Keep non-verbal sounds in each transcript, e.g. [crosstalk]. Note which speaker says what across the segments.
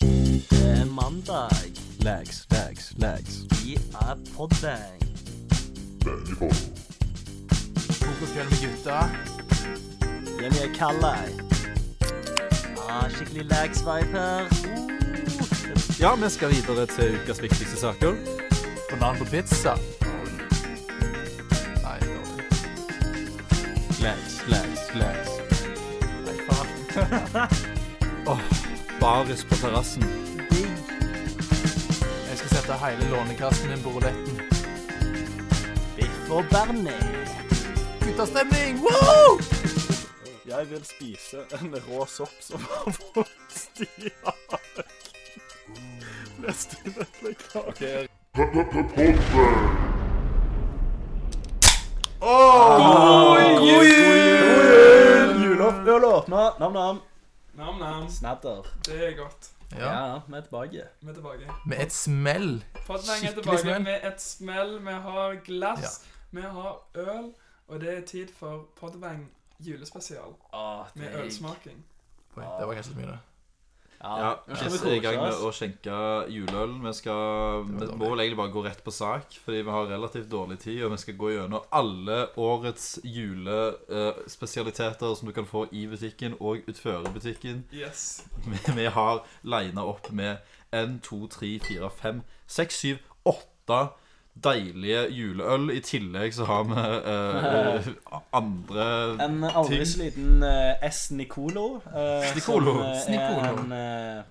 Speaker 1: Det er Eh, mandag.
Speaker 2: Lags, lags, lags.
Speaker 1: Vi er poddang.
Speaker 3: Kokosfjell med gutta.
Speaker 1: Den er kalla. Ah, skikkelig lags-vibe her. Uh.
Speaker 2: Ja, vi skal videre til ukas viktigste saker.
Speaker 3: Banan på pizza. Nei, dårlig.
Speaker 2: Lags, lags, lags.
Speaker 3: Nei, faen.
Speaker 2: Åh, baris på terrassen.
Speaker 1: Digg.
Speaker 3: Jeg skal sette hele lånekassen min på rouletten.
Speaker 1: Biff og Bernie.
Speaker 3: Guttastemning! Woo!
Speaker 4: Jeg vil spise en rå sopp som har vokst i hagen. Nesten et lekkasje. Juleøl åpna. Nam-nam.
Speaker 5: Nam-nam.
Speaker 4: Snadder.
Speaker 5: Det er godt.
Speaker 1: Ja,
Speaker 3: Ja,
Speaker 1: vi er tilbake.
Speaker 5: Vi er tilbake.
Speaker 3: med et smell.
Speaker 5: Podlang er
Speaker 3: Skikkelig
Speaker 5: tilbake
Speaker 3: smell.
Speaker 5: med et smell. Vi har glass, vi har øl, og det er tid for Podbang julespesial
Speaker 1: Ah,
Speaker 5: med
Speaker 1: digg.
Speaker 5: ølsmaking.
Speaker 3: Oi, det var kanskje litt mye, det.
Speaker 2: Ja,
Speaker 1: nå
Speaker 2: vi
Speaker 1: skal vi
Speaker 2: er i gang
Speaker 1: kose
Speaker 2: med å
Speaker 1: oss.
Speaker 2: skjenke juleøl. Vi, skal,
Speaker 3: Det var
Speaker 2: vi
Speaker 3: dårlig.
Speaker 2: må vel egentlig bare gå rett på sak, fordi vi har relativt dårlig tid, og vi skal gå gjennom alle årets julespesialiteter som du kan få i butikken og utføre butikken. [laughs]
Speaker 5: Yes.
Speaker 2: Vi, vi har lina opp med 1, 2, 3, 4, 5, 6, 7, 8 deilige juleøl. I tillegg så har vi eh, eh, andre
Speaker 4: En aldri så liten eh, S. Nicolo. eh,
Speaker 2: Nicolo.
Speaker 4: som, eh, er
Speaker 3: Snicolo.
Speaker 4: en, eh,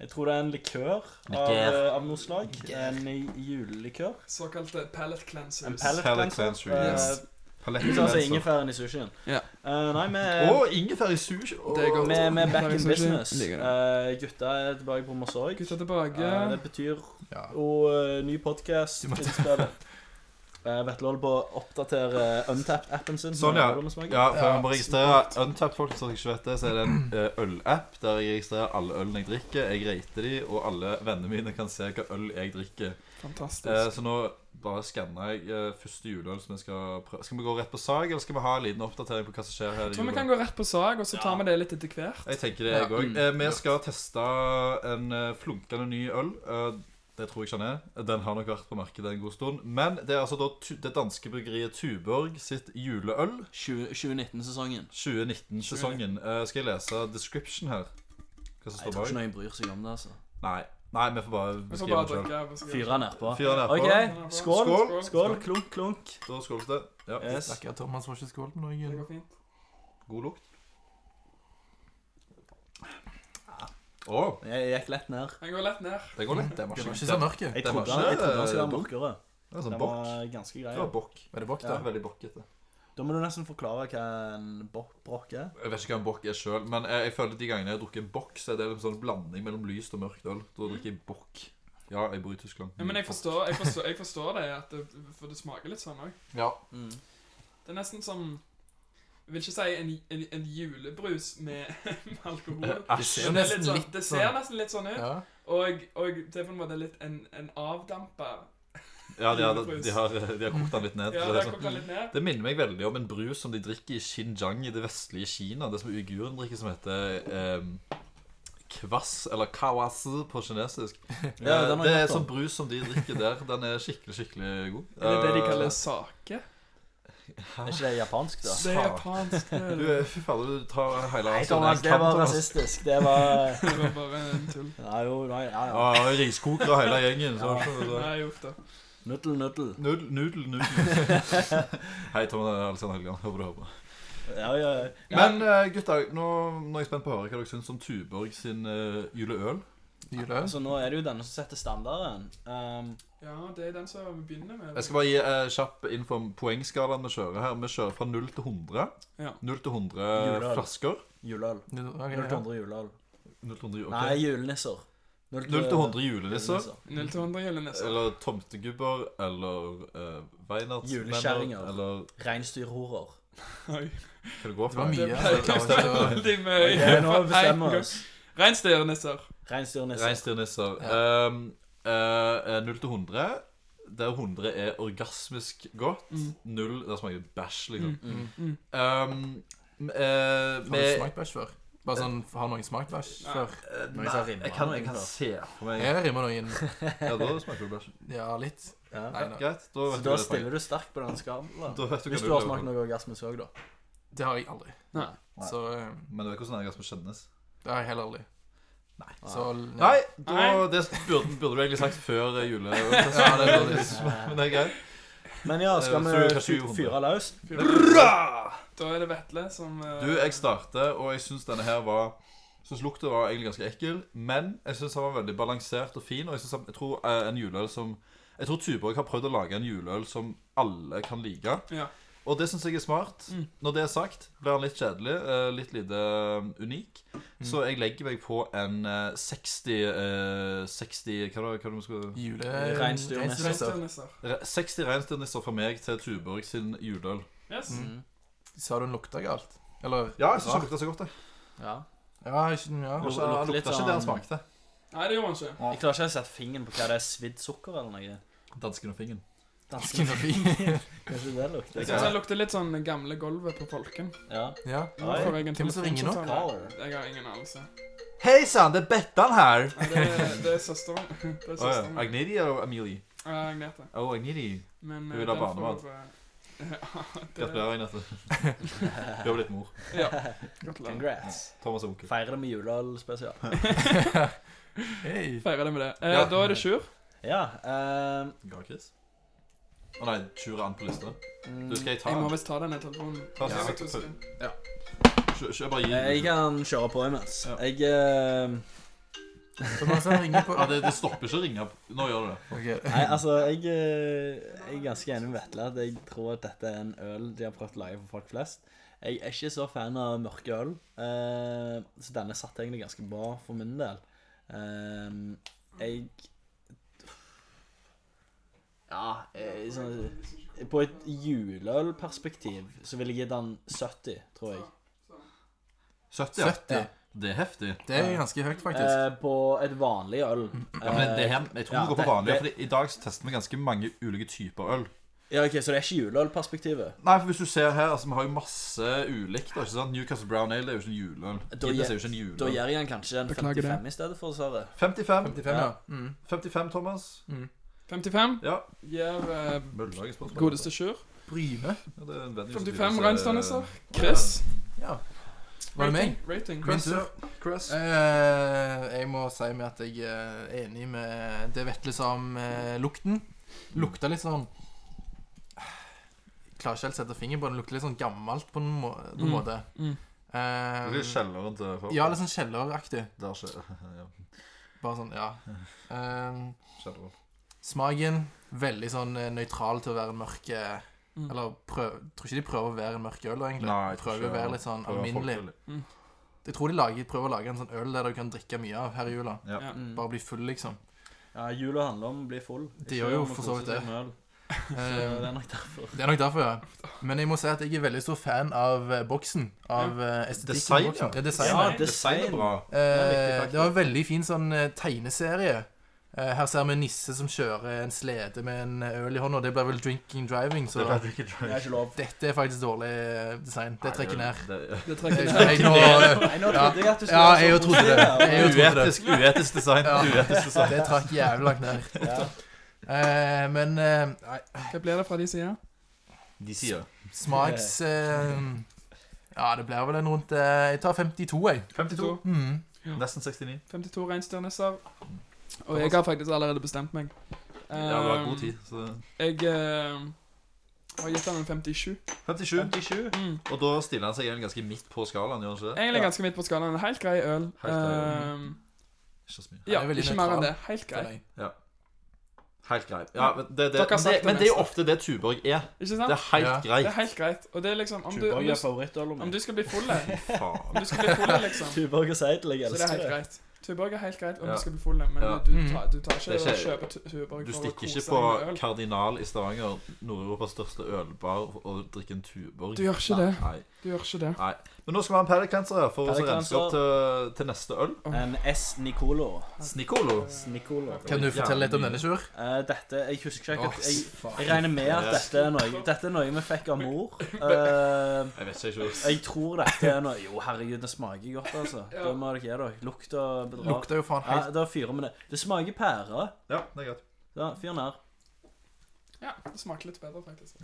Speaker 4: jeg tror det er en likør av, eh,
Speaker 2: Likør.
Speaker 4: av noe slag. En julelikør.
Speaker 5: Såkalte pallet cleansers.
Speaker 4: En pallet
Speaker 2: Pallet
Speaker 4: cleanser.
Speaker 2: cleanser,
Speaker 5: yes.
Speaker 4: Eh,
Speaker 2: paletter.
Speaker 4: Du tar altså ingefæren i sushien.
Speaker 5: Ja.
Speaker 4: Eh, nei, vi
Speaker 2: Å, ingefær i sushi! Å,
Speaker 5: Det er godt.
Speaker 4: vi er- vi er back
Speaker 5: Ingefær i
Speaker 4: in
Speaker 5: sushi.
Speaker 4: business.
Speaker 5: Liker det.
Speaker 4: Eh, gutta er tilbake på Morsorg.
Speaker 5: Gutta tilbake.
Speaker 4: Eh, det betyr
Speaker 3: Ja.
Speaker 4: Og eh, ny podkast
Speaker 3: Du måtte-
Speaker 4: innspillet. Uh, Vetle holder på å oppdatere eh, Untapped-appen sin.
Speaker 2: Sånn, ja.
Speaker 4: Har du noe smak?
Speaker 2: Ja, for
Speaker 3: Ja,
Speaker 2: jeg må registrere Untapped folk som ikke vet det, så er det en eh, ølapp der jeg registrerer alle ølene jeg drikker. Jeg rater de, og alle vennene mine kan se hva øl jeg drikker.
Speaker 5: Fantastisk.
Speaker 2: Eh, så nå bare skanner jeg eh, første juleøl som jeg skal prøve. Skal vi gå rett på sag, eller skal vi ha en liten oppdatering på hva som skjer her?
Speaker 5: jeg
Speaker 2: i
Speaker 5: tror vi
Speaker 2: jula?
Speaker 5: kan gå rett på sag, og så tar vi det litt etter hvert.
Speaker 2: Jeg tenker det, jeg
Speaker 3: Ja,
Speaker 2: òg.
Speaker 3: mm,
Speaker 2: Eh, vi skal teste en eh, flunkende ny øl. Eh, det tror jeg ikke han er. Den har nok vært på markedet en god stund. Men det er altså da tu det danske bryggeriet Tuborg sitt juleøl.
Speaker 4: 2019-sesongen.
Speaker 2: 2019-sesongen. Eh, skal jeg lese description her? Hva som
Speaker 4: Jeg
Speaker 2: står
Speaker 4: tror ikke
Speaker 2: bak?
Speaker 4: noen bryr seg om det. altså
Speaker 2: Nei. Nei, vi får bare
Speaker 5: Vi får
Speaker 2: beskrive
Speaker 5: bare
Speaker 2: den sjøl.
Speaker 5: drikke. vi skal-
Speaker 4: Fyre nedpå.
Speaker 2: Fyr den nedpå.
Speaker 4: OK,
Speaker 5: Fyre
Speaker 4: skål.
Speaker 5: Skål.
Speaker 2: Skål.
Speaker 4: Skål. Klunk, klunk.
Speaker 2: Da skåles det. Ja.
Speaker 4: Yes.
Speaker 3: Stakkar Thomas var ikke skål på noe.
Speaker 5: Det
Speaker 3: jul.
Speaker 5: går fint.
Speaker 2: God lukt. Å,
Speaker 4: Jeg gikk lett ned.
Speaker 5: Den går lett ned.
Speaker 2: det går lett. Det var
Speaker 3: Det var
Speaker 2: ikke
Speaker 3: ikke sånn. så mørke.
Speaker 4: Jeg
Speaker 2: Den var
Speaker 4: trodde han jeg
Speaker 2: ikke,
Speaker 4: trodde han skulle være
Speaker 2: eh,
Speaker 4: mørkere.
Speaker 2: Det er sånn
Speaker 4: Den
Speaker 2: bokk.
Speaker 4: var ganske grei.
Speaker 2: Det var bokk.
Speaker 3: Var det bokk,
Speaker 2: Det
Speaker 3: da?
Speaker 2: er veldig bokkete.
Speaker 4: Da må du nesten forklare hva en bo- brokk er.
Speaker 2: Jeg vet ikke hva en bokk er sjøl, men jeg, jeg føler at de gangene jeg har drukket bokk, så er det en sånn blanding mellom lyst og mørkt øl. Da drikker jeg bokk. Ja, jeg bor i Tyskland.
Speaker 5: Ja, men jeg forstår, jeg forstår, jeg forstår det, at det, for det smaker litt sånn òg.
Speaker 2: Ja.
Speaker 5: Det er nesten som Jeg vil ikke si en, en, en julebrus med, [laughs] med alkohol.
Speaker 3: Det
Speaker 2: Eh, Æsj.
Speaker 3: ser jo
Speaker 5: Men Det, er
Speaker 3: nesten
Speaker 5: litt sånn,
Speaker 3: litt
Speaker 5: det ser
Speaker 3: sånn
Speaker 5: nesten litt sånn ut.
Speaker 3: Ja.
Speaker 5: Og, og det er på en måte litt en, en avdampa.
Speaker 2: Ja, de har, de, har, de har kokt den litt ned.
Speaker 5: Ja,
Speaker 2: så det,
Speaker 5: det
Speaker 2: er
Speaker 5: kom
Speaker 2: sånn.
Speaker 5: den litt ned.
Speaker 2: det minner meg veldig om en brus som de drikker i Xinjiang i det vestlige Kina. Det som uiguren drikker, som heter eh, kvass, eller kawase på kinesisk.
Speaker 4: [laughs] Ja, den har jeg
Speaker 2: Eh, det
Speaker 4: hørt
Speaker 2: er
Speaker 4: om.
Speaker 2: sånn brus som de drikker der. Den er skikkelig, skikkelig
Speaker 4: [laughs]
Speaker 2: god.
Speaker 5: Er det det de
Speaker 2: Eh,
Speaker 5: kaller sake?
Speaker 4: Er ikke det japansk, da?
Speaker 5: Det er japansk. det er
Speaker 2: Du,
Speaker 5: det.
Speaker 2: fy fader, du tar hele
Speaker 4: Nei,
Speaker 2: Asia over
Speaker 4: Thomas,
Speaker 2: en
Speaker 4: det
Speaker 2: kam,
Speaker 4: var
Speaker 2: Thomas.
Speaker 4: rasistisk. Det var
Speaker 5: [laughs] Det var bare en tull.
Speaker 4: Nei, jo, nei, ja, ja.
Speaker 2: Ja, riskoker og hele gjengen. Så, så, så.
Speaker 4: [laughs]
Speaker 5: Nei, uff da.
Speaker 4: Nuddel, nuddel.
Speaker 2: Nudel, nudel,
Speaker 4: [laughs]
Speaker 2: nudel. Hei, Tom og Alexander Helgeland. Håper du hører på.
Speaker 4: Ja, ja, ja.
Speaker 2: Men eh, gutter, nå, nå er jeg spent på å høre hva dere syns om Tuborg sin eh, juleøl.
Speaker 3: Juleøl?
Speaker 4: Så nå er det jo denne som setter standarden.
Speaker 6: Ehm,
Speaker 4: Um,
Speaker 5: Ja, det er den som vi begynner med.
Speaker 2: Jeg skal bare gi eh, kjapp info om poengskalaen vi kjører her. Vi kjører fra 0 til 100.
Speaker 5: Ja.
Speaker 2: 0 til 100
Speaker 4: Juleøl.
Speaker 2: flasker.
Speaker 4: juleøl.
Speaker 3: Ok, ja.
Speaker 4: 0 til 100 juleøl.
Speaker 2: 0 til 100,
Speaker 4: Nei,
Speaker 2: ok.
Speaker 4: julenisser. 0
Speaker 2: 0 til 100 julenisser.
Speaker 5: 0 til 100 gjelder nesa. [laughs]
Speaker 2: Eller tomtegubber, eller uh,
Speaker 4: Juleskjæringer.
Speaker 2: Eller
Speaker 3: [laughs]
Speaker 4: Reinsdyrhorer.
Speaker 5: Oi.
Speaker 2: hva det går
Speaker 3: Det
Speaker 2: for.
Speaker 3: var mye.
Speaker 5: Det
Speaker 3: altså, jeg klarer ikke å-
Speaker 5: Veldig
Speaker 4: Ok,
Speaker 5: mye.
Speaker 4: nå
Speaker 5: [laughs]
Speaker 4: bestemmer vi oss.
Speaker 5: Reinsdyrnisser.
Speaker 4: Reinsdyrnisser.
Speaker 2: Reinsdyrnisser. Ehm, eh, 0 til 100. Der 100 er orgasmisk godt.
Speaker 5: Mm.
Speaker 2: 0 der smaker det bæsj, liksom.
Speaker 5: Mm. Mm.
Speaker 2: Ehm, m- eh,
Speaker 3: Har du
Speaker 2: med
Speaker 3: smakt bæsj før? Bare sånn, Har noen smakt bæsj
Speaker 5: Nei.
Speaker 3: før?
Speaker 2: Eh,
Speaker 6: Når jeg sa rimmer
Speaker 2: jeg kan,
Speaker 6: han
Speaker 2: jeg kan
Speaker 6: egentlig,
Speaker 2: se for meg
Speaker 3: Jeg rimmer noen
Speaker 2: Ja, da smaker det bæsj.
Speaker 3: Ja, litt.
Speaker 6: Ja.
Speaker 3: Nei, nei.
Speaker 2: Greit. Da
Speaker 6: Så
Speaker 2: vet du
Speaker 6: da
Speaker 2: hva det er.
Speaker 6: stiller du sterkt på den skalaen.
Speaker 2: Da vet du hva
Speaker 6: Hvis
Speaker 2: du
Speaker 6: du har
Speaker 2: lever
Speaker 6: smakt
Speaker 2: på.
Speaker 6: noe orgasmus òg, da.
Speaker 3: Det har jeg aldri.
Speaker 5: Nei.
Speaker 3: Så eh,
Speaker 2: Men du vet hvordan orgasme kjennes?
Speaker 3: det har jeg heller aldri. Nei. Så
Speaker 2: Nei, da,
Speaker 5: Nei.
Speaker 2: det burde, burde du egentlig sagt før eh, [laughs] jule...
Speaker 3: Ja, det er dårlig.
Speaker 2: [laughs] Men det er greit.
Speaker 6: Men ja, skal
Speaker 2: Eh, så du kan
Speaker 6: vi
Speaker 2: sju
Speaker 6: fyre løs?
Speaker 5: Da er det Vetle som eh,
Speaker 2: Du, jeg starter, og jeg syns denne her var Syns lukta var egentlig ganske ekkel, men jeg syns den var veldig balansert og fin. Og jeg, synes han, jeg tror eh, en juleøl som Jeg tror Tuborg har prøvd å lage en juleøl som alle kan like.
Speaker 5: Ja.
Speaker 2: Og det syns jeg er smart.
Speaker 5: Mm.
Speaker 2: Når det er sagt, blir han litt kjedelig. eh, Litt lite eh, unik. Så jeg legger meg på en eh, 60 eh, 60 Hva var det hva skulle
Speaker 3: Jule...
Speaker 6: Reinsdyr-
Speaker 3: reinsdyrnisser.
Speaker 5: Reinsdyrnisser.
Speaker 2: Re- 60 reinsdyrnisser fra meg til Tuborg sin juleøl.
Speaker 5: Yes.
Speaker 6: Mm.
Speaker 3: Sa du den lukta galt? Eller
Speaker 2: Ja, jeg syns den lukta så godt, jeg.
Speaker 6: Ja.
Speaker 3: Ja, ikke ja.
Speaker 6: Lukta
Speaker 2: Lukta
Speaker 6: litt
Speaker 2: ikke det han
Speaker 6: sånn-
Speaker 2: smakte.
Speaker 5: Nei, det gjorde han ikke.
Speaker 6: Jeg klarer ikke å sette fingeren på hva det er. Svidd sukker eller noe?
Speaker 2: Dansken og fingeren.
Speaker 6: Dansken.
Speaker 3: Kinofi.
Speaker 6: [laughs] Kanskje det lukter
Speaker 5: Jeg synes han lukter litt sånn gamle gulvet på Folken.
Speaker 6: Ja.
Speaker 3: Ja.
Speaker 5: Nå får jeg en
Speaker 3: Hvem som ringer nå?
Speaker 5: telefonsamtale. Jeg har ingen anelse.
Speaker 2: Hei sann, det er Bettan her.
Speaker 5: Nei, Det er, det er søsteren. [laughs] Det er
Speaker 2: Å ja.
Speaker 5: søsteren. min.
Speaker 2: Agnidi eller Amelie?
Speaker 5: Ja, Agnete.
Speaker 2: Å, oh, Agnidi.
Speaker 5: Men
Speaker 2: Hun
Speaker 5: eh,
Speaker 2: vil ha
Speaker 5: den får
Speaker 2: barnemat.
Speaker 5: du, eh, Ja, det
Speaker 2: Gratulerer,
Speaker 6: [laughs]
Speaker 2: Agnete. Du har blitt mor.
Speaker 5: Ja. Gratulerer.
Speaker 6: Congrats.
Speaker 2: Thomas er onkel.
Speaker 6: Feire det med juleøl spesial.
Speaker 3: Hei.
Speaker 5: Feirer det med det. Eh,
Speaker 2: Ja.
Speaker 5: Da er det Sjur.
Speaker 6: Ja. ehm,
Speaker 2: Ga Chris? Å nei, Sjur er an på lista.
Speaker 6: mm,
Speaker 2: Du, skal jeg ta
Speaker 5: Jeg må
Speaker 2: den?
Speaker 5: visst ta denne telefonen.
Speaker 2: Ta
Speaker 5: Ja,
Speaker 2: den.
Speaker 5: jeg husker.
Speaker 2: Sjur, Sjur, bare gi
Speaker 6: eh, Jeg
Speaker 2: den.
Speaker 6: kan kjøre på imens.
Speaker 2: Ja.
Speaker 6: Jeg ehm,
Speaker 3: Så man skal ringe på
Speaker 2: [laughs] Ja, det, det stopper ikke å ringe. opp. Nå gjør det det.
Speaker 3: Ok.
Speaker 6: Nei, altså, jeg, eh, jeg er ganske enig med Vetle. at Jeg tror at dette er en øl de har prøvd å lage for folk flest. Jeg er ikke så fan av mørke øl, eh, så denne satt egentlig ganske bra for min del. Eh, jeg Ja, jeg, sånn, på et juleølperspektiv så vil jeg gi den 70, tror jeg.
Speaker 2: 70, ja.
Speaker 3: 70.
Speaker 2: Det er heftig.
Speaker 3: Det er ganske høyt, faktisk.
Speaker 6: Eh, på et vanlig øl.
Speaker 5: Mm.
Speaker 2: Ja, men det, det
Speaker 6: Eh,
Speaker 2: her, jeg tror
Speaker 6: Ja,
Speaker 2: vi går på
Speaker 6: det-
Speaker 2: vanlig,
Speaker 6: det-
Speaker 2: for i dag så tester vi ganske mange ulike typer øl.
Speaker 6: ja, ok, Så det er ikke juleølperspektivet?
Speaker 2: Nei, for hvis du ser her, altså, vi har jo masse ulikt. da, ikke sant? Newcastle Brown Ale er jo ikke en juleøl.
Speaker 6: Da
Speaker 2: Guinness
Speaker 6: gir-
Speaker 2: er jo ikke en
Speaker 6: Da
Speaker 2: juleøl.
Speaker 6: gir jeg den kanskje en
Speaker 5: Beklager det.
Speaker 6: 55 i stedet for, Sverre.
Speaker 2: 55.
Speaker 3: 55, ja. Mm.
Speaker 2: 55, Thomas.
Speaker 5: 55
Speaker 2: Ja.
Speaker 5: gir eh,
Speaker 2: Møllag er sponsor.
Speaker 5: godeste Sjur.
Speaker 3: Bryne.
Speaker 2: Ja, det er en venn som
Speaker 5: 55
Speaker 2: driver-
Speaker 5: reinsdyrnisser. Chris.
Speaker 3: Ja. Var det meg?
Speaker 5: Rating.
Speaker 3: Min
Speaker 5: rating.
Speaker 3: tur.
Speaker 2: Chris.
Speaker 3: Eh, jeg må si med at jeg eh, er enig med det Vetle sa om eh, lukten. Lukta litt sånn Jeg Klarer ikke helt å sette fingeren på det. Lukter litt sånn gammelt på en, må på en
Speaker 5: Mm,
Speaker 3: måte.
Speaker 5: mm.
Speaker 2: Det
Speaker 3: Eh,
Speaker 2: er litt kjelleren til folk.
Speaker 3: ja, litt sånn kjelleraktig.
Speaker 2: eh, Der skjer [laughs] ja,
Speaker 3: Bare sånn, [laughs] ja. Eh,
Speaker 2: kjelleren.
Speaker 3: smaken veldig sånn eh, nøytral til å være en mørk eh,
Speaker 5: Mm.
Speaker 3: Eller prøv, tror ikke de prøver å være en mørk øl, egentlig.
Speaker 2: Nei, jeg tror
Speaker 3: prøver
Speaker 2: ikke
Speaker 3: å
Speaker 2: det.
Speaker 3: være litt sånn
Speaker 2: Prøver å være
Speaker 3: alminnelig.
Speaker 2: folkelig.
Speaker 3: Jeg tror de lager, prøver å lage en sånn øl der du kan drikke mye av her i jula.
Speaker 2: Ja.
Speaker 5: Ja.
Speaker 6: Mm.
Speaker 3: Bare bli
Speaker 6: [laughs]
Speaker 3: full, liksom.
Speaker 6: Ja, jula handler om å bli full.
Speaker 3: Det gjør jo for så vidt det.
Speaker 6: Det
Speaker 3: [laughs] Eh,
Speaker 6: er nok derfor.
Speaker 3: Det er nok derfor, ja. Men jeg må si at jeg er veldig stor fan av eh, boksen. Av eh, estetikken.
Speaker 2: Design,
Speaker 3: i boksen.
Speaker 2: ja.
Speaker 3: Ja,
Speaker 6: Ja,
Speaker 3: designet.
Speaker 6: det
Speaker 2: Design er bra.
Speaker 6: er
Speaker 3: Eh,
Speaker 6: viktig,
Speaker 3: det var en veldig fin sånn eh, tegneserie. Eh, her ser vi en nisse som kjører en slede med en eh, øl i hånda. Det blir vel drinking driving, så
Speaker 6: Det er ikke
Speaker 3: [laughs]
Speaker 6: lov.
Speaker 3: dette er faktisk dårlig eh, design. Det trekker ned.
Speaker 2: Det-
Speaker 5: Det
Speaker 3: Jeg,
Speaker 5: trekker ned.
Speaker 3: jeg, nå-
Speaker 6: Nei, nå trodde jeg at du skulle
Speaker 3: ja,
Speaker 6: være sånn
Speaker 3: jeg jo
Speaker 6: så
Speaker 3: trodde det.
Speaker 6: positiv her.
Speaker 3: Jeg jo trodde det.
Speaker 2: Uetisk, uetisk design.
Speaker 3: Ja.
Speaker 2: Uetisk design.
Speaker 3: Det trakk jævlig langt ned.
Speaker 6: Ja.
Speaker 3: Eh, men eh, nei,
Speaker 5: Hva blir det fra de sida?
Speaker 2: De sier
Speaker 3: smaks eh, Ja, det blir vel en rundt eh, Jeg tar 52, jeg.
Speaker 2: 52.
Speaker 3: Mm.
Speaker 2: Nesten 69.
Speaker 5: 52 reinsdyrnisser. Og jeg har faktisk allerede bestemt meg.
Speaker 3: Um,
Speaker 2: Ja, du har god
Speaker 5: Eh,
Speaker 2: tid. Så.
Speaker 5: Jeg eh, har gitt den en 57.
Speaker 2: 57.
Speaker 6: 57.
Speaker 5: Mm.
Speaker 2: Og da stiller han seg egentlig ganske midt på skalaen, gjør han ikke det?
Speaker 5: Egentlig ganske midt på skalaen. En Helt grei øl.
Speaker 2: Helt grei,
Speaker 5: Eh,
Speaker 2: Ikke så mye.
Speaker 5: ja,
Speaker 3: Den er veldig
Speaker 5: ikke mer enn det. Helt
Speaker 3: føler
Speaker 5: grei.
Speaker 3: jeg.
Speaker 2: Helt greit. Ja, men det, det,
Speaker 5: Dere har
Speaker 2: men
Speaker 5: sagt
Speaker 2: det,
Speaker 5: det
Speaker 2: men det er jo
Speaker 5: meste.
Speaker 2: ofte det Tuborg er.
Speaker 5: Ikke
Speaker 2: Det
Speaker 5: sant?
Speaker 2: er helt
Speaker 3: Ja.
Speaker 5: Det er
Speaker 2: greit.
Speaker 5: helt greit. Og det er liksom Om du, om
Speaker 6: Tuborg er
Speaker 5: du,
Speaker 6: favorittølet
Speaker 5: om
Speaker 6: mitt.
Speaker 5: du skal bli full, om
Speaker 2: Faen.
Speaker 5: du skal bli full liksom, så
Speaker 6: Tuborg og Seidel, jeg
Speaker 5: det er
Speaker 6: elsker
Speaker 5: helt
Speaker 6: det.
Speaker 5: greit. Tuborg er helt greit om
Speaker 2: Ja.
Speaker 5: du skal bli full, men
Speaker 2: Ja.
Speaker 5: du,
Speaker 3: Mm.
Speaker 5: tar, du tar ikke
Speaker 2: Det er
Speaker 5: og
Speaker 2: ikke-
Speaker 5: kjøper tu- Tuborg
Speaker 2: Du
Speaker 5: for å
Speaker 2: stikker
Speaker 5: kose
Speaker 2: ikke
Speaker 5: deg med
Speaker 2: på
Speaker 5: øl.
Speaker 2: Kardinal i Stavanger, Nord-Europas største ølbar, og drikker en Tuborg.
Speaker 5: Du gjør ikke det.
Speaker 2: Nei.
Speaker 5: Du gjør ikke det.
Speaker 2: Nei. Men nå skal vi ha en paddock cancer her for å
Speaker 6: Paddock
Speaker 2: rense opp til, til neste øl.
Speaker 6: En S. Nicolo.
Speaker 2: Snicolo.
Speaker 6: Snicolo.
Speaker 3: Kan du fortelle litt om denne, Sjur?
Speaker 6: Eh, dette Jeg husker ikke
Speaker 3: Åh,
Speaker 6: akkurat jeg,
Speaker 3: faen.
Speaker 6: jeg regner med at dette er noe, dette er noe vi fikk av mor. Eh,
Speaker 2: Jeg vet ikke. Sjur.
Speaker 6: jeg tror dette er noe Jo, herregud, det smaker godt, altså. Det må dere gi dere. Lukta bedrar.
Speaker 3: Lukter jo faen
Speaker 6: Ja,
Speaker 3: helt
Speaker 6: da fyrer vi det. Det smaker pære.
Speaker 2: Ja, det er greit.
Speaker 6: Ja, Fyr den her.
Speaker 5: Ja, det smaker litt bedre, faktisk.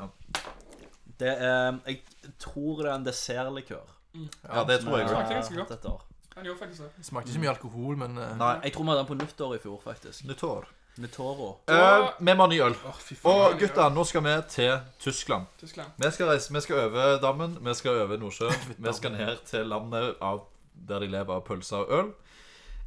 Speaker 6: Det er Jeg tror det er en dessertlikør.
Speaker 2: Ja, det tror jeg
Speaker 5: Smaker
Speaker 2: òg.
Speaker 5: ganske godt.
Speaker 6: Dette år.
Speaker 5: Han gjorde faktisk det.
Speaker 3: Smakte ikke mye alkohol, men eh,
Speaker 2: Nei.
Speaker 6: Jeg tror vi hadde den på nyttår i fjor, faktisk.
Speaker 2: Nyttår.
Speaker 6: Nyttåro.
Speaker 2: Eh, vi må ha ny øl.
Speaker 3: åh, fy faen.
Speaker 2: Og gutta, nå skal vi til Tyskland.
Speaker 5: Tyskland.
Speaker 2: Vi skal reise, vi skal over dammen, vi skal over
Speaker 5: [laughs]
Speaker 2: Nordsjøen. Vi skal ned til landet av, der de lever av pølser og øl.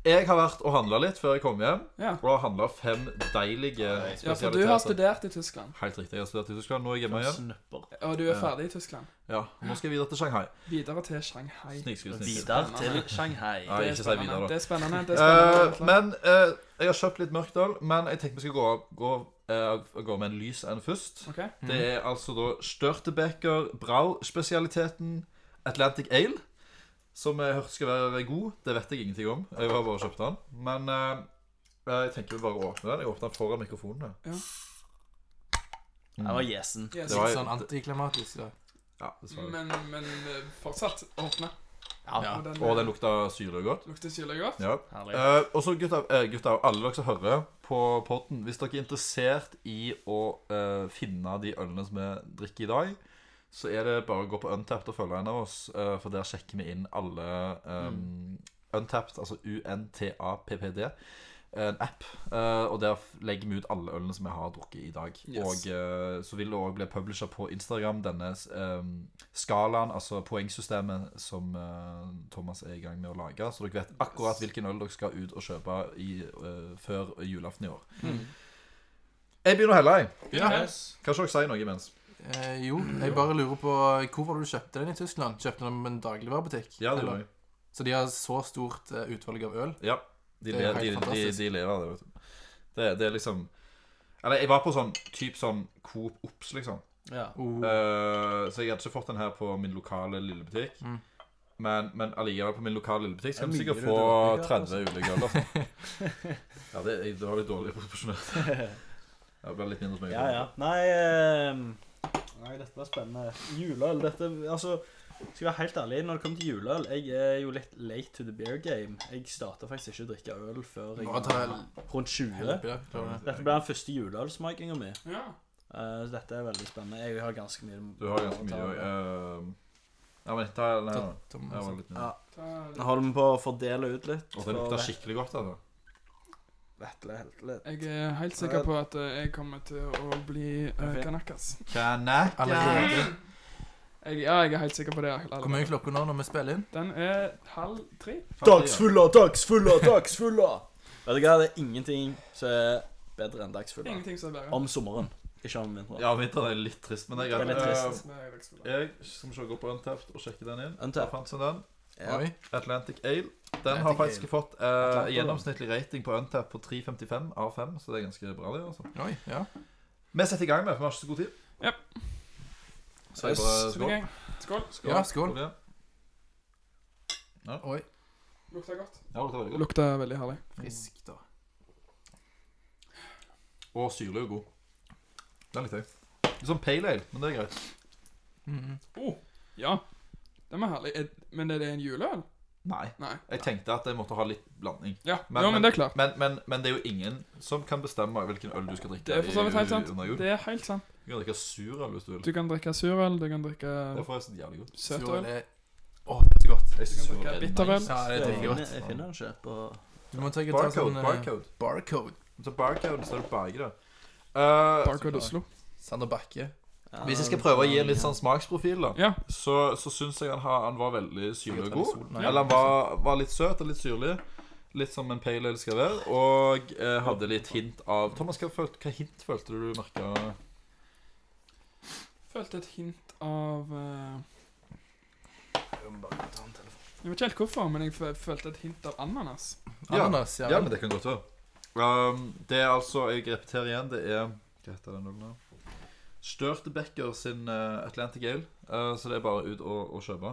Speaker 2: Jeg har vært og handla litt før jeg kom hjem,
Speaker 5: Ja.
Speaker 2: og har handla fem deilige
Speaker 5: ja, for du har
Speaker 2: spesialiteter.
Speaker 5: studert i Tyskland,
Speaker 2: Helt riktig. Jeg har studert i Tyskland, nå er jeg hjemme igjen.
Speaker 6: Snupper.
Speaker 5: og du er ferdig i Tyskland.
Speaker 2: Ja, Nå skal jeg videre til Shanghai.
Speaker 5: Videre til Shanghai.
Speaker 2: Snikskudd, snikskudd.
Speaker 6: Videre til Shanghai.
Speaker 2: Nei,
Speaker 5: Det er
Speaker 2: ikke si
Speaker 5: spennende.
Speaker 2: videre, da.
Speaker 5: Det er spennende. Det er
Speaker 2: Eh,
Speaker 5: spennende.
Speaker 2: men eh, jeg har kjøpt litt mørkt øl, men jeg tenkte vi skulle gå, gå, eh, gå med en lys en først.
Speaker 5: Ok.
Speaker 2: Det er altså da Størtebeker Brau-spesialiteten Atlantic Ale. Som jeg hørte skal være god. Det vet jeg ingenting om. Jeg har bare kjøpt den. Men eh, jeg tenker vi bare åpner den. Jeg åpner den foran mikrofonen. her.
Speaker 6: Det var gjesen.
Speaker 5: Yes.
Speaker 2: Det var-
Speaker 3: Sånn antiklimatisk. da.
Speaker 2: Ja, dessverre.
Speaker 5: Men, men eh, fortsatt åpne.
Speaker 3: Ja.
Speaker 5: Og den, eh,
Speaker 2: Og den lukta syre godt.
Speaker 5: lukter syrlig godt.
Speaker 2: Ja.
Speaker 6: Herlig.
Speaker 2: Eh, og så gutta, eh, gutta og alle dere som hører på podden Hvis dere er interessert i å eh, finne de ølene som vi drikker i dag, så er det bare å gå på Untapped og følge en av oss, eh, for der sjekker vi inn alle um,
Speaker 5: Mm.
Speaker 2: Untapped, altså UNTAPPD, en app. eh, og der legger vi ut alle ølene som vi har drukket i dag.
Speaker 5: Yes.
Speaker 2: Og eh, så vil det òg bli publisher på Instagram, denne eh, skalaen, altså poengsystemet, som eh, Thomas er i gang med å lage. Så dere vet akkurat hvilken øl dere skal ut og kjøpe i, eh, før julaften i år.
Speaker 3: Mm.
Speaker 2: Jeg begynner å helle, jeg.
Speaker 3: Ja.
Speaker 2: Kan ikke dere si noe imens?
Speaker 3: Eh, jo, jeg bare lurer på Hvor var det du kjøpte den i Tyskland? Kjøpte du den på en dagligvarebutikk?
Speaker 2: Ja, det
Speaker 3: Eller-
Speaker 2: gjør jeg.
Speaker 3: Så de har så stort eh, utvalg av øl?
Speaker 2: Ja. De,
Speaker 3: Det er
Speaker 2: le,
Speaker 3: helt
Speaker 2: de, de,
Speaker 3: fantastisk.
Speaker 2: de lever av det, vet du. Det, det er liksom Eller jeg var på sånn type sånn Coop Ops, liksom.
Speaker 6: Ja.
Speaker 3: Oh.
Speaker 2: Eh, så jeg hadde ikke fått den her på min lokale lille butikk.
Speaker 3: Mm.
Speaker 2: Men, men allikevel, på min lokale lille butikk skal
Speaker 6: Det
Speaker 2: vi
Speaker 6: er
Speaker 2: sikkert
Speaker 6: mye
Speaker 2: få
Speaker 6: du drar
Speaker 2: 30 ulike øl. altså.
Speaker 6: [laughs]
Speaker 2: ja, det, jeg- det var litt dårlig proporsjonert. Ja, Det ble litt mindre som jeg
Speaker 6: Ja, ja. Nei ehm, Nei, dette var spennende. Juleøl, dette Altså, skal jeg være helt ærlig, når det kommer til juleøl Jeg er jo litt late to the beer game. Jeg starta faktisk ikke å drikke øl før jeg
Speaker 3: Bare ta
Speaker 6: var
Speaker 3: en-
Speaker 6: rundt 20.
Speaker 3: Ja, klarer det.
Speaker 6: Dette ble den første juleølsmakinga mi.
Speaker 5: Ja.
Speaker 6: Eh, så dette er veldig spennende. Jeg har ganske mye
Speaker 2: Du har ganske mye òg. ja, men ta den her, da.
Speaker 3: Tom-
Speaker 2: Jeg var litt
Speaker 6: Ja.
Speaker 5: Da,
Speaker 6: Holder vi på å fordele ut litt?
Speaker 2: Og den lukta skikkelig godt, altså.
Speaker 6: Vetle helt litt.
Speaker 5: jeg er helt sikker på at eh, jeg kommer til å bli uh, kanakas.
Speaker 2: Kanaka.
Speaker 3: Allerede.
Speaker 5: Jeg, ja, jeg er helt sikker på det. Lala.
Speaker 3: Hvor mye er klokka nå når vi spiller inn?
Speaker 5: Den er halv tre.
Speaker 6: Dagsfulla, [laughs] dagsfulla, dagsfulla! Vet du hva, det er ingenting som er bedre enn
Speaker 5: Det er
Speaker 6: dagsfulla.
Speaker 5: ingenting som er bedre.
Speaker 6: Om sommeren, ikke om vinteren.
Speaker 2: Ja, vinteren er litt trist, men det er
Speaker 6: Det er litt
Speaker 2: greit.
Speaker 6: trist.
Speaker 2: Eh,
Speaker 5: Som er dagsfulle.
Speaker 2: Jeg skal vi se, gå på Untapped og sjekke den inn.
Speaker 6: Untapped.
Speaker 2: Da fant jeg den.
Speaker 6: Ja.
Speaker 3: Oi.
Speaker 2: Atlantic Ale. Den
Speaker 3: Atlantic
Speaker 2: har faktisk
Speaker 3: Ale.
Speaker 2: fått eh,
Speaker 6: Atlantic, ja.
Speaker 2: gjennomsnittlig rating på Untap på 3,55 av 5, så det er ganske bra. det altså.
Speaker 3: Oi, ja.
Speaker 2: Vi setter i gang med, for vi har ikke så god tid.
Speaker 5: Yep.
Speaker 2: Så jeg bare
Speaker 5: Skål.
Speaker 2: skål.
Speaker 5: Skål.
Speaker 3: Ja, skål.
Speaker 2: Skål, ja.
Speaker 3: Oi.
Speaker 5: Lukter godt.
Speaker 2: Ja, det var veldig godt.
Speaker 5: Lukter veldig herlig.
Speaker 3: Frisk, da.
Speaker 2: Og syrlig og god. Den likte jeg. Litt sånn pale ale, men det er greit.
Speaker 3: Mm.
Speaker 5: Oh, Ja. Den var herlig. Er- Men er det en juleøl?
Speaker 2: Nei.
Speaker 5: Nei.
Speaker 2: Jeg tenkte at jeg måtte ha litt blanding.
Speaker 5: Ja,
Speaker 2: Men-
Speaker 5: jo, men det er klart.
Speaker 2: Men, men, men det er jo ingen som kan bestemme hvilken øl du skal drikke.
Speaker 5: Det er for så vidt
Speaker 2: i-
Speaker 5: helt sant.
Speaker 2: under jul.
Speaker 5: Det er helt sant.
Speaker 2: Du kan drikke surøl hvis du vil.
Speaker 5: Du kan drikke surøl, du kan drikke
Speaker 2: Det er forresten jævlig godt.
Speaker 3: Surøl
Speaker 5: søtøl.
Speaker 3: er Å, det er så godt.
Speaker 2: Jeg synes
Speaker 5: Du kan drikke
Speaker 2: surøl er
Speaker 5: bitterøl.
Speaker 2: nice.
Speaker 3: Ja, det er
Speaker 6: Jeg
Speaker 3: dritgodt.
Speaker 6: finner, jeg finner den ikke på
Speaker 3: Du må tenke ta
Speaker 2: Barcode,
Speaker 3: sånn eh,
Speaker 2: barcode.
Speaker 3: barcode.
Speaker 2: Så barcode står det baki der. Eh,
Speaker 5: Barcode Oslo.
Speaker 3: Sander Bakke.
Speaker 2: hvis jeg skal prøve å gi en litt sånn smaksprofil, da,
Speaker 5: Ja.
Speaker 2: så, så syns jeg han, har, han var veldig syrlig og god.
Speaker 3: Nei,
Speaker 2: Eller han var, var litt søt og litt syrlig. Litt som en pale ale skal være. Og eh, hadde litt hint av Thomas, hva, følte, hva hint følte du du merka?
Speaker 5: Følte et hint av eh, Jeg vet ikke helt hvorfor, men jeg fø- følte et hint av ananas.
Speaker 3: Ananas, ja.
Speaker 2: Ja, men det kan godt være. Um, det er altså Jeg repeterer igjen. Det er Hva heter den ølen? her? Størtebecker sin eh, Atlantic Ale. Eh, så det er bare ut og, og kjøpe.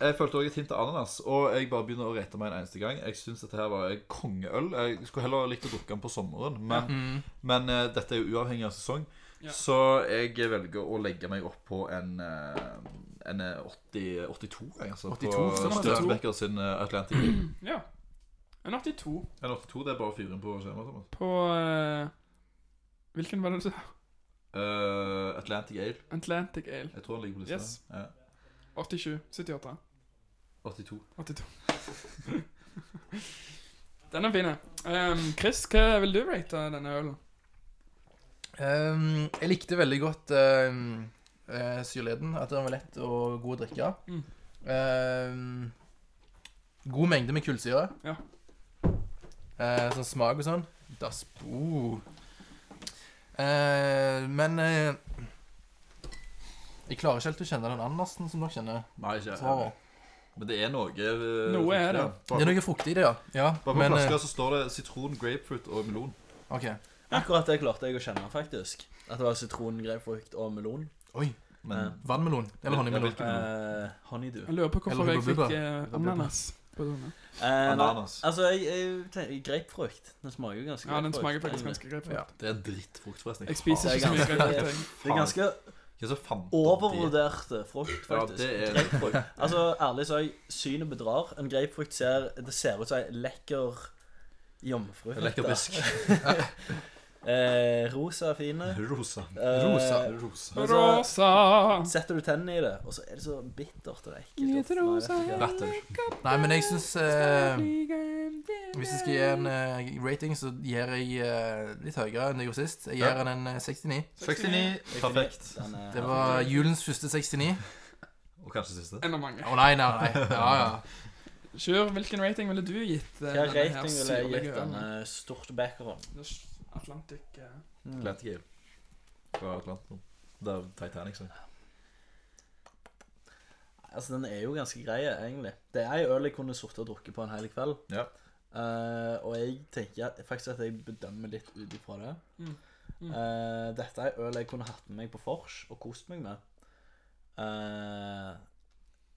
Speaker 2: Jeg følte også et hint av ananas, og jeg bare begynner å rete meg en eneste gang. Jeg syns dette her var kongeøl. Jeg skulle heller likt å drikke den på sommeren, men,
Speaker 3: Mm.
Speaker 2: [laughs] men eh, dette er jo uavhengig av sesong.
Speaker 5: Ja.
Speaker 2: Så jeg velger å legge meg opp på en, eh, en eh, 80, 82, jeg, altså.
Speaker 3: 82,
Speaker 2: på
Speaker 5: sånn, ja.
Speaker 2: Størtebecker sin eh, Atlantic Ale.
Speaker 5: [clears throat] Ja. En 82
Speaker 2: En 82, det er bare fyren på skjemaet. Thomas.
Speaker 5: på eh, Hvilken var det du sa?
Speaker 2: Eh, Atlantic Ale.
Speaker 5: Atlantic Ale.
Speaker 2: Jeg tror han ligger på lista.
Speaker 5: Yes.
Speaker 2: Ja.
Speaker 5: 87. 78.
Speaker 2: 82.
Speaker 5: 82. [laughs] Den er fin. Um, Chris, hva vil du rate denne ølen?
Speaker 3: Ehm, jeg likte veldig godt ehm, eh, syrligheten. At den var lett og god å drikke.
Speaker 5: Mm.
Speaker 3: Ehm, god mengde med kullsyre.
Speaker 5: Ja.
Speaker 3: Eh, sånn smak og sånn. Das uh. Eh, men eh, jeg klarer ikke helt å kjenne den ananasen som dere kjenner.
Speaker 2: Nei, ikke
Speaker 3: fra.
Speaker 2: Men det er noe eh,
Speaker 5: Noe er det.
Speaker 2: Bare,
Speaker 3: Det er noe fruktig i det, ja. ja
Speaker 2: bare på
Speaker 3: men, eh,
Speaker 2: flaska så står det sitron, grapefruit og melon.
Speaker 3: OK.
Speaker 6: Akkurat det klarte jeg å kjenne, faktisk. At det var sitron, grapefruit og melon.
Speaker 3: Oi.
Speaker 2: Men
Speaker 3: Vannmelon. Eller honningmelon.
Speaker 2: Ja, hvilken-
Speaker 6: Eh, honeydew.
Speaker 5: Jeg lurer på hvorfor
Speaker 3: Eller
Speaker 5: jeg fikk
Speaker 3: Hubba
Speaker 5: eh,
Speaker 6: Hubba Bubba.
Speaker 5: ananas på tunga.
Speaker 6: Eh, nei,
Speaker 2: Ananas.
Speaker 6: altså, jeg, jeg tenker grapefrukt. Den smaker jo ganske
Speaker 5: Ja, den
Speaker 6: grapefrukt,
Speaker 5: smaker faktisk
Speaker 6: egentlig.
Speaker 5: ganske greit.
Speaker 3: Ja.
Speaker 2: Det er drittfrukt, forresten.
Speaker 5: Jeg spiser
Speaker 6: Det er
Speaker 5: ikke så mye
Speaker 6: ganske-
Speaker 5: greit. jeg.
Speaker 6: Det er ganske
Speaker 2: Hva så fant opp de-
Speaker 6: overvurderte frukt,
Speaker 2: Ja,
Speaker 6: faktisk.
Speaker 2: det er-
Speaker 6: Grapefrukt. Altså, ærlig så er jeg synet bedrar. En grapefrukt ser Det ser ut som ei lekker jomfru.
Speaker 2: Lekker [laughs] bisk.
Speaker 6: Eh, rosa er fine.
Speaker 2: Rosa.
Speaker 6: Eh,
Speaker 3: Rosa.
Speaker 2: Rosa.
Speaker 6: Men så
Speaker 5: Rosa.
Speaker 6: setter du tennene i det, og så er det så bittert og det er ekkelt.
Speaker 5: Lite
Speaker 6: Uff, nei,
Speaker 5: rosa.
Speaker 6: vet ikke hva.
Speaker 2: Rett og
Speaker 3: Nei, men jeg syns eh, Hvis jeg skal gi en
Speaker 5: en
Speaker 3: eh, rating, så gir jeg eh, litt høyere enn det jeg gjorde sist. Jeg gir
Speaker 2: Ja.
Speaker 3: den en eh, 69.
Speaker 2: 69. Perfekt.
Speaker 6: Den eh, er-
Speaker 3: Det var julens første 69.
Speaker 2: Og kanskje siste.
Speaker 5: En av
Speaker 3: Å
Speaker 5: mange.
Speaker 3: nei, nei, nei. Ja, ja.
Speaker 5: Sjur, hvilken rating ville du gitt? eh,
Speaker 6: Hva
Speaker 5: denne her
Speaker 6: rating ville jeg gitt
Speaker 5: syrlige ølen?
Speaker 6: denne stort backeren?
Speaker 5: Det er Atlantic eh,
Speaker 2: Atlantic Ale. Fra Atlanten. Det er Titanic, sånn.
Speaker 6: Altså, den er jo ganske grei, egentlig. Det er ei øl jeg kunne sittet og drukket på en hel kveld.
Speaker 2: Ja.
Speaker 6: Eh, og jeg tenker at, faktisk at jeg bedømmer litt ut ifra det.
Speaker 5: Mm. Mm.
Speaker 6: Eh, dette er øl jeg kunne hatt med meg på vors og kost meg med. Eh,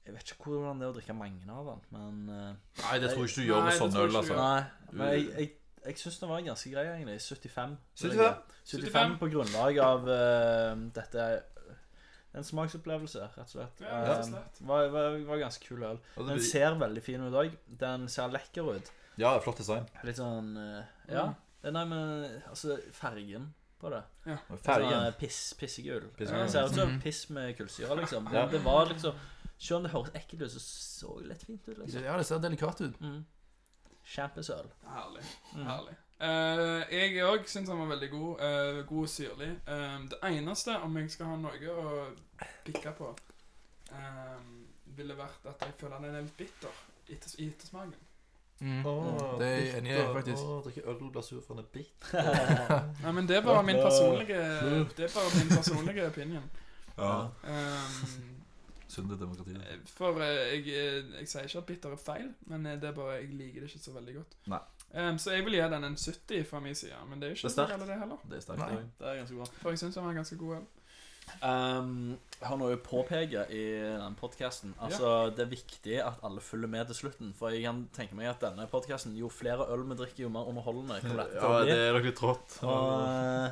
Speaker 6: jeg vet ikke hvordan det er å drikke mange av den, men eh,
Speaker 2: Nei, det tror jeg ikke du gjør med
Speaker 5: Nei, det
Speaker 2: sånne
Speaker 5: tror
Speaker 2: øl,
Speaker 5: jeg ikke du
Speaker 2: altså.
Speaker 6: Nei, men jeg, jeg, jeg syns den var ganske grei, egentlig. 75.
Speaker 2: 75?
Speaker 6: 75 på grunnlag av eh, dette er en smaksopplevelse, rett og slett.
Speaker 5: Ja, rett og
Speaker 6: Eh,
Speaker 5: slett.
Speaker 6: var, var, var ganske kul øl.
Speaker 2: Og det
Speaker 6: Den
Speaker 2: blir-
Speaker 6: ser veldig fin ut òg. Den ser lekker ut.
Speaker 2: Ja, flott design.
Speaker 6: Litt sånn eh, Ja. Nei, men altså Fargen på det.
Speaker 2: Fergen.
Speaker 6: Sånn, eh, piss, pissegul.
Speaker 2: Pissegul.
Speaker 6: Det ser ut som
Speaker 3: Mhm.
Speaker 6: piss med kullsyre, liksom.
Speaker 2: Ja.
Speaker 6: Men det var liksom Selv om det høres ekkelt ut, så så det litt fint ut, liksom.
Speaker 3: ja, det ser delikat ut.
Speaker 6: Mm. Kjempesøl.
Speaker 5: Herlig.
Speaker 6: Mm.
Speaker 5: herlig. Eh, jeg òg syns han var veldig god. eh, god og syrlig. Eh, det eneste, om jeg skal ha noe å pikke på, eh, ville vært at jeg føler den er litt bitter i etters- i ettersmaken.
Speaker 3: Mm.
Speaker 2: Åh,
Speaker 3: Det er jeg enig i,
Speaker 2: bitter.
Speaker 3: faktisk.
Speaker 2: Åh, drikke øl og bli sur for en bit.
Speaker 5: Nei, men det er bare min personlige Det er bare min personlige opinion.
Speaker 2: Ja.
Speaker 5: Um,
Speaker 2: Synd det er demokratiet.
Speaker 5: For eh, jeg, jeg, sier ikke at bitter er feil, men eh, det er bare jeg liker det ikke så veldig godt.
Speaker 2: Nei.
Speaker 5: Ehm, så jeg vil gi den en 70 fra min side, men det er jo ikke
Speaker 2: Det
Speaker 5: så
Speaker 2: er sterkt.
Speaker 5: galt det heller.
Speaker 2: Det er sterkt.
Speaker 3: Nei.
Speaker 2: det.
Speaker 6: Det er ganske bra.
Speaker 5: For jeg syns den var ganske god. øl.
Speaker 6: Um, jeg har noe å påpeke i den podkasten. Altså, Det er viktig at alle følger med til slutten. For jeg kan tenke meg at denne podkasten Jo flere øl vi drikker, jo mer underholdende kommer dette til
Speaker 2: Ja,
Speaker 6: å
Speaker 2: det
Speaker 6: bli.
Speaker 2: er nok litt trått.
Speaker 6: Og, eh,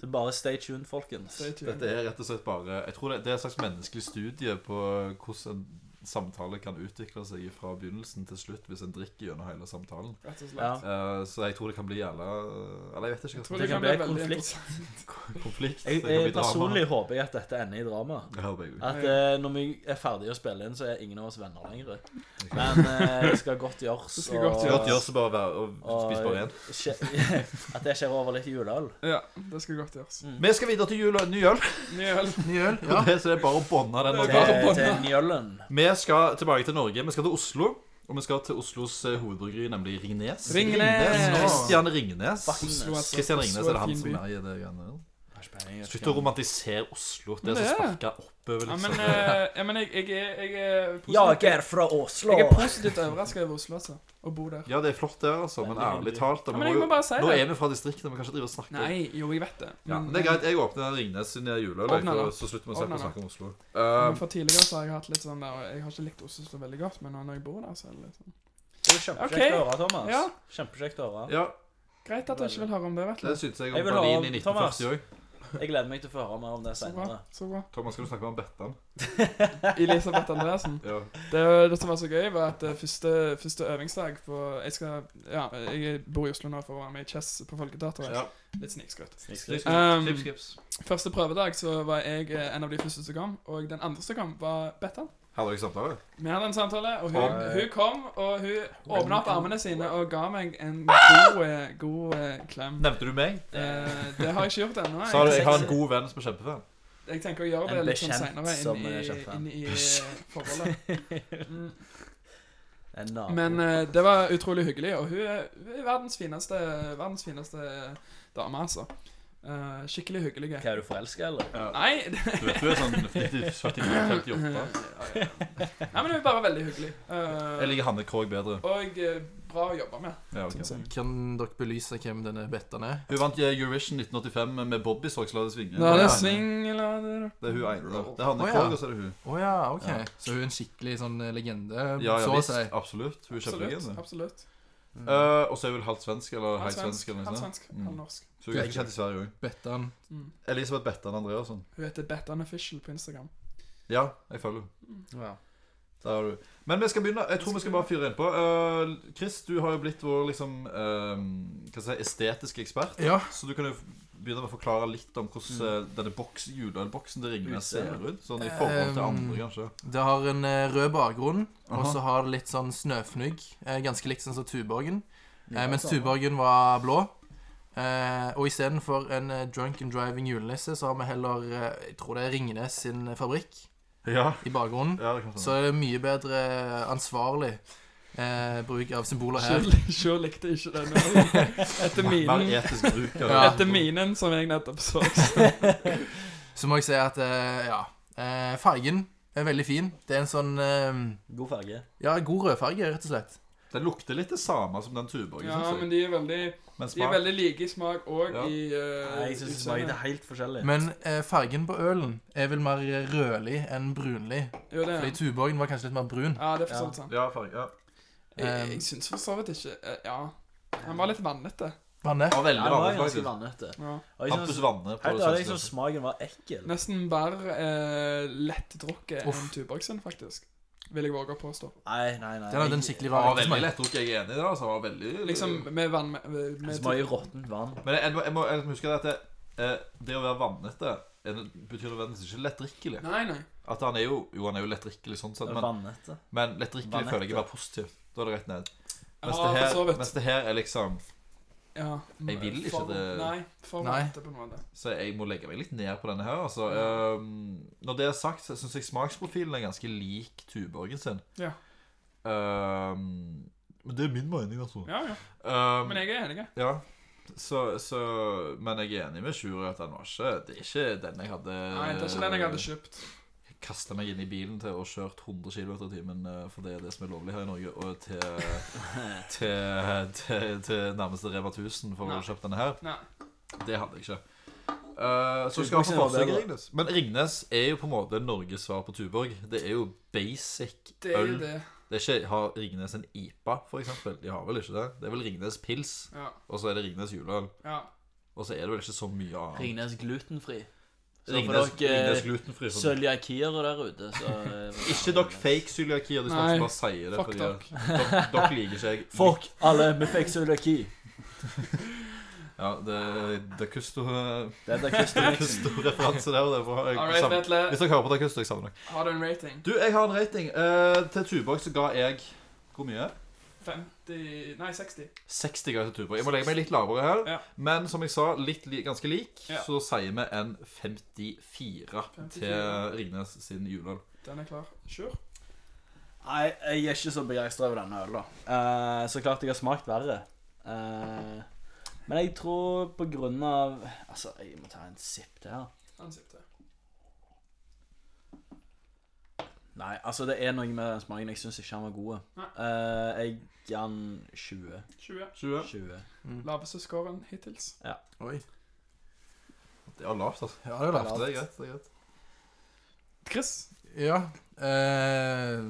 Speaker 6: så bare stay tuned, folkens.
Speaker 5: Stay tuned.
Speaker 2: Dette er rett og slett bare Jeg tror det, det er et slags menneskelig studie på hvordan en samtale kan utvikle seg fra begynnelsen til slutt hvis en drikker gjennom hele samtalen.
Speaker 5: Rett og slett.
Speaker 6: Ja.
Speaker 2: Eh, så jeg tror det kan bli jævla Eller jeg vet
Speaker 5: Jeg
Speaker 2: ikke hva
Speaker 5: tror
Speaker 2: som
Speaker 5: det,
Speaker 6: Det kan
Speaker 5: kan bli
Speaker 6: bli
Speaker 5: veldig
Speaker 6: konflikt.
Speaker 5: interessant.
Speaker 2: er konflikt.
Speaker 6: Jeg,
Speaker 2: det kan
Speaker 6: jeg
Speaker 2: bli drama.
Speaker 6: personlig håper jeg at dette ender i drama.
Speaker 2: Det håper jeg òg.
Speaker 6: At eh, når vi er ferdige å spille inn, så er ingen av oss venner lenger. Men eh, det skal godt gjøres.
Speaker 5: Det skal godt
Speaker 2: Så godt gjøres å bare være og
Speaker 6: og-
Speaker 2: spise bare én.
Speaker 6: skje- [laughs] At det skjer over litt juleøl.
Speaker 5: Ja, det skal godt gjøres.
Speaker 2: Vi skal videre til jul og ny øl,
Speaker 5: Ny øl.
Speaker 3: Ny øl?
Speaker 2: og
Speaker 3: Ja.
Speaker 2: [laughs] det, så det er bare å bånde den.
Speaker 5: Det er
Speaker 2: Og
Speaker 5: bare å
Speaker 6: Eh, Til, til Njøllen.
Speaker 2: Vi skal tilbake til Norge. Vi skal til Oslo. Og vi skal til Oslos eh, hovedbryggeri, nemlig Ringnes.
Speaker 5: Ringnes!
Speaker 2: Christian Ringnes.
Speaker 6: Fucking
Speaker 5: Oslo, altså.
Speaker 2: Christian Ringnes
Speaker 5: Oslo
Speaker 2: er det han
Speaker 5: fin
Speaker 2: som
Speaker 5: by.
Speaker 2: er i det greiene der? Slutt å romantisere Oslo. Det er så
Speaker 5: Det er det.
Speaker 2: sparka oppover, [laughs]
Speaker 5: Ja, men,
Speaker 2: liksom.
Speaker 5: eh, ja, men jeg, jeg, er- jeg er
Speaker 6: Jeg
Speaker 5: positivt,
Speaker 6: er fra Oslo!
Speaker 5: jeg er positivt overraska over Oslo, altså. Å bo der.
Speaker 2: Ja, det er flott der, altså, men ærlig talt da,
Speaker 5: Ja,
Speaker 2: vi
Speaker 5: men jeg
Speaker 2: må
Speaker 5: må
Speaker 2: jo-
Speaker 5: bare si
Speaker 2: Nå er
Speaker 5: det.
Speaker 2: vi fra distriktene, vi kan ikke drive og snakke
Speaker 5: Nei, jo, jeg vet det.
Speaker 2: Ja, men det er greit, jeg åpner Ringnes sin juleøl, jeg,
Speaker 5: Åpne
Speaker 2: for-
Speaker 5: den.
Speaker 2: så slutter vi å se
Speaker 5: Åpne
Speaker 2: på å
Speaker 5: den.
Speaker 2: snakke om Oslo.
Speaker 5: men
Speaker 2: Uh,
Speaker 5: for tidligere så har jeg hatt litt sånn der Jeg har ikke likt Oslo så veldig godt, men nå når jeg bor der, så er det litt sånn
Speaker 4: Det var kjempekjekt
Speaker 5: Ok.
Speaker 4: å høre, Thomas.
Speaker 5: Ja.
Speaker 4: Kjempekjekt å høre.
Speaker 2: ja,
Speaker 5: Greit at du ikke vil høre om det, vet
Speaker 2: det
Speaker 5: du.
Speaker 2: syntes jeg om
Speaker 6: Jeg vil ha
Speaker 2: Berlin i
Speaker 6: om Thomas.
Speaker 2: 1940 òg.
Speaker 6: Jeg gleder meg til å få høre mer om det
Speaker 5: Så bra.
Speaker 6: senere.
Speaker 5: så bra
Speaker 2: Thomas, skal du snakke om Bettan?
Speaker 5: Elisabeth Andreassen.
Speaker 2: Ja.
Speaker 5: Det, det som var så gøy, var at eh, første, første øvingsdag på Jeg skal Ja, jeg bor i Oslo nå for å være med i Chess på Folketeatret.
Speaker 2: Ja.
Speaker 5: Litt snikskryt.
Speaker 2: Snips,
Speaker 5: Um,
Speaker 2: snips, snips.
Speaker 5: Første prøvedag så var jeg eh, en av de første som kom, og den andre som kom, var Bettan.
Speaker 2: Hadde dere samtale?
Speaker 5: Vi hadde en samtale, og hun,
Speaker 2: Ja.
Speaker 5: hun kom, og hun åpna opp armene sine og ga meg en god, eh, god eh, klem.
Speaker 2: Nevnte du meg?
Speaker 5: Eh, det har jeg ikke gjort ennå.
Speaker 2: Sa du jeg har en
Speaker 5: tenker-
Speaker 2: god venn som er kjempefan?
Speaker 5: Jeg tenker å gjøre det
Speaker 6: En
Speaker 5: litt sånn
Speaker 6: bekjent
Speaker 5: seinere,
Speaker 6: som
Speaker 5: inn,
Speaker 6: er
Speaker 5: i-
Speaker 6: kjempefan.
Speaker 5: inn i eh,
Speaker 6: [laughs]
Speaker 5: forholdet. Mm.
Speaker 6: En nabo.
Speaker 5: Men eh, det var utrolig hyggelig, og hun er, hun er verdens fineste, verdens fineste dame, altså. Eh, skikkelig hyggelig.
Speaker 6: Hva, er du forelska, eller?
Speaker 5: Nei, [laughs] det
Speaker 2: Du vet du er sånn 79-58?
Speaker 5: Nei, men hun er bare veldig hyggelig. Eh,
Speaker 2: Jeg liker Hanne Krogh bedre.
Speaker 5: og eh, bra å jobbe med. sånn
Speaker 2: Ja, ok.
Speaker 5: synes jeg.
Speaker 3: [laughs] Kan dere belyse hvem denne Bettan er?
Speaker 2: Hun vant eh, Eurovision 1985 med Bobby, så jeg la det svinge.
Speaker 5: Da er det
Speaker 3: Ja.
Speaker 5: singler
Speaker 2: Det er hun ene. der. Det er
Speaker 3: Å,
Speaker 2: Hanne
Speaker 3: ja.
Speaker 2: Krogh, og så er det hun.
Speaker 3: Å ja, OK.
Speaker 2: Ja.
Speaker 3: Så hun er en skikkelig sånn eh, legende,
Speaker 2: Ja, ja
Speaker 3: så å
Speaker 2: visst.
Speaker 3: si.
Speaker 2: Absolutt. Hun er
Speaker 5: Absolutt.
Speaker 2: kjempefin.
Speaker 5: absolutt.
Speaker 2: Uh, og så er hun vel halvt svensk, eller
Speaker 5: Han
Speaker 2: helt svensk,
Speaker 5: svensk,
Speaker 2: eller
Speaker 5: han
Speaker 2: noe sånt.
Speaker 5: svensk,
Speaker 2: Mm.
Speaker 5: han norsk.
Speaker 2: Så hun er ikke kjent i Sverige òg.
Speaker 3: Bettan.
Speaker 5: Mm.
Speaker 2: Elisabeth Bettan Andreasson.
Speaker 5: Hun heter Bettan Official på Instagram.
Speaker 2: Ja, jeg følger henne.
Speaker 6: Ja.
Speaker 2: Der har du. Men vi skal begynne. Jeg tror vi skal bare fyre innpå. Uh, Chris, du har jo blitt vår liksom eh, hva skal jeg si, estetiske ekspert.
Speaker 3: Ja.
Speaker 2: Så du kan jo begynne med å forklare litt om hvordan eh, denne boks, juleølboksen til Ringnes ser ut. Sånn i forhold til
Speaker 3: Um,
Speaker 2: andre, kanskje.
Speaker 3: Det har en eh, rød bakgrunn, og
Speaker 2: Aha.
Speaker 3: så har det litt sånn snøfnugg. eh, Ganske likt sånn som Tuborgen. Eh, mens Tuborgen var blå. Eh, og istedenfor en eh, drunk and driving julenisse, så har vi heller eh, Jeg tror det er Ringnes sin fabrikk
Speaker 2: Ja.
Speaker 3: i bakgrunnen.
Speaker 2: ja det kan
Speaker 3: Så
Speaker 2: stemme.
Speaker 3: er det mye bedre ansvarlig eh, bruk av symboler her.
Speaker 5: Sjur Sjur likte ikke
Speaker 2: [laughs]
Speaker 5: den. Etter
Speaker 2: Mer
Speaker 5: minen,
Speaker 2: etisk bruk av
Speaker 3: Ja.
Speaker 5: etter minen som jeg nettopp [laughs] så.
Speaker 3: Så må jeg si at eh, ja. Eh, fargen er veldig fin. Det er en sånn eh,
Speaker 6: God farge.
Speaker 3: Ja, god rødfarge, rett og slett.
Speaker 2: Det lukter litt det samme som den Tuborgen,
Speaker 5: Ja,
Speaker 2: synes
Speaker 5: men de
Speaker 2: jeg.
Speaker 5: er veldig,
Speaker 2: Men
Speaker 5: de er
Speaker 2: smak
Speaker 5: veldig like i smak og
Speaker 2: Ja.
Speaker 5: i eh,
Speaker 6: Nei, jeg syns smaken er helt forskjellig.
Speaker 3: Men eh, fargen på ølen er vel mer rødlig enn brunlig.
Speaker 5: Jo, det er
Speaker 3: Fordi Tuborgen var kanskje litt mer brun.
Speaker 5: Ja, det er for så vidt sant.
Speaker 2: Ja, Um, farge. Ja.
Speaker 5: Jeg, jeg syns for så vidt ikke eh, Ja. Han var litt vannete.
Speaker 3: Vannet.
Speaker 2: Ja, veldig
Speaker 6: Ja, det var
Speaker 2: vanlig,
Speaker 6: ganske
Speaker 2: faktisk.
Speaker 6: vannete.
Speaker 5: Ja.
Speaker 6: Og jeg
Speaker 2: Hampus
Speaker 6: syns
Speaker 2: Vanne. på
Speaker 6: Helt ærlig, jeg
Speaker 2: det
Speaker 6: syns smaken var ekkel.
Speaker 5: Nesten bare eh, lettdrukket enn
Speaker 3: Uff.
Speaker 5: Tuborg sin, faktisk. Vil jeg våge å påstå.
Speaker 6: Nei, nei, nei.
Speaker 3: Den hadde en skikkelig
Speaker 2: Det
Speaker 3: rar
Speaker 2: var veldig
Speaker 3: ettersmak.
Speaker 2: lett drukk, jeg er enig i det. altså. Det var veldig...
Speaker 5: Liksom med vann med, med,
Speaker 6: Det
Speaker 5: med
Speaker 6: smaker råttent vann.
Speaker 2: Men jeg, jeg, må, jeg, må, jeg må huske at det, eh, det å være vannete er, betyr nødvendigvis ikke lettdrikkelig.
Speaker 5: Nei, nei.
Speaker 2: At han er jo, jo, han er jo lettdrikkelig sånn sett, men,
Speaker 6: Vannete.
Speaker 2: men lettdrikkelig
Speaker 6: Vannete.
Speaker 2: føler jeg er bare positivt. Da er det rett ned.
Speaker 5: Ja,
Speaker 2: Mens, det,
Speaker 5: for så
Speaker 2: her,
Speaker 5: vidt.
Speaker 2: mens det her er liksom
Speaker 5: Ja.
Speaker 2: Jeg vil ikke
Speaker 5: for,
Speaker 2: det-
Speaker 5: Nei, for
Speaker 3: Nei.
Speaker 5: vannete på en måte.
Speaker 2: Så jeg må legge meg litt ned på denne her. Altså. Ehm, når det er sagt, så syns jeg smaksprofilen er ganske lik Tuborgen sin.
Speaker 5: Ja.
Speaker 2: Ehm, men det er min mening, altså.
Speaker 5: Ja, ja.
Speaker 2: Ehm,
Speaker 5: Men jeg er enig. jeg.
Speaker 2: Ja. Så, så Men jeg er enig med Sjur i at den var ikke Det er ikke den jeg hadde
Speaker 5: Nei, det er ikke den jeg
Speaker 2: Eh,
Speaker 5: hadde kjøpt.
Speaker 2: kasta meg inn i bilen til og kjørt 100 km i timen, eh, for det er det som er lovlig her i Norge, og
Speaker 5: [laughs]
Speaker 2: til, til, til, til nærmeste Reva 1000 for
Speaker 5: Nei.
Speaker 2: å kjøpe denne her.
Speaker 5: Nei.
Speaker 2: Det hadde jeg ikke. Eh, så
Speaker 6: Tuborg
Speaker 2: skal vi
Speaker 6: sin
Speaker 2: få
Speaker 6: var
Speaker 2: forsøke
Speaker 6: bedre.
Speaker 2: Ringnes. Men Ringnes er jo på en måte Norges svar på Tuborg. Det er jo basic
Speaker 5: Det er jo
Speaker 2: øl. Det.
Speaker 5: det.
Speaker 2: er ikke, Har Ringnes en IPA, for eksempel? De har vel ikke det? Det er vel Ringnes pils,
Speaker 5: Ja.
Speaker 2: og så er det Ringnes juleøl.
Speaker 5: ja.
Speaker 2: Og så er det vel ikke så mye annet.
Speaker 6: Ringnes glutenfri. Så
Speaker 2: Ringnes,
Speaker 6: for dere eh,
Speaker 2: Ringnes glutenfri. sånn.
Speaker 6: cøliakiere der ute, så eh,
Speaker 2: [laughs] Ikke dere fake cøliaki. og De skal
Speaker 5: Nei,
Speaker 2: ikke bare sier det.
Speaker 5: Fuck
Speaker 2: fordi
Speaker 5: dere.
Speaker 2: Dere dere liker ikke jeg.
Speaker 6: Fuck alle med fake cøliaki.
Speaker 2: Ja, det, det er [laughs] kusto,
Speaker 6: Det er Christer Nixon.
Speaker 2: kusto-referanse der. og Det er bra. Jeg,
Speaker 5: All right,
Speaker 2: savner-
Speaker 5: Vetle.
Speaker 2: Hvis dere hører på det kusto, jeg savner dere.
Speaker 5: Har du en rating?
Speaker 2: Du, jeg har en rating. Eh, til Tuborg så ga jeg Hvor mye?
Speaker 5: 50 Nei, 60.
Speaker 2: 60 ganger til Tuborg. Jeg må legge meg litt lavere her.
Speaker 5: Ja.
Speaker 2: Men som jeg sa, litt li ganske lik.
Speaker 5: Ja.
Speaker 2: Så sier vi en 54, til
Speaker 5: 54.
Speaker 2: Ringnes sin juleøl.
Speaker 5: Den er klar. Sure.
Speaker 6: Nei, jeg er ikke så begeistra over denne ølen, da. Eh, så klart jeg har smakt verre. Eh, Men jeg tror på grunn av Altså, jeg må ta en sipp til her.
Speaker 5: Ansiktet.
Speaker 6: Nei, altså, det er noe med den smaken. Jeg syns ikke han var god.
Speaker 5: Nei.
Speaker 6: Eh, jeg ga han 20.
Speaker 5: 20.
Speaker 2: 20.
Speaker 6: 20.
Speaker 5: Laveste scoren hittils.
Speaker 3: Oi.
Speaker 2: Det var lavt, altså.
Speaker 3: Ja, det er
Speaker 2: Ja,
Speaker 3: lavt.
Speaker 2: det er greit. det er greit
Speaker 5: Chris.
Speaker 3: Ja. Eh,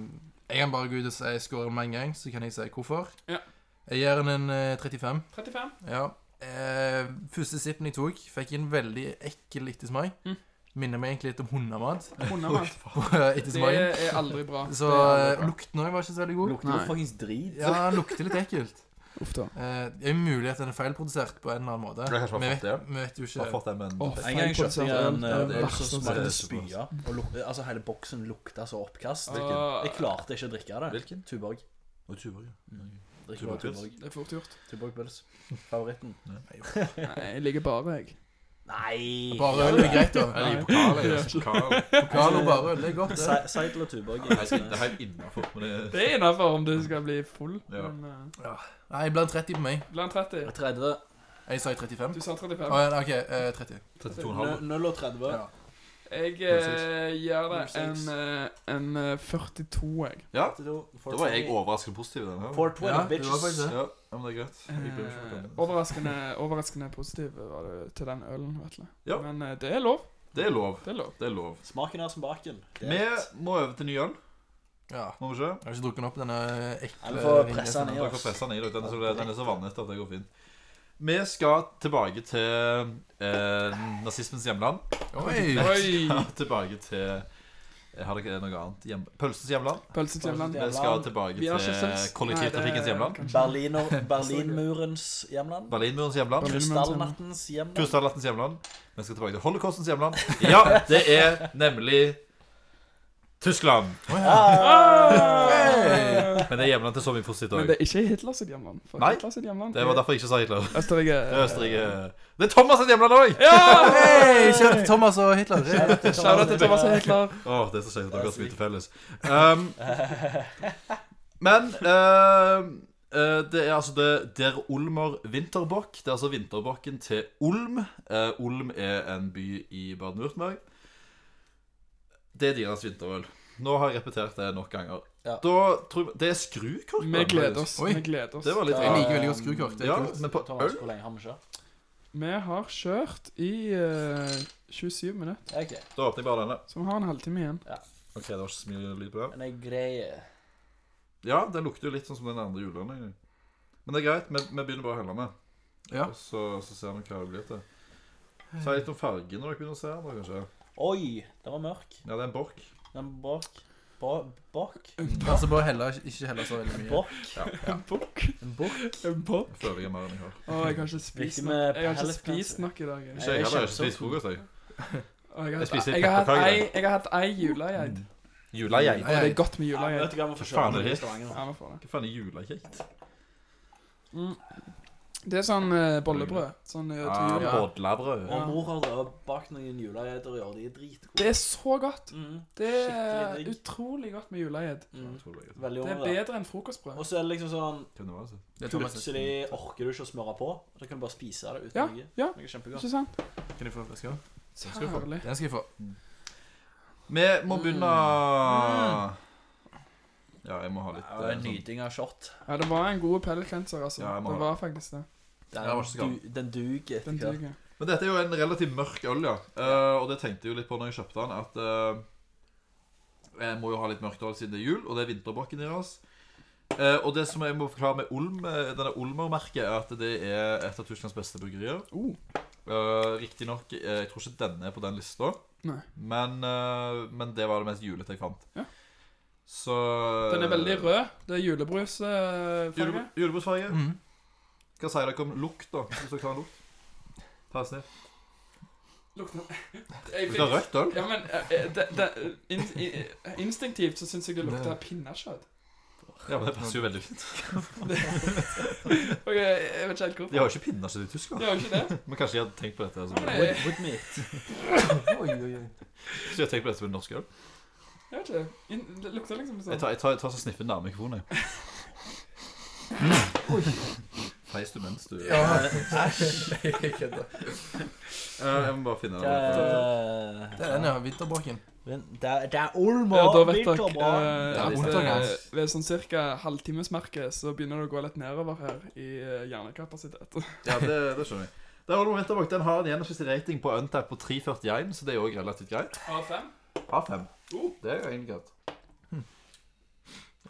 Speaker 3: jeg kan bare gå ut og si scoren med en gang, så kan jeg si hvorfor.
Speaker 5: Ja.
Speaker 3: Jeg gir den en eh, 35.
Speaker 5: 35.
Speaker 3: Ja. Eh, første sippen jeg tok, fikk en veldig ekkel ettersmak.
Speaker 5: Mm.
Speaker 3: Minner meg egentlig litt om hundemat. [laughs] eh,
Speaker 5: Hundemat. Det
Speaker 3: ettersmaken.
Speaker 5: er aldri bra.
Speaker 3: Så
Speaker 5: Det er aldri
Speaker 3: eh,
Speaker 5: bra.
Speaker 3: lukten òg var ikke så veldig god.
Speaker 6: Lukter jo fuckings drit.
Speaker 3: Ja, den lukter litt ekkelt.
Speaker 5: Uff da.
Speaker 3: Eh, det er mulig at den er feilprodusert på en eller annen måte.
Speaker 2: Det er kanskje
Speaker 3: Vi
Speaker 2: bare
Speaker 3: vet,
Speaker 2: fått det.
Speaker 3: vi vet jo
Speaker 2: Bare
Speaker 3: ikke.
Speaker 2: fått det, men
Speaker 5: Åh,
Speaker 6: En gang kjøpte jeg en
Speaker 5: Det er det
Speaker 6: eh, øl som
Speaker 2: verste
Speaker 6: smakte
Speaker 2: som er.
Speaker 6: spya. og luk- Altså, hele boksen lukta så oppkast.
Speaker 2: Hvilken?
Speaker 5: Åh,
Speaker 6: Jeg klarte ikke å drikke av det.
Speaker 2: Hvilken?
Speaker 6: Tuborg.
Speaker 2: Og 20 år, ja.
Speaker 6: Drikker bare
Speaker 2: Tuborg-pils?
Speaker 6: Tuborg.
Speaker 5: Det er fort [laughs] gjort.
Speaker 6: Tuborg-pils. Favoritten.
Speaker 5: Nei, jeg ligger bare, jeg.
Speaker 6: Nei!
Speaker 3: Bare øl er greit, da.
Speaker 2: Jeg ligger på Carl. Jeg er Carl.
Speaker 3: Pokal og bare øl, det er godt, det.
Speaker 6: Se- Seidel og Tuborg.
Speaker 2: Nei, jeg skal- Det er helt innenfor, men det
Speaker 5: Det er innafor om du skal bli full.
Speaker 2: Ja.
Speaker 5: Men eh,
Speaker 3: Nei, jeg blant 30 på meg.
Speaker 5: blant 30.
Speaker 6: 30.
Speaker 3: Jeg sa 35.
Speaker 5: Du sa
Speaker 3: Å,
Speaker 5: 35.
Speaker 3: ja, OK, eh, 30.
Speaker 2: er 32,5.
Speaker 6: 0 og 30.
Speaker 3: Ja.
Speaker 5: Jeg eh, gir det en,
Speaker 6: 06.
Speaker 5: eh, en eh, 42, jeg.
Speaker 2: Ja, da
Speaker 6: Da
Speaker 2: var jeg overraskende positiv i den her.
Speaker 6: 420,
Speaker 3: Ja, det var
Speaker 6: bitches.
Speaker 3: faktisk det.
Speaker 2: Ja, ja, men det er greit. Jeg blir ikke
Speaker 5: Eh,
Speaker 2: forbannet.
Speaker 5: overraskende, overraskende positiv var du til den ølen, Vetle.
Speaker 2: Ja.
Speaker 5: Men eh, det er lov.
Speaker 2: Det er lov.
Speaker 5: Det er lov.
Speaker 2: Det er lov.
Speaker 6: Smaken er som baken. Det er
Speaker 2: Vi
Speaker 6: rett.
Speaker 2: må over til ny øl,
Speaker 3: ja.
Speaker 2: må vi ikke?
Speaker 3: Jeg har ikke drukket den opp, denne ekle
Speaker 6: Ja, vi får presse den
Speaker 3: vingressen.
Speaker 6: i
Speaker 2: Dere får
Speaker 6: oss.
Speaker 2: presse den i dere. Den er så, den er så vannet at det går fint. Vi skal tilbake til eh, nazismens
Speaker 5: [clears throat]
Speaker 2: hjemland.
Speaker 3: Oi!
Speaker 2: [laughs]
Speaker 5: Oi!
Speaker 2: tilbake til Jeg har dere noe annet? Hjem, pølsens hjemland.
Speaker 5: Pølse til hjemland.
Speaker 2: Vi skal tilbake
Speaker 5: Vi har ikke
Speaker 2: til
Speaker 5: sens.
Speaker 2: kollektivtrafikkens
Speaker 5: Nei, det-
Speaker 2: hjemland.
Speaker 5: kanskje.
Speaker 6: Berliner, Berlinmurens hjemland.
Speaker 2: Berlinmurens hjemland.
Speaker 6: Krystallnattens hjemland.
Speaker 2: Krystallnattens hjemland. Vi skal tilbake til holocaustens hjemland.
Speaker 5: [laughs]
Speaker 2: Ja, det er nemlig Tyskland.
Speaker 5: Ah!
Speaker 2: Men det er hjemland til så mye positivt
Speaker 5: Men
Speaker 2: òg.
Speaker 5: det er ikke Hitler sitt hjemland. For
Speaker 2: Nei.
Speaker 5: Hitler sitt hjemland
Speaker 2: Det var
Speaker 5: er
Speaker 2: derfor jeg ikke sa Hitler.
Speaker 5: Østerrike.
Speaker 2: Det er Østerrike. Det er Thomas' sitt hjemland òg!
Speaker 3: Hei! Kjære til Thomas og Hitler.
Speaker 5: Shout out til Thomas og
Speaker 2: [laughs]
Speaker 5: Hitler.
Speaker 2: Åh, det er så kjekt at dere har så mye til felles. Um, men ehm, eh, det er altså det Der Olmer Vinterbokk. Det er altså vinterbokken til Olm. Eh, Olm er en by i Baden-Württemberg. Det er deres vinterøl. Nå har jeg repetert det nok ganger.
Speaker 6: Ja.
Speaker 2: Da tror jeg, Det er skrukork.
Speaker 5: Vi gleder oss.
Speaker 3: Oi.
Speaker 5: Vi gleder oss.
Speaker 2: Det var litt
Speaker 3: Jeg liker veldig godt skrukort. Det
Speaker 2: Ja,
Speaker 3: er kult.
Speaker 2: men på
Speaker 6: Thomas,
Speaker 2: øl?
Speaker 6: hvor lenge har vi kjørt?
Speaker 5: Vi har kjørt i eh, 27 minutter,
Speaker 6: Ok,
Speaker 2: Da åpner jeg bare denne.
Speaker 5: så vi har en halvtime igjen.
Speaker 2: Ok, det var ikke så mye lyd på den.
Speaker 6: men jeg greier.
Speaker 2: Ja, den lukter jo litt sånn som den andre juleølen. egentlig. Men det er greit. Vi, vi begynner bare å helle med.
Speaker 3: Ja.
Speaker 2: Og så, så ser vi hva det blir til. Si litt om fargen når dere begynner å se den, da, kanskje.
Speaker 6: Oi, den var mørk.
Speaker 2: Ja, det er en bork.
Speaker 6: Den bak. Ba- Bak?
Speaker 3: Altså, bare heller, ikke heller så veldig mye.
Speaker 6: Bak?
Speaker 5: En bukk.
Speaker 6: En bukk?
Speaker 5: En bukk.
Speaker 2: Jeg føler jeg er mer enn jeg har.
Speaker 5: Å, jeg har ikke spist
Speaker 6: Drikke
Speaker 5: nok,
Speaker 6: med
Speaker 5: jeg har ikke
Speaker 6: pellet,
Speaker 5: spist
Speaker 6: kanskje.
Speaker 5: nok i dag. Jeg.
Speaker 2: Ikke jeg heller. Jeg har
Speaker 6: kjempe-
Speaker 2: ikke spist frokost, jeg.
Speaker 5: Og jeg, har
Speaker 2: Jeg
Speaker 5: hatt-
Speaker 2: spiser
Speaker 5: jeg, har hatt
Speaker 2: pepperkaker.
Speaker 5: ei, jeg har hatt ei julegeit.
Speaker 2: Julegeit.
Speaker 5: Og det er godt med
Speaker 6: Ja, men
Speaker 5: julegeit.
Speaker 6: vet du hva vi får
Speaker 2: Faen,
Speaker 6: kjøre
Speaker 2: det er
Speaker 6: i
Speaker 2: det.
Speaker 6: restauranten?
Speaker 5: Ja, vi får det.
Speaker 2: Hva faen er julekjekt?
Speaker 5: Det er sånn eh, bollebrød. Sånn eh, til jul.
Speaker 3: ja.
Speaker 2: Bodlabrød.
Speaker 6: Og mor har da bakt noen julegeiter i år. De er dritgode.
Speaker 5: Det er så godt.
Speaker 6: Mm,
Speaker 5: Det
Speaker 6: Skikkelig
Speaker 5: er
Speaker 6: digg.
Speaker 5: utrolig godt med julegeit.
Speaker 6: mm.
Speaker 2: Hvem
Speaker 6: Veldig
Speaker 5: Det er
Speaker 6: overraskende.
Speaker 5: bedre enn frokostbrød.
Speaker 6: Og så er det liksom sånn
Speaker 2: det var det?
Speaker 3: Det er Thomas.
Speaker 6: Plutselig orker du ikke å smøre på. og Da kan du bare spise det uten
Speaker 5: Ja,
Speaker 6: noe.
Speaker 5: ja.
Speaker 6: Det er kjempegodt.
Speaker 5: Ikke sant?
Speaker 3: Kan jeg få flaske?
Speaker 5: Herlig.
Speaker 3: Den skal jeg få.
Speaker 2: Vi må begynne Ja, jeg må ha litt eh, sånn.
Speaker 6: Nyding av shot.
Speaker 5: Ja, det var en god pelletrenser, altså.
Speaker 2: Ja, jeg må
Speaker 5: det
Speaker 2: ha
Speaker 5: var faktisk det.
Speaker 2: Ja, vær så god.
Speaker 6: Den, du, den duger
Speaker 5: Den
Speaker 6: etter hvert.
Speaker 5: duger.
Speaker 2: Men dette er jo en relativt mørk øl, ja. Eh, og det tenkte jeg jo litt på når jeg kjøpte den, at eh, jeg må jo ha litt mørkt øl siden det er jul, og det er vinterbakken deres. Eh, og det som jeg må forklare med Olm, eh, denne Olmer-merket, er at det er et av Tysklands beste bryggerier.
Speaker 5: Oh.
Speaker 2: Uh, Riktignok, uh, jeg tror ikke denne er på den lista,
Speaker 5: Nei.
Speaker 2: men, eh, men det var det mest julete jeg fant.
Speaker 5: Ja.
Speaker 2: Så Eh,
Speaker 5: Den er veldig rød. Det er eh, julebrusfarge.
Speaker 2: Julebru- Julebrusfarge.
Speaker 3: Mm.
Speaker 2: Hva sier dere om lukt, da? Hvis dere tar en lukt? Ta en snitt.
Speaker 5: Lukter [laughs] Jeg
Speaker 2: Lukter
Speaker 5: fikk
Speaker 2: rødt øl?
Speaker 5: Ja, men eh, eh, det, det, in, in, Instinktivt så syns jeg det lukter pinnekjøtt.
Speaker 2: Ja, men det passer jo veldig fint.
Speaker 5: Og jeg, jeg vet ikke helt
Speaker 2: De har
Speaker 5: hvorfor.
Speaker 2: jo ikke pinner seg i Tyskland.
Speaker 5: Det er jo ikke det.
Speaker 2: Men kanskje de hadde tenkt på dette altså. som,
Speaker 5: Men
Speaker 2: kanskje
Speaker 5: jeg,
Speaker 6: Woodmeat.
Speaker 3: Oi, oi, oi.
Speaker 2: de hadde tenkt på dette som en norsk øl.
Speaker 5: jeg vet ikke. In, det lukter liksom
Speaker 2: Jeg
Speaker 5: sånn
Speaker 2: tar, jeg tar, jeg tar så sniffen nærme mikrofonen. jeg. Mm. Feis sveis du mens du
Speaker 3: Ja, æsj. Jeg kødder.
Speaker 2: Eh, Jeg må bare finne
Speaker 6: Hva
Speaker 2: den.
Speaker 3: Det er den, ja. Vinterbråken.
Speaker 6: Men Eh, Det er- det er
Speaker 5: Ja, da
Speaker 6: Olmo!
Speaker 5: vet dere
Speaker 6: Vinterbra!
Speaker 5: eh,
Speaker 2: Ja,
Speaker 5: at,
Speaker 3: vondt av
Speaker 5: eh,
Speaker 3: gas.
Speaker 5: Ved sånn ca. halvtimesmerket så begynner det å gå litt nedover her i eh, hjernekapasitet.
Speaker 2: Ja, det, det skjønner jeg. Der holder vi tilbake. Den har en gjennomsnittlig rating på Untap på 3,41, så det er òg relativt greit.
Speaker 5: A5?
Speaker 2: A5.
Speaker 5: Oh.
Speaker 2: Det er jo egentlig greit.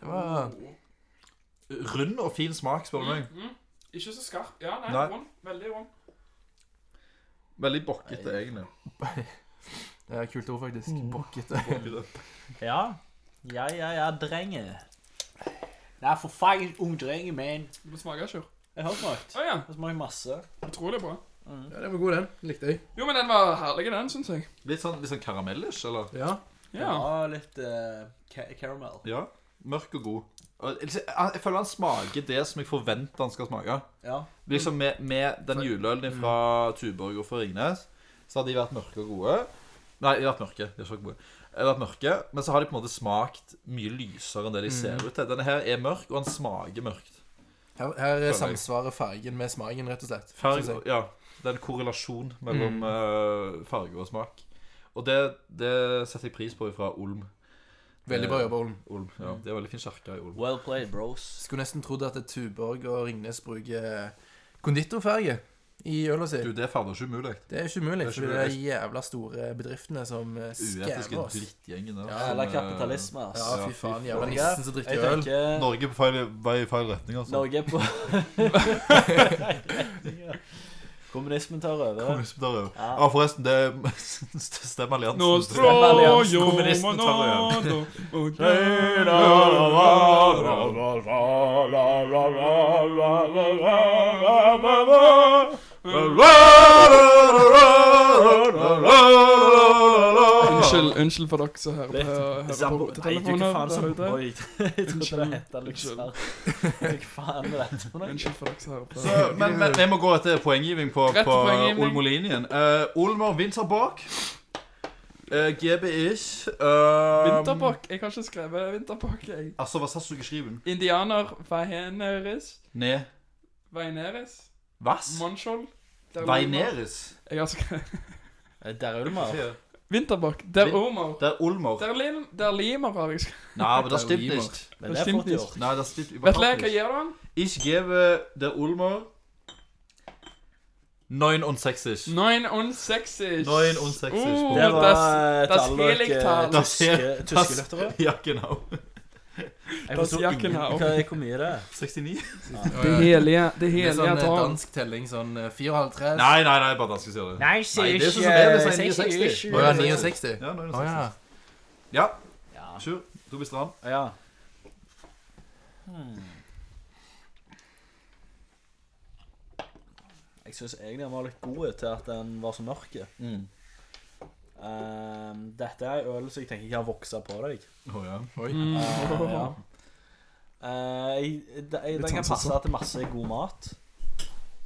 Speaker 3: Det var
Speaker 2: Rund og fin smak, spør du meg.
Speaker 5: Mm-hmm. Ikke så skarp. Ja, nei,
Speaker 2: Nei.
Speaker 5: rund. Veldig rund.
Speaker 2: Veldig bokkete, egentlig.
Speaker 3: det er et kult ord, faktisk. Bokkete.
Speaker 6: Ja. Ja, ja, ja, drenge. Det er for faen ung drenge, man.
Speaker 5: Du må smake, Sjur.
Speaker 6: Jeg har smakt.
Speaker 5: Å ja.
Speaker 6: Det smaker masse.
Speaker 5: Utrolig bra.
Speaker 3: Ja, den var god, den. Likte jeg.
Speaker 5: Jo, men den var herlig, den, syns jeg.
Speaker 2: Litt sånn, litt sånn karamellish, eller?
Speaker 3: Ja.
Speaker 5: Ja.
Speaker 6: Ja, litt eh, ca- caramel.
Speaker 2: Ja. Mørk og god. Og liksom, Jeg jeg føler han smaker det som jeg forventer han skal smake.
Speaker 6: Ja.
Speaker 2: Liksom Med, med den juleølen din fra Tuborg og fra Ringnes, så har de vært mørke og gode. Nei, de har vært mørke. De har ikke vært gode. De har vært mørke, Men så har de på en måte smakt mye lysere enn det de ser ut til. Denne her er mørk, og han smaker mørkt.
Speaker 3: Her, her samsvarer fargen med smaken, rett og slett. synes
Speaker 2: Farge,
Speaker 3: jeg.
Speaker 2: ja, Det er en korrelasjon mellom eh, farge og smak. Og det, det setter jeg pris på fra Olm.
Speaker 3: Veldig bra jobba, Olm.
Speaker 2: Olm ja, det er veldig fin kirke i Olm.
Speaker 6: Well played, bros.
Speaker 3: Skulle nesten trodd at Tuborg og Ringnes bruker konditorfarge i øla si.
Speaker 2: Du, Det er fader ikke umulig.
Speaker 3: Det er ikke umulig,
Speaker 2: Det er ikke
Speaker 3: for det er de jævla store bedriftene som eh,
Speaker 2: Uetiske
Speaker 3: skammer oss.
Speaker 2: drittgjengen der.
Speaker 3: Ja,
Speaker 2: som,
Speaker 6: Eller
Speaker 2: eh,
Speaker 6: kapitalisme,
Speaker 3: Ja,
Speaker 6: ass.
Speaker 2: Ja,
Speaker 3: fy
Speaker 2: fy
Speaker 3: faen. Jævla
Speaker 6: faen.
Speaker 3: nissen som drikker
Speaker 6: Jeg
Speaker 3: øl.
Speaker 6: tenker
Speaker 2: Norge er på feil, vei i feil retning, altså.
Speaker 6: Norge [laughs] er på Kommunismen tar over.
Speaker 2: Kommunismen tar over.
Speaker 6: Ja.
Speaker 2: Ja, forresten, det [laughs] stemmer alliansen.
Speaker 5: Nostro,
Speaker 6: alliansen.
Speaker 5: jo,
Speaker 2: Kommunisten tar
Speaker 5: monado, og- Unnskyld, unnskyld for dere som hører på, hører på hovedtelefoner der ute.
Speaker 6: Oi, [laughs] jeg trodde det het
Speaker 5: Unnskyld.
Speaker 6: Luxar. Hva faen er dette for noe?
Speaker 5: Unnskyld for dere som hører på.
Speaker 2: Så, men, men jeg må gå etter poenggiving på,
Speaker 5: Rett
Speaker 2: på
Speaker 5: poenggivning.
Speaker 2: Olmolinjen. Uh, Olmer vinter bak. Eh, GB ish. Eh,
Speaker 5: Vinterpakk? Jeg har ikke skrevet vinterpakk, jeg.
Speaker 2: Altså, hva sa Sugeskriven?
Speaker 5: Indianer, Vaineris,
Speaker 2: Ne...
Speaker 5: Vaineris,
Speaker 2: Vass?
Speaker 5: Monskjold Deroma.
Speaker 2: Veineris?
Speaker 5: Jeg har skrevet [laughs]
Speaker 6: Der er du, Mar.
Speaker 2: Det
Speaker 5: Vinterbakk. Deromer.
Speaker 2: er Olmer.
Speaker 5: Derlim, Derlimer har jeg skrevet.
Speaker 2: Nei, men det stimmt ikke.
Speaker 6: Men det er
Speaker 5: Bestemt
Speaker 6: fort gjort.
Speaker 2: Nei, det stimmt
Speaker 5: Vet dere hva
Speaker 2: ikke.
Speaker 5: gir du han?
Speaker 2: Ich gebe der Ulmer 69.
Speaker 5: Mm. 69.
Speaker 2: 69
Speaker 5: Oh,
Speaker 2: på-
Speaker 6: Det var
Speaker 5: das,
Speaker 6: eh,
Speaker 5: das
Speaker 6: til alle
Speaker 5: Heiligtal.
Speaker 6: dere
Speaker 2: [laughs]
Speaker 6: tyske, tyske lyttere.
Speaker 2: Ja, genau. [laughs]
Speaker 6: Jeg forsto
Speaker 5: Das
Speaker 6: ingen
Speaker 5: Jackenau.
Speaker 6: hva, hvor mye det er.
Speaker 2: 69?
Speaker 5: det hellige, det
Speaker 3: Det er
Speaker 5: hellige
Speaker 3: sånn eh,
Speaker 5: tall.
Speaker 3: dansk telling, sånn eh, 54
Speaker 2: Nei, nei, nei, bare danske sier det.
Speaker 6: Nei,
Speaker 2: Nei, det er sånn som det er, det er 69.
Speaker 3: Å ja, 69.
Speaker 2: Ja,
Speaker 3: Å ja.
Speaker 2: 69. Ja,
Speaker 6: Ja.
Speaker 2: sure. Du blir stram.
Speaker 6: ja. Hmm. Jeg syns egentlig den var litt god til at den var så mørk. Ehm, dette er en øl som jeg tenker ikke har voksa på deg.
Speaker 2: Å Oh, ja.
Speaker 3: Oi.
Speaker 5: Mm.
Speaker 6: Eh, ja. Eh, jeg, de- jeg, den kan passe til masse god mat.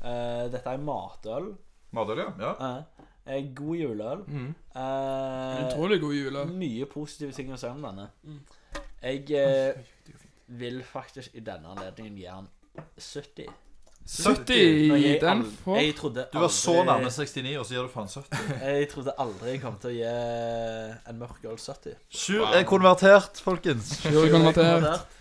Speaker 6: Eh, dette er matøl.
Speaker 2: Matøl, ja. ja.
Speaker 6: Eh, eh, god juleøl.
Speaker 3: Mm.
Speaker 6: Eh,
Speaker 5: Utrolig god jule.
Speaker 6: mye positive ting å si om denne.
Speaker 5: Mm.
Speaker 6: Jeg eh, vil faktisk i denne anledningen gi han 70.
Speaker 5: 70.
Speaker 6: Når jeg
Speaker 5: Den
Speaker 6: ald-
Speaker 5: får
Speaker 6: jeg trodde
Speaker 2: Du var så
Speaker 6: aldri-
Speaker 2: nærme 69, og så gjør du faen 70.
Speaker 6: Jeg trodde aldri jeg kom til å gi eh, en mørk øl 70.
Speaker 2: Sjur er konvertert, folkens.
Speaker 5: Sjur er konvertert.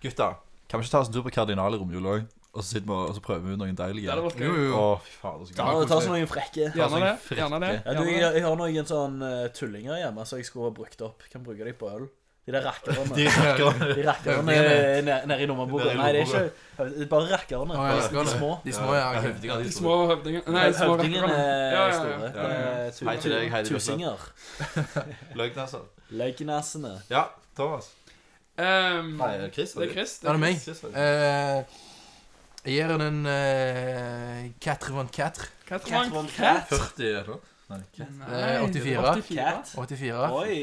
Speaker 2: Gutta, kan vi ikke ta oss en tur på Kardinal i romjula òg? Og så sitter vi og og så prøver vi ut noen deilige.
Speaker 5: Det hadde vært
Speaker 3: Jo,
Speaker 5: gøy.
Speaker 3: jo, jo.
Speaker 2: Å, Oh, fy fader, så
Speaker 6: Ja,
Speaker 2: gøy.
Speaker 6: ta oss noen frekke.
Speaker 2: Ta
Speaker 5: Gjerne
Speaker 2: sånn
Speaker 5: det.
Speaker 2: frikke.
Speaker 5: Gjerne det.
Speaker 6: Ja, du,
Speaker 5: Gjerne
Speaker 6: jeg,
Speaker 5: det.
Speaker 6: jeg har noen sånn eh, tullinger hjemme som jeg skulle ha brukt opp. Kan bruke dem på øl. De der rakkerne.
Speaker 2: [laughs] De rakker.
Speaker 6: De rakkerne
Speaker 3: Øvlingene.
Speaker 6: nede nede i nummerboka.
Speaker 2: Nede i
Speaker 6: Nei, det er
Speaker 2: lommeboka.
Speaker 6: ikke det er Bare rakkerne.
Speaker 3: Å, ja, de skal
Speaker 6: de
Speaker 3: det.
Speaker 6: små.
Speaker 3: De små, ja. ok.
Speaker 5: De små høvdingene Nei, små
Speaker 6: Høvdingene
Speaker 5: rakkerne. Ja,
Speaker 6: er
Speaker 5: ja,
Speaker 6: store.
Speaker 5: ja.
Speaker 2: Ja, ja, ja.
Speaker 6: Det er
Speaker 2: Hei til deg, hei
Speaker 6: tu-
Speaker 2: til deg.
Speaker 6: Tusinger.
Speaker 2: Løgn, altså.
Speaker 6: Løknesene.
Speaker 2: Ja, Thomas.
Speaker 5: Ehm,
Speaker 2: Nei, er det Chris?
Speaker 5: det er Chris.
Speaker 3: Ja, det er meg.
Speaker 5: Chris.
Speaker 2: Chris, er det?
Speaker 3: Eh, Jeg gir den en eh, 84.
Speaker 5: Cat
Speaker 6: Cat
Speaker 5: Monk.
Speaker 6: von Cat.
Speaker 2: 40 eller noe? Nei, hva?
Speaker 5: Nei,
Speaker 3: 84.
Speaker 5: 84.
Speaker 3: 84.
Speaker 6: Oi.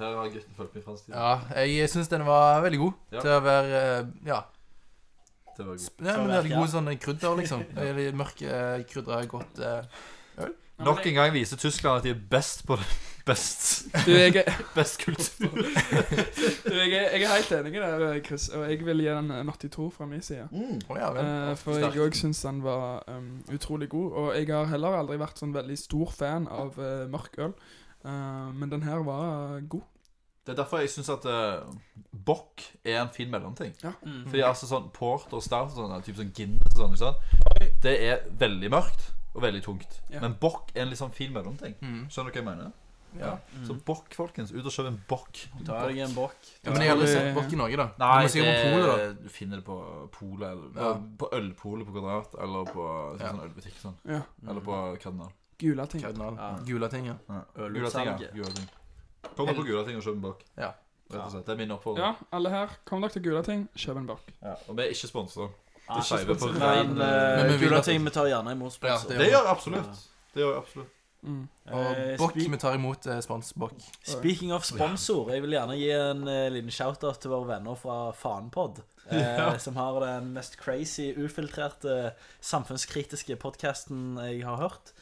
Speaker 2: Her har gutten fulgt med i fransk tid.
Speaker 3: Ja, jeg syns den var veldig god
Speaker 2: Ja.
Speaker 3: til å være eh, Ja,
Speaker 2: Det var
Speaker 3: ja
Speaker 2: god.
Speaker 3: men det er
Speaker 6: verker. [laughs]
Speaker 3: god sånn krydder, liksom. Veldig Mørk eh, krydder, godt eh,
Speaker 5: men
Speaker 2: Nok
Speaker 5: jeg-
Speaker 2: en gang viser Tyskland at de er best på det. [laughs] Best,
Speaker 5: Du, jeg er,
Speaker 2: best kultur.
Speaker 5: du, jeg er, jeg er helt enig i det, eh, Chris, og jeg vil gi den en 82 fra min side.
Speaker 3: Å ja vel.
Speaker 5: Eh, for jeg òg syns han var um, utrolig god. Og jeg har heller aldri vært sånn veldig stor fan av eh, mørk øl. Eh, men den her var eh, god.
Speaker 2: Det er derfor jeg syns at uh, Bock er en fin mellomting.
Speaker 5: Ja.
Speaker 2: Fordi altså sånn Porter og Stout og sånn, er typ sånn Guinness og sånn, ikke sant? det er veldig mørkt og veldig tungt.
Speaker 5: Ja.
Speaker 2: Men Bock er en litt sånn fin mellomting.
Speaker 3: Mm.
Speaker 2: Skjønner du hva jeg mener?
Speaker 3: Ja.
Speaker 2: Så Bock, folkens. Ut og kjøp en Bock.
Speaker 6: Ta deg en bokk.
Speaker 3: Ja, men jeg har aldri sett
Speaker 5: Eh,
Speaker 3: Bock i Norge, da.
Speaker 2: Nei,
Speaker 3: du må sikkert på Polet, da.
Speaker 2: det- du finner det på polet eller
Speaker 3: Ja.
Speaker 2: På ølpolet på Kvadrat eller på sånn,
Speaker 3: Ja.
Speaker 2: sånn ølbutikk sånn.
Speaker 5: Ja,
Speaker 2: Eller på Kardinal.
Speaker 5: Gule ting.
Speaker 3: Kardinal.
Speaker 6: Ja.
Speaker 3: Gula ting, ja.
Speaker 2: Ja. Gula ting, ja.
Speaker 6: Ølutsalget.
Speaker 2: Gula ting. Kom deg på Gula ting og kjøp en Bock.
Speaker 3: Ja.
Speaker 2: Rett og slett. Det er min oppfordring.
Speaker 5: Ja, alle her, kom dere til Gule ting, kjøp en bok.
Speaker 2: Ja. Og vi er ikke eh, sponsa.
Speaker 6: Ah,
Speaker 2: Det skeive på
Speaker 6: Men
Speaker 2: rein
Speaker 5: eh,
Speaker 3: Men vi
Speaker 6: uh,
Speaker 3: vil
Speaker 6: gula
Speaker 3: at-
Speaker 6: ting vi tar gjerne imot
Speaker 3: Ja,
Speaker 6: sponsor.
Speaker 2: Det gjør jeg absolutt. Det gjør jeg absolutt.
Speaker 5: Mm.
Speaker 3: Og
Speaker 6: Eh,
Speaker 3: Bock,
Speaker 6: spe-
Speaker 3: vi tar imot eh, spons Bock.
Speaker 6: Speaking of sponsor, jeg vil gjerne gi en eh, liten shout-out til våre venner fra Fanpod. Eh, Som har den mest crazy, ufiltrerte, samfunnskritiske podkasten jeg har hørt.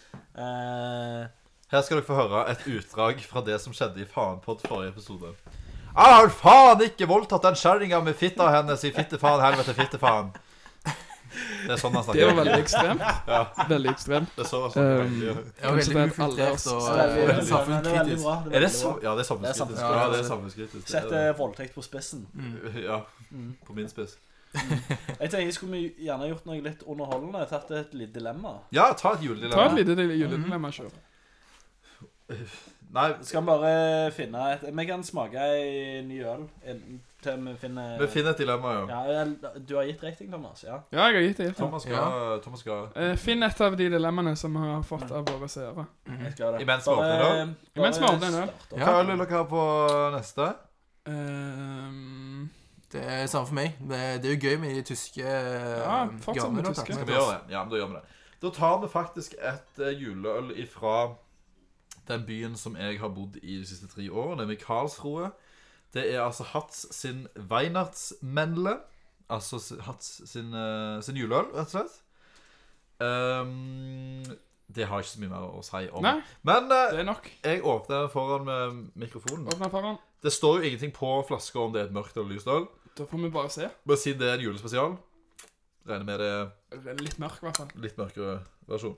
Speaker 6: Eh,
Speaker 2: Her skal dere få høre et utdrag fra det som skjedde i Faenpod forrige episode. Jeg har faen ikke voldtatt den kjerringa med fitta hennes i fittefaen, helvete, fittefaen. Det er sånn han
Speaker 5: Det var
Speaker 2: snakker.
Speaker 5: veldig ekstremt. Veldig ekstremt.
Speaker 2: Det er så,
Speaker 5: Um,
Speaker 3: Ja,
Speaker 5: Kanskje
Speaker 3: veldig
Speaker 5: det er et
Speaker 3: ufiltrert og
Speaker 6: så det er veldig-
Speaker 3: eh,
Speaker 6: men det er veldig bra, det er
Speaker 3: samfunnskritisk.
Speaker 2: er
Speaker 6: veldig
Speaker 2: det så,
Speaker 6: bra.
Speaker 2: ja, det er
Speaker 6: Det er eh,
Speaker 2: samfunnskritisk.
Speaker 3: samfunnskritisk.
Speaker 2: Ja, det er samfunnskritisk. Det
Speaker 6: Sette
Speaker 2: er,
Speaker 6: voldtekt på spissen.
Speaker 2: det. Eh, ja,
Speaker 6: mm.
Speaker 2: på min spiss.
Speaker 6: Jeg tenker jeg skulle gjerne gjort noe litt underholdende. Tatt et lite dilemma.
Speaker 2: Ja, ta et
Speaker 5: Ta et
Speaker 2: juledilemma.
Speaker 5: lite juledilemma, kjør.
Speaker 2: Nei,
Speaker 6: Skal vi bare finne et Vi kan smake ei ny øl inn- til vi finner
Speaker 2: vi finner et dilemma, ja.
Speaker 6: ja, eller- Du har gitt rating, Thomas? Ja.
Speaker 5: Ja, jeg har gitt det. gitt det.
Speaker 2: Thomas skal, Thomas skal
Speaker 5: Eh, finn et av de dilemmaene som vi har fått av våre seere.
Speaker 6: Jeg skal det.
Speaker 2: Mhm. Imens vi åpner da.
Speaker 6: Bare- bare
Speaker 5: Imens vi åpner da.
Speaker 6: start opp.
Speaker 2: Hva øl vil dere ha på neste?
Speaker 5: Ehm,
Speaker 3: Det er samme for meg. Det, det er jo gøy med de tyske eh, ja,
Speaker 5: Ja, fortsatt med tyske.
Speaker 2: Skal vi gjøre det? Ja, men da gjør vi det. Da tar vi faktisk et eh, juleøl ifra den byen som jeg har bodd i de siste tre årene, nemlig Karlsroe. Det er altså Hatz sin Weihnachtsmendle. Altså s- Hatz sin, eh, sin juleøl, rett og slett. Ehm, det har jeg ikke så mye mer å si om.
Speaker 5: Nei.
Speaker 2: Men eh,
Speaker 5: det er nok.
Speaker 2: jeg åpner foran med mikrofonen.
Speaker 5: Åpne foran.
Speaker 2: Det står jo ingenting på flaska om det er et mørkt eller lyst øl.
Speaker 5: Da får vi bare se.
Speaker 2: Men siden det er en julespesial, regner med det er
Speaker 5: Litt mørk, i hvert fall.
Speaker 2: litt mørkere versjon.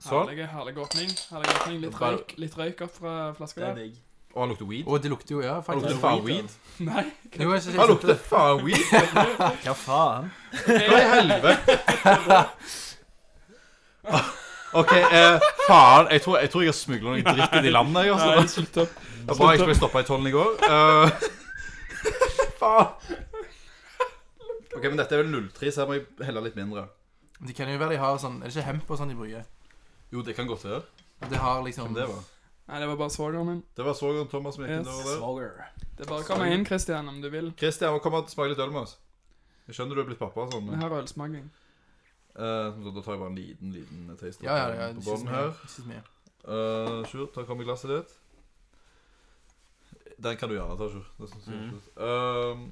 Speaker 2: Sånn.
Speaker 5: Herlig, herlig åpning. herlig åpning. Litt
Speaker 2: Bare-
Speaker 5: røyk, litt røyk opp fra flaska
Speaker 6: Det er
Speaker 5: der.
Speaker 6: digg.
Speaker 2: Og han lukter weed.
Speaker 3: Og det lukter jo, ja,
Speaker 2: Han
Speaker 3: faktisk.
Speaker 2: lukter faen weed.
Speaker 5: Nei.
Speaker 3: Jo, jeg synes jeg
Speaker 2: Han
Speaker 3: lukter
Speaker 2: lukter faen weed!
Speaker 6: Hva faen?
Speaker 2: [laughs] Hva i helvete? OK, eh, faen. Jeg tror jeg, tror jeg har smugla noe dritt inn i landet. Jeg,
Speaker 5: Nei,
Speaker 2: altså.
Speaker 5: slutt opp.
Speaker 2: Det var bra jeg ikke ble stoppa i tollen i går. Eh, [laughs] faen. OK, men dette er vel 03, så her må jeg helle litt mindre.
Speaker 3: De kan jo være de har sånn Er det ikke hemp og sånn de bruker?
Speaker 2: Jo, det kan godt være.
Speaker 3: De har liksom
Speaker 2: Hvem det var?
Speaker 5: Nei, det var bare svogeren min.
Speaker 2: Det var svogeren Thomas som gikk
Speaker 5: Yes.
Speaker 2: innover der.
Speaker 6: Svoger.
Speaker 5: Det er bare å komme inn, Christian, om du vil.
Speaker 2: Christian, må komme og smake litt øl med oss. Jeg skjønner du er blitt pappa og sånn.
Speaker 5: Vi har ølsmaking.
Speaker 2: Eh, så da tar jeg bare en liten liten taste
Speaker 3: Ja, ja, ja.
Speaker 2: på
Speaker 3: Ikke så
Speaker 2: bånn
Speaker 3: mye.
Speaker 2: her.
Speaker 3: Ikke så mye.
Speaker 2: Uh, Sjur, ta kom i glasset ditt. Den kan du gjerne ta, Sjur. Det, synes jeg er
Speaker 6: Mhm.
Speaker 2: flott. Ehm,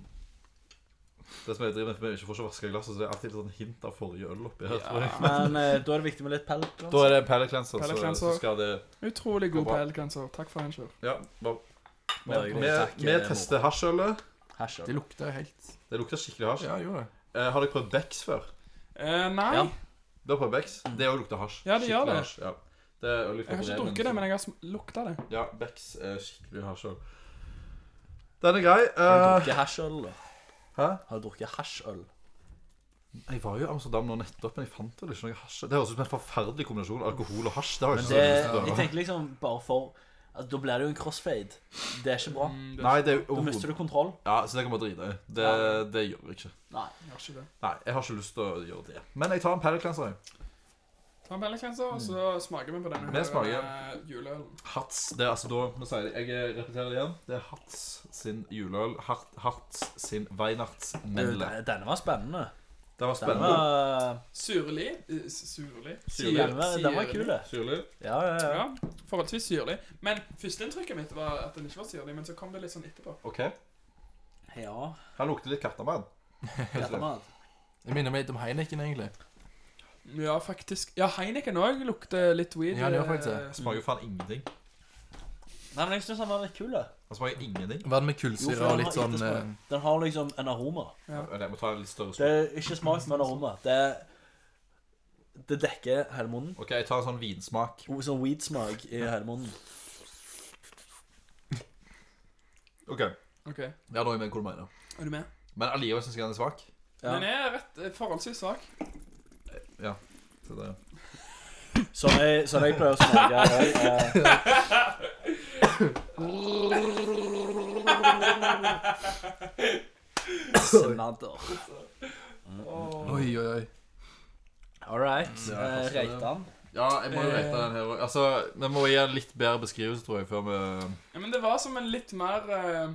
Speaker 2: det som jeg driver med, for jeg ikke får ikke vaska glasset, så det er alltid et sånn hint av forrige øl oppi her. tror jeg.
Speaker 6: Men eh, da er det viktig med litt pelt.
Speaker 2: Da er det en palate cleanser,
Speaker 5: Palate
Speaker 2: så,
Speaker 5: cleanser.
Speaker 2: så skal det
Speaker 5: Utrolig god
Speaker 2: Bra.
Speaker 5: pelgrenser. Takk for en kjør.
Speaker 2: Ja. bare-
Speaker 6: Bare
Speaker 2: Vi-
Speaker 6: hyggelig. Takk,
Speaker 2: Vi vi
Speaker 6: eh,
Speaker 2: tester hasjølet.
Speaker 6: Hasj.
Speaker 3: Det lukter helt
Speaker 2: Det lukter skikkelig hasj.
Speaker 3: Ja, gjorde det.
Speaker 2: Eh, har dere prøvd Bex før?
Speaker 5: Eh, nei,
Speaker 6: Ja.
Speaker 2: Du har prøvd Bex? Det òg lukter hasj.
Speaker 5: Mm. Ja, det gjør
Speaker 2: Skikkelig
Speaker 5: det.
Speaker 2: hasj, Ja. Det er øl
Speaker 5: jeg har ikke drukket det, men jeg har sm- lukta det.
Speaker 2: Ja, Bex er skikkelig hasjøl. Den er grei.
Speaker 6: Har du
Speaker 2: eh,
Speaker 6: drukket hasjøl, da?
Speaker 2: Hæ?
Speaker 6: Har du drukket hasjøl?
Speaker 2: Jeg var jo i Amsterdam nå nettopp, men jeg fant vel ikke noe hasj. Det høres ut som en forferdelig kombinasjon. Alkohol og hasj. Det har jeg
Speaker 6: Men
Speaker 2: ikke
Speaker 6: det,
Speaker 2: lyst til å
Speaker 6: jeg
Speaker 2: prøve.
Speaker 6: tenker liksom bare for altså, Da blir det jo en crossfade. Det er ikke bra.
Speaker 5: Mm, det
Speaker 2: Nei, det er jo
Speaker 6: Da mister du kontroll.
Speaker 2: Ja, så det kan bare drite i. Det, det gjør jeg ikke.
Speaker 6: Nei.
Speaker 5: gjør ikke det.
Speaker 2: Nei, jeg har ikke lyst til å gjøre det. Men jeg tar en Paddock Cleanser. jeg.
Speaker 5: Ta en pelgrenser, og så smaker vi på denne
Speaker 2: Vi smaker.
Speaker 5: eh, juleølen.
Speaker 2: Hats. Det er altså da Nå sier jeg det. Jeg repeterer det igjen. Det er Hats sin juleøl. Hart, Hats sin Weihnachtsmendle.
Speaker 6: Du, Denne var spennende.
Speaker 2: Det var
Speaker 6: Den
Speaker 2: spennende.
Speaker 6: var,
Speaker 5: Surlig. eh, Surlig.
Speaker 2: Syrlig.
Speaker 6: den var, den var kul, det.
Speaker 2: Syrlig.
Speaker 6: Ja, ja, ja.
Speaker 5: Ja, forholdsvis syrlig. Men førsteinntrykket mitt var at den ikke var syrlig, men så kom det litt sånn etterpå.
Speaker 2: OK.
Speaker 6: ja.
Speaker 2: Han lukter litt kattemann.
Speaker 6: Kattemat.
Speaker 3: Det minner meg litt om Heineken, egentlig.
Speaker 5: Ja, faktisk. Ja, Heineken òg lukter litt weed.
Speaker 3: Ja, det gjør faktisk
Speaker 5: eh,
Speaker 3: det.
Speaker 2: Smaker jo faen ingenting.
Speaker 6: Nei, men jeg syns den var litt kul, da.
Speaker 2: Han smaker
Speaker 6: Mm.
Speaker 2: ingenting.
Speaker 3: Vann med
Speaker 6: Jo, for
Speaker 3: kullsyre
Speaker 6: den
Speaker 3: og
Speaker 6: har
Speaker 3: litt sånn
Speaker 6: ettersmak.
Speaker 3: eh,
Speaker 6: Den har liksom en aroma.
Speaker 2: Jeg må ta en litt større
Speaker 6: Det
Speaker 2: smak.
Speaker 6: er ikke smak som en aroma. Det, det dekker hele munnen.
Speaker 2: OK, jeg tar en sånn vinsmak.
Speaker 6: O- Sånn weed-smak i hele munnen.
Speaker 2: OK. Det
Speaker 5: OK. Er
Speaker 2: er noe med hva du mener.
Speaker 5: du med?
Speaker 2: Men allikevel syns jeg den er svak.
Speaker 6: Ja.
Speaker 5: Den er rett eh, forholdsvis svak.
Speaker 2: Så det,
Speaker 6: Sånn jeg, sånn jeg pleier å smake òg. Eh, Snadder.
Speaker 5: Mm.
Speaker 3: eh, Oi, oi, oi.
Speaker 6: All right.
Speaker 2: Ja,
Speaker 6: Eh,
Speaker 2: jeg forstår det.
Speaker 6: Reitan.
Speaker 2: ja, jeg må jo rate den her òg. Altså, vi må gi en litt bedre beskrivelse, tror jeg, før vi
Speaker 5: Ja, men det var som en litt mer eh,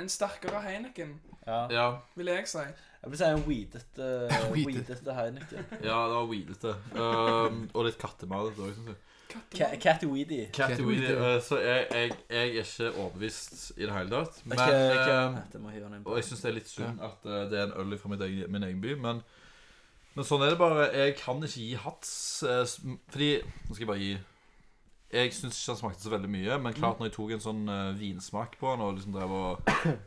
Speaker 5: En sterkere Heineken,
Speaker 6: Ja.
Speaker 2: Ja,
Speaker 5: vil jeg si.
Speaker 6: Jeg vil si en
Speaker 2: [laughs]
Speaker 6: weedete
Speaker 3: Weeded.
Speaker 6: weedete Heineken.
Speaker 2: ja det var weedete. Um, og litt kattemat òg, syns jeg.
Speaker 5: Katter.
Speaker 6: Ca- Catty Weedy.
Speaker 2: Catty
Speaker 3: Catty
Speaker 2: Weedy.
Speaker 3: Weedy.
Speaker 2: eh, Så jeg, jeg, jeg er ikke overbevist i det hele tatt. Men,
Speaker 6: Ikke- ikke-
Speaker 2: eh,
Speaker 6: Nei, det må jeg hive den inn på.
Speaker 2: og jeg syns det er litt synd at eh, det er en øl fra min egen, min egen by, men, men sånn er det bare. Jeg kan ikke gi hats. eh, s- m- Fordi Nå skal jeg bare gi Jeg syns ikke han smakte så veldig mye, men klart når jeg tok en sånn eh, vinsmak på den og liksom drev og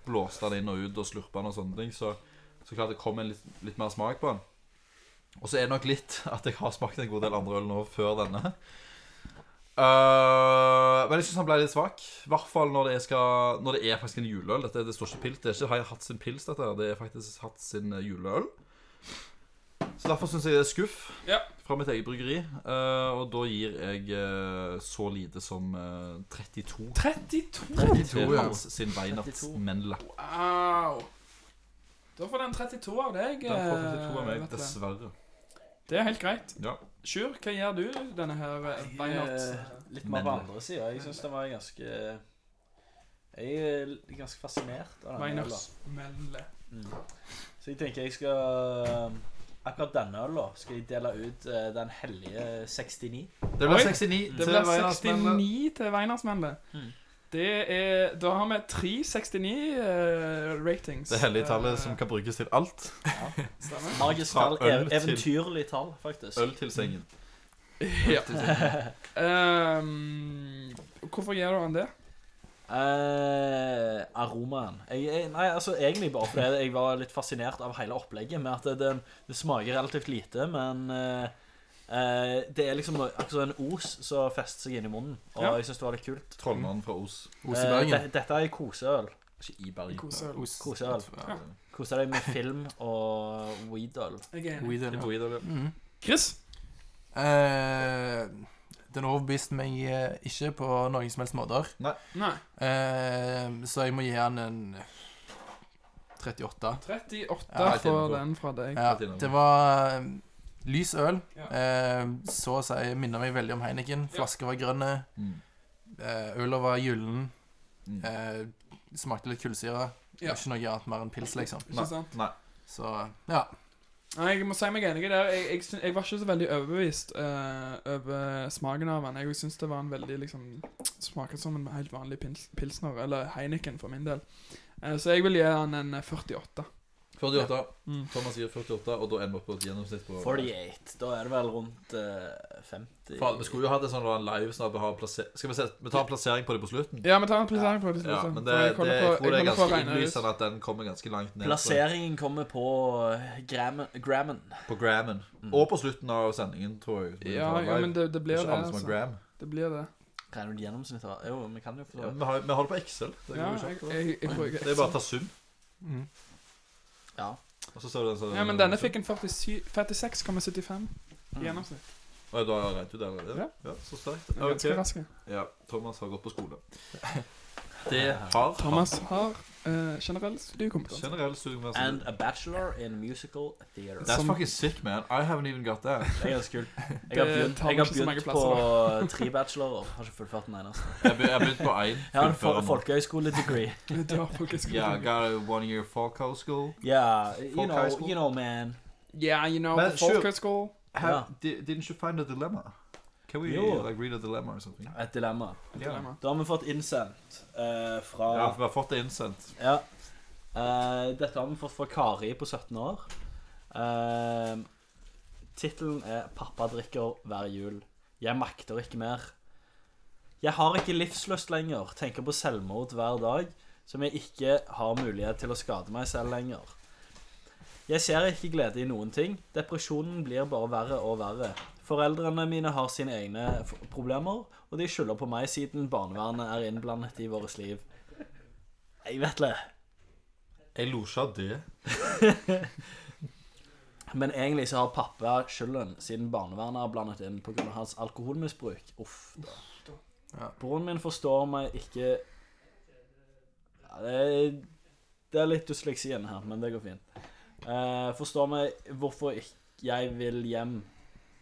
Speaker 2: blåste den inn og ut og slurpa den og sånne ting, så, så klart det kom en litt, litt mer smak på den. Og så er det nok litt at jeg har smakt en god del andre øl nå før denne. Eh, men jeg syns han ble litt svak. I hvert fall når det, er skal, når det er faktisk en juleøl. Dette, det står ikke pils. Det er ikke har jeg hatt sin pils, dette. her. Det er faktisk hatt sin eh, juleøl. Så derfor syns jeg det er skuff
Speaker 5: Ja.
Speaker 2: fra mitt eget bryggeri. Eh, og da gir jeg eh, så lite som eh, 32.
Speaker 5: 32!
Speaker 2: 32
Speaker 3: ja.
Speaker 2: hans sin Weinertsmennla.
Speaker 5: Wow. Da får den 32 av deg.
Speaker 2: Den får 32
Speaker 5: eh,
Speaker 2: av meg,
Speaker 5: vet du.
Speaker 2: dessverre.
Speaker 5: Det er helt greit.
Speaker 2: Ja.
Speaker 5: Sjur, hva gjør du denne her eh, Weinert?
Speaker 6: Eh, Litt mer på
Speaker 2: Men-
Speaker 6: andre sida. Jeg syns den var ganske Jeg er l- ganske fascinert av den øla.
Speaker 5: Weiners melle.
Speaker 6: Mm. Så jeg tenker jeg skal eh, Akkurat denne øla skal jeg dele ut eh, den hellige 69.
Speaker 2: Det ble
Speaker 5: Oi,
Speaker 2: 69
Speaker 5: Det
Speaker 2: til
Speaker 5: blir
Speaker 2: Weinertsmennla.
Speaker 5: 69 til Weinersmennene.
Speaker 6: Mm.
Speaker 5: Det er Da har vi 369 eh, ratings.
Speaker 2: Det hellige
Speaker 5: Eh,
Speaker 2: tallet som kan brukes til alt.
Speaker 5: Stemmer.
Speaker 6: Magisk
Speaker 2: Fra
Speaker 6: tall.
Speaker 2: øl
Speaker 6: ev-
Speaker 2: til-
Speaker 6: Eventyrlig tall, faktisk.
Speaker 2: Øl til sengen.
Speaker 5: Ja. Ehm, hvorfor gjør du han det?
Speaker 6: Eh, aromaen jeg, jeg, Nei, altså egentlig bare fordi jeg var litt fascinert av hele opplegget med at det, den- det smaker relativt lite, men eh, eh, det er liksom noe- akkurat som en os som fester seg inn i munnen, og
Speaker 5: Ja.
Speaker 6: jeg syns det var litt kult.
Speaker 2: Trollmannen fra Os.
Speaker 3: Osebergen.
Speaker 6: Eh, de- dette er koseøl.
Speaker 2: Ikke i Bergen.
Speaker 5: Koseøl.
Speaker 3: Os-
Speaker 6: Koseøl.
Speaker 3: Ja.
Speaker 6: Kose deg med film og weedøl.
Speaker 5: Jeg er enig.
Speaker 3: Weed
Speaker 2: Det
Speaker 3: øl,
Speaker 2: er
Speaker 3: ja.
Speaker 2: weed, eller?
Speaker 3: Mhm.
Speaker 5: Chris?
Speaker 3: Eh, Den overbeviste meg eh, ikke på noen som helst måter.
Speaker 5: Nei.
Speaker 3: Eh, Så jeg må gi han en 38.
Speaker 5: 38
Speaker 3: Ja,
Speaker 2: jeg
Speaker 5: får
Speaker 2: tenker på.
Speaker 5: den fra deg.
Speaker 3: Ja, det var eh, lys øl.
Speaker 5: Ja.
Speaker 3: Eh, Så å si minner meg veldig om Heineken.
Speaker 5: Ja.
Speaker 3: Flasker var grønne,
Speaker 2: Mm.
Speaker 3: eh, øla var gyllen.
Speaker 2: Mm.
Speaker 3: Eh, Smakte litt kullsyre.
Speaker 5: Ja.
Speaker 3: Ikke noe annet mer enn pils, liksom.
Speaker 5: Ikke sant?
Speaker 2: Nei.
Speaker 3: Så ja.
Speaker 5: Nei, jeg må si meg enig i det. Jeg, jeg, syn- jeg var ikke så veldig overbevist eh, over smaken av den. Jeg syns det var en veldig liksom Smaket som en helt vanlig pils, pilsner, eller Heineken for min del. Eh, så jeg vil gi den en eh, 48.
Speaker 2: 48.
Speaker 5: Mm.
Speaker 2: Thomas sier 48, og da ender vi opp på et gjennomsnitt på
Speaker 6: 48. Da er det vel rundt eh, 50
Speaker 2: Faen, vi skulle jo hatt en sånn live sånn at vi har plasser... Skal vi, se, vi tar en plassering på det på slutten?
Speaker 5: Ja, vi tar en plassering på det.
Speaker 2: Ja,
Speaker 5: sånn.
Speaker 2: men
Speaker 5: For
Speaker 2: det,
Speaker 5: jeg
Speaker 2: det,
Speaker 5: holder
Speaker 2: jeg
Speaker 5: på-
Speaker 2: tror det
Speaker 5: jeg holder
Speaker 2: er
Speaker 5: på å
Speaker 2: ganske
Speaker 5: regne ut.
Speaker 2: innlysende at den kommer ganske langt ned. på-
Speaker 6: Plasseringen kommer på eh, Grammen. Grammen.
Speaker 2: På Grammen. Og på slutten av sendingen, tror jeg. vi
Speaker 5: Ja,
Speaker 2: tar
Speaker 5: ja,
Speaker 2: live.
Speaker 5: men det, det
Speaker 2: Det
Speaker 5: blir det,
Speaker 2: er ikke alle som har
Speaker 5: altså.
Speaker 2: Gram.
Speaker 5: Det blir det.
Speaker 6: Regner du gjennomsnittet? av- Jo, vi kan jo for så
Speaker 2: Ja,
Speaker 6: vidt.
Speaker 2: vi, har, vi har det på Excel.
Speaker 5: Ja,
Speaker 2: Det, går jo
Speaker 5: jeg,
Speaker 2: kjapt, da.
Speaker 5: jeg, jeg bruker
Speaker 2: det er bare å ta sum,
Speaker 3: Mm.
Speaker 6: Ja.
Speaker 2: og så ser du den som
Speaker 5: Ja, men denne fikk en 47 46,75 i gjennomsnitt.
Speaker 2: Oi, Du har regnet ut det allerede? Ja, så sterkt.
Speaker 5: Den er Ganske
Speaker 2: Mm. Ok.
Speaker 5: raske.
Speaker 2: Ja, Thomas har gått
Speaker 6: [laughs]
Speaker 2: på skole. Det har
Speaker 5: Thomas har eh, generell studiekompetanse.
Speaker 2: Generell studiekompetanse.
Speaker 6: And a bachelor in musical theater.
Speaker 2: That's
Speaker 5: Som-
Speaker 2: fucking sick, man. I haven't even got that.
Speaker 6: Det er [laughs] ganske kult. Jeg har
Speaker 5: Det
Speaker 6: begynt,
Speaker 5: tar
Speaker 6: jeg har
Speaker 5: ikke så mange
Speaker 6: begynt på [laughs] tre bachelorer. Har ikke fullført den eneste.
Speaker 2: Jeg be- jeg begynte på
Speaker 6: [laughs]
Speaker 2: én.
Speaker 6: Jeg har en fol [laughs] folkehøyskole-degree.
Speaker 5: [laughs] Du har folkeskole.
Speaker 2: Yeah, I got a one year folk high school.
Speaker 6: Yeah, you know,
Speaker 2: Folkehøyskole.
Speaker 6: you know, man.
Speaker 5: Yeah, you know,
Speaker 2: Men
Speaker 5: på
Speaker 2: sure.
Speaker 5: folkehøyskole.
Speaker 2: Have,
Speaker 6: Ja.
Speaker 2: di- Didn't you find a dilemma? Can we
Speaker 6: Jo.
Speaker 2: like read a dilemma or something?
Speaker 6: Et dilemma.
Speaker 5: Dilemma.
Speaker 6: Da har vi fått innsendt eh, fra
Speaker 2: Ja, vi har fått det innsendt.
Speaker 6: Ja. Eh, dette har vi fått fra Kari på 17 år. Eh, Tittelen er 'Pappa drikker hver jul'. Jeg makter ikke mer. Jeg har ikke livslyst lenger, tenker på selvmord hver dag, som jeg ikke har mulighet til å skade meg selv lenger. Jeg ser ikke glede i noen ting. Depresjonen blir bare verre og verre. Foreldrene mine har sine egne f- problemer, og de skylder på meg siden barnevernet er innblandet i vårt liv. Jeg vet det.
Speaker 2: Jeg lo ikke av det.
Speaker 6: Men egentlig så har pappa skylden, siden barnevernet er blandet inn pga. hans alkoholmisbruk. Uff. da.
Speaker 3: Ja.
Speaker 6: Broren min forstår meg ikke ja, det, er, det er litt dysleksi igjen her, men det går fint. Eh, forstår meg hvorfor ikk- jeg vil hjem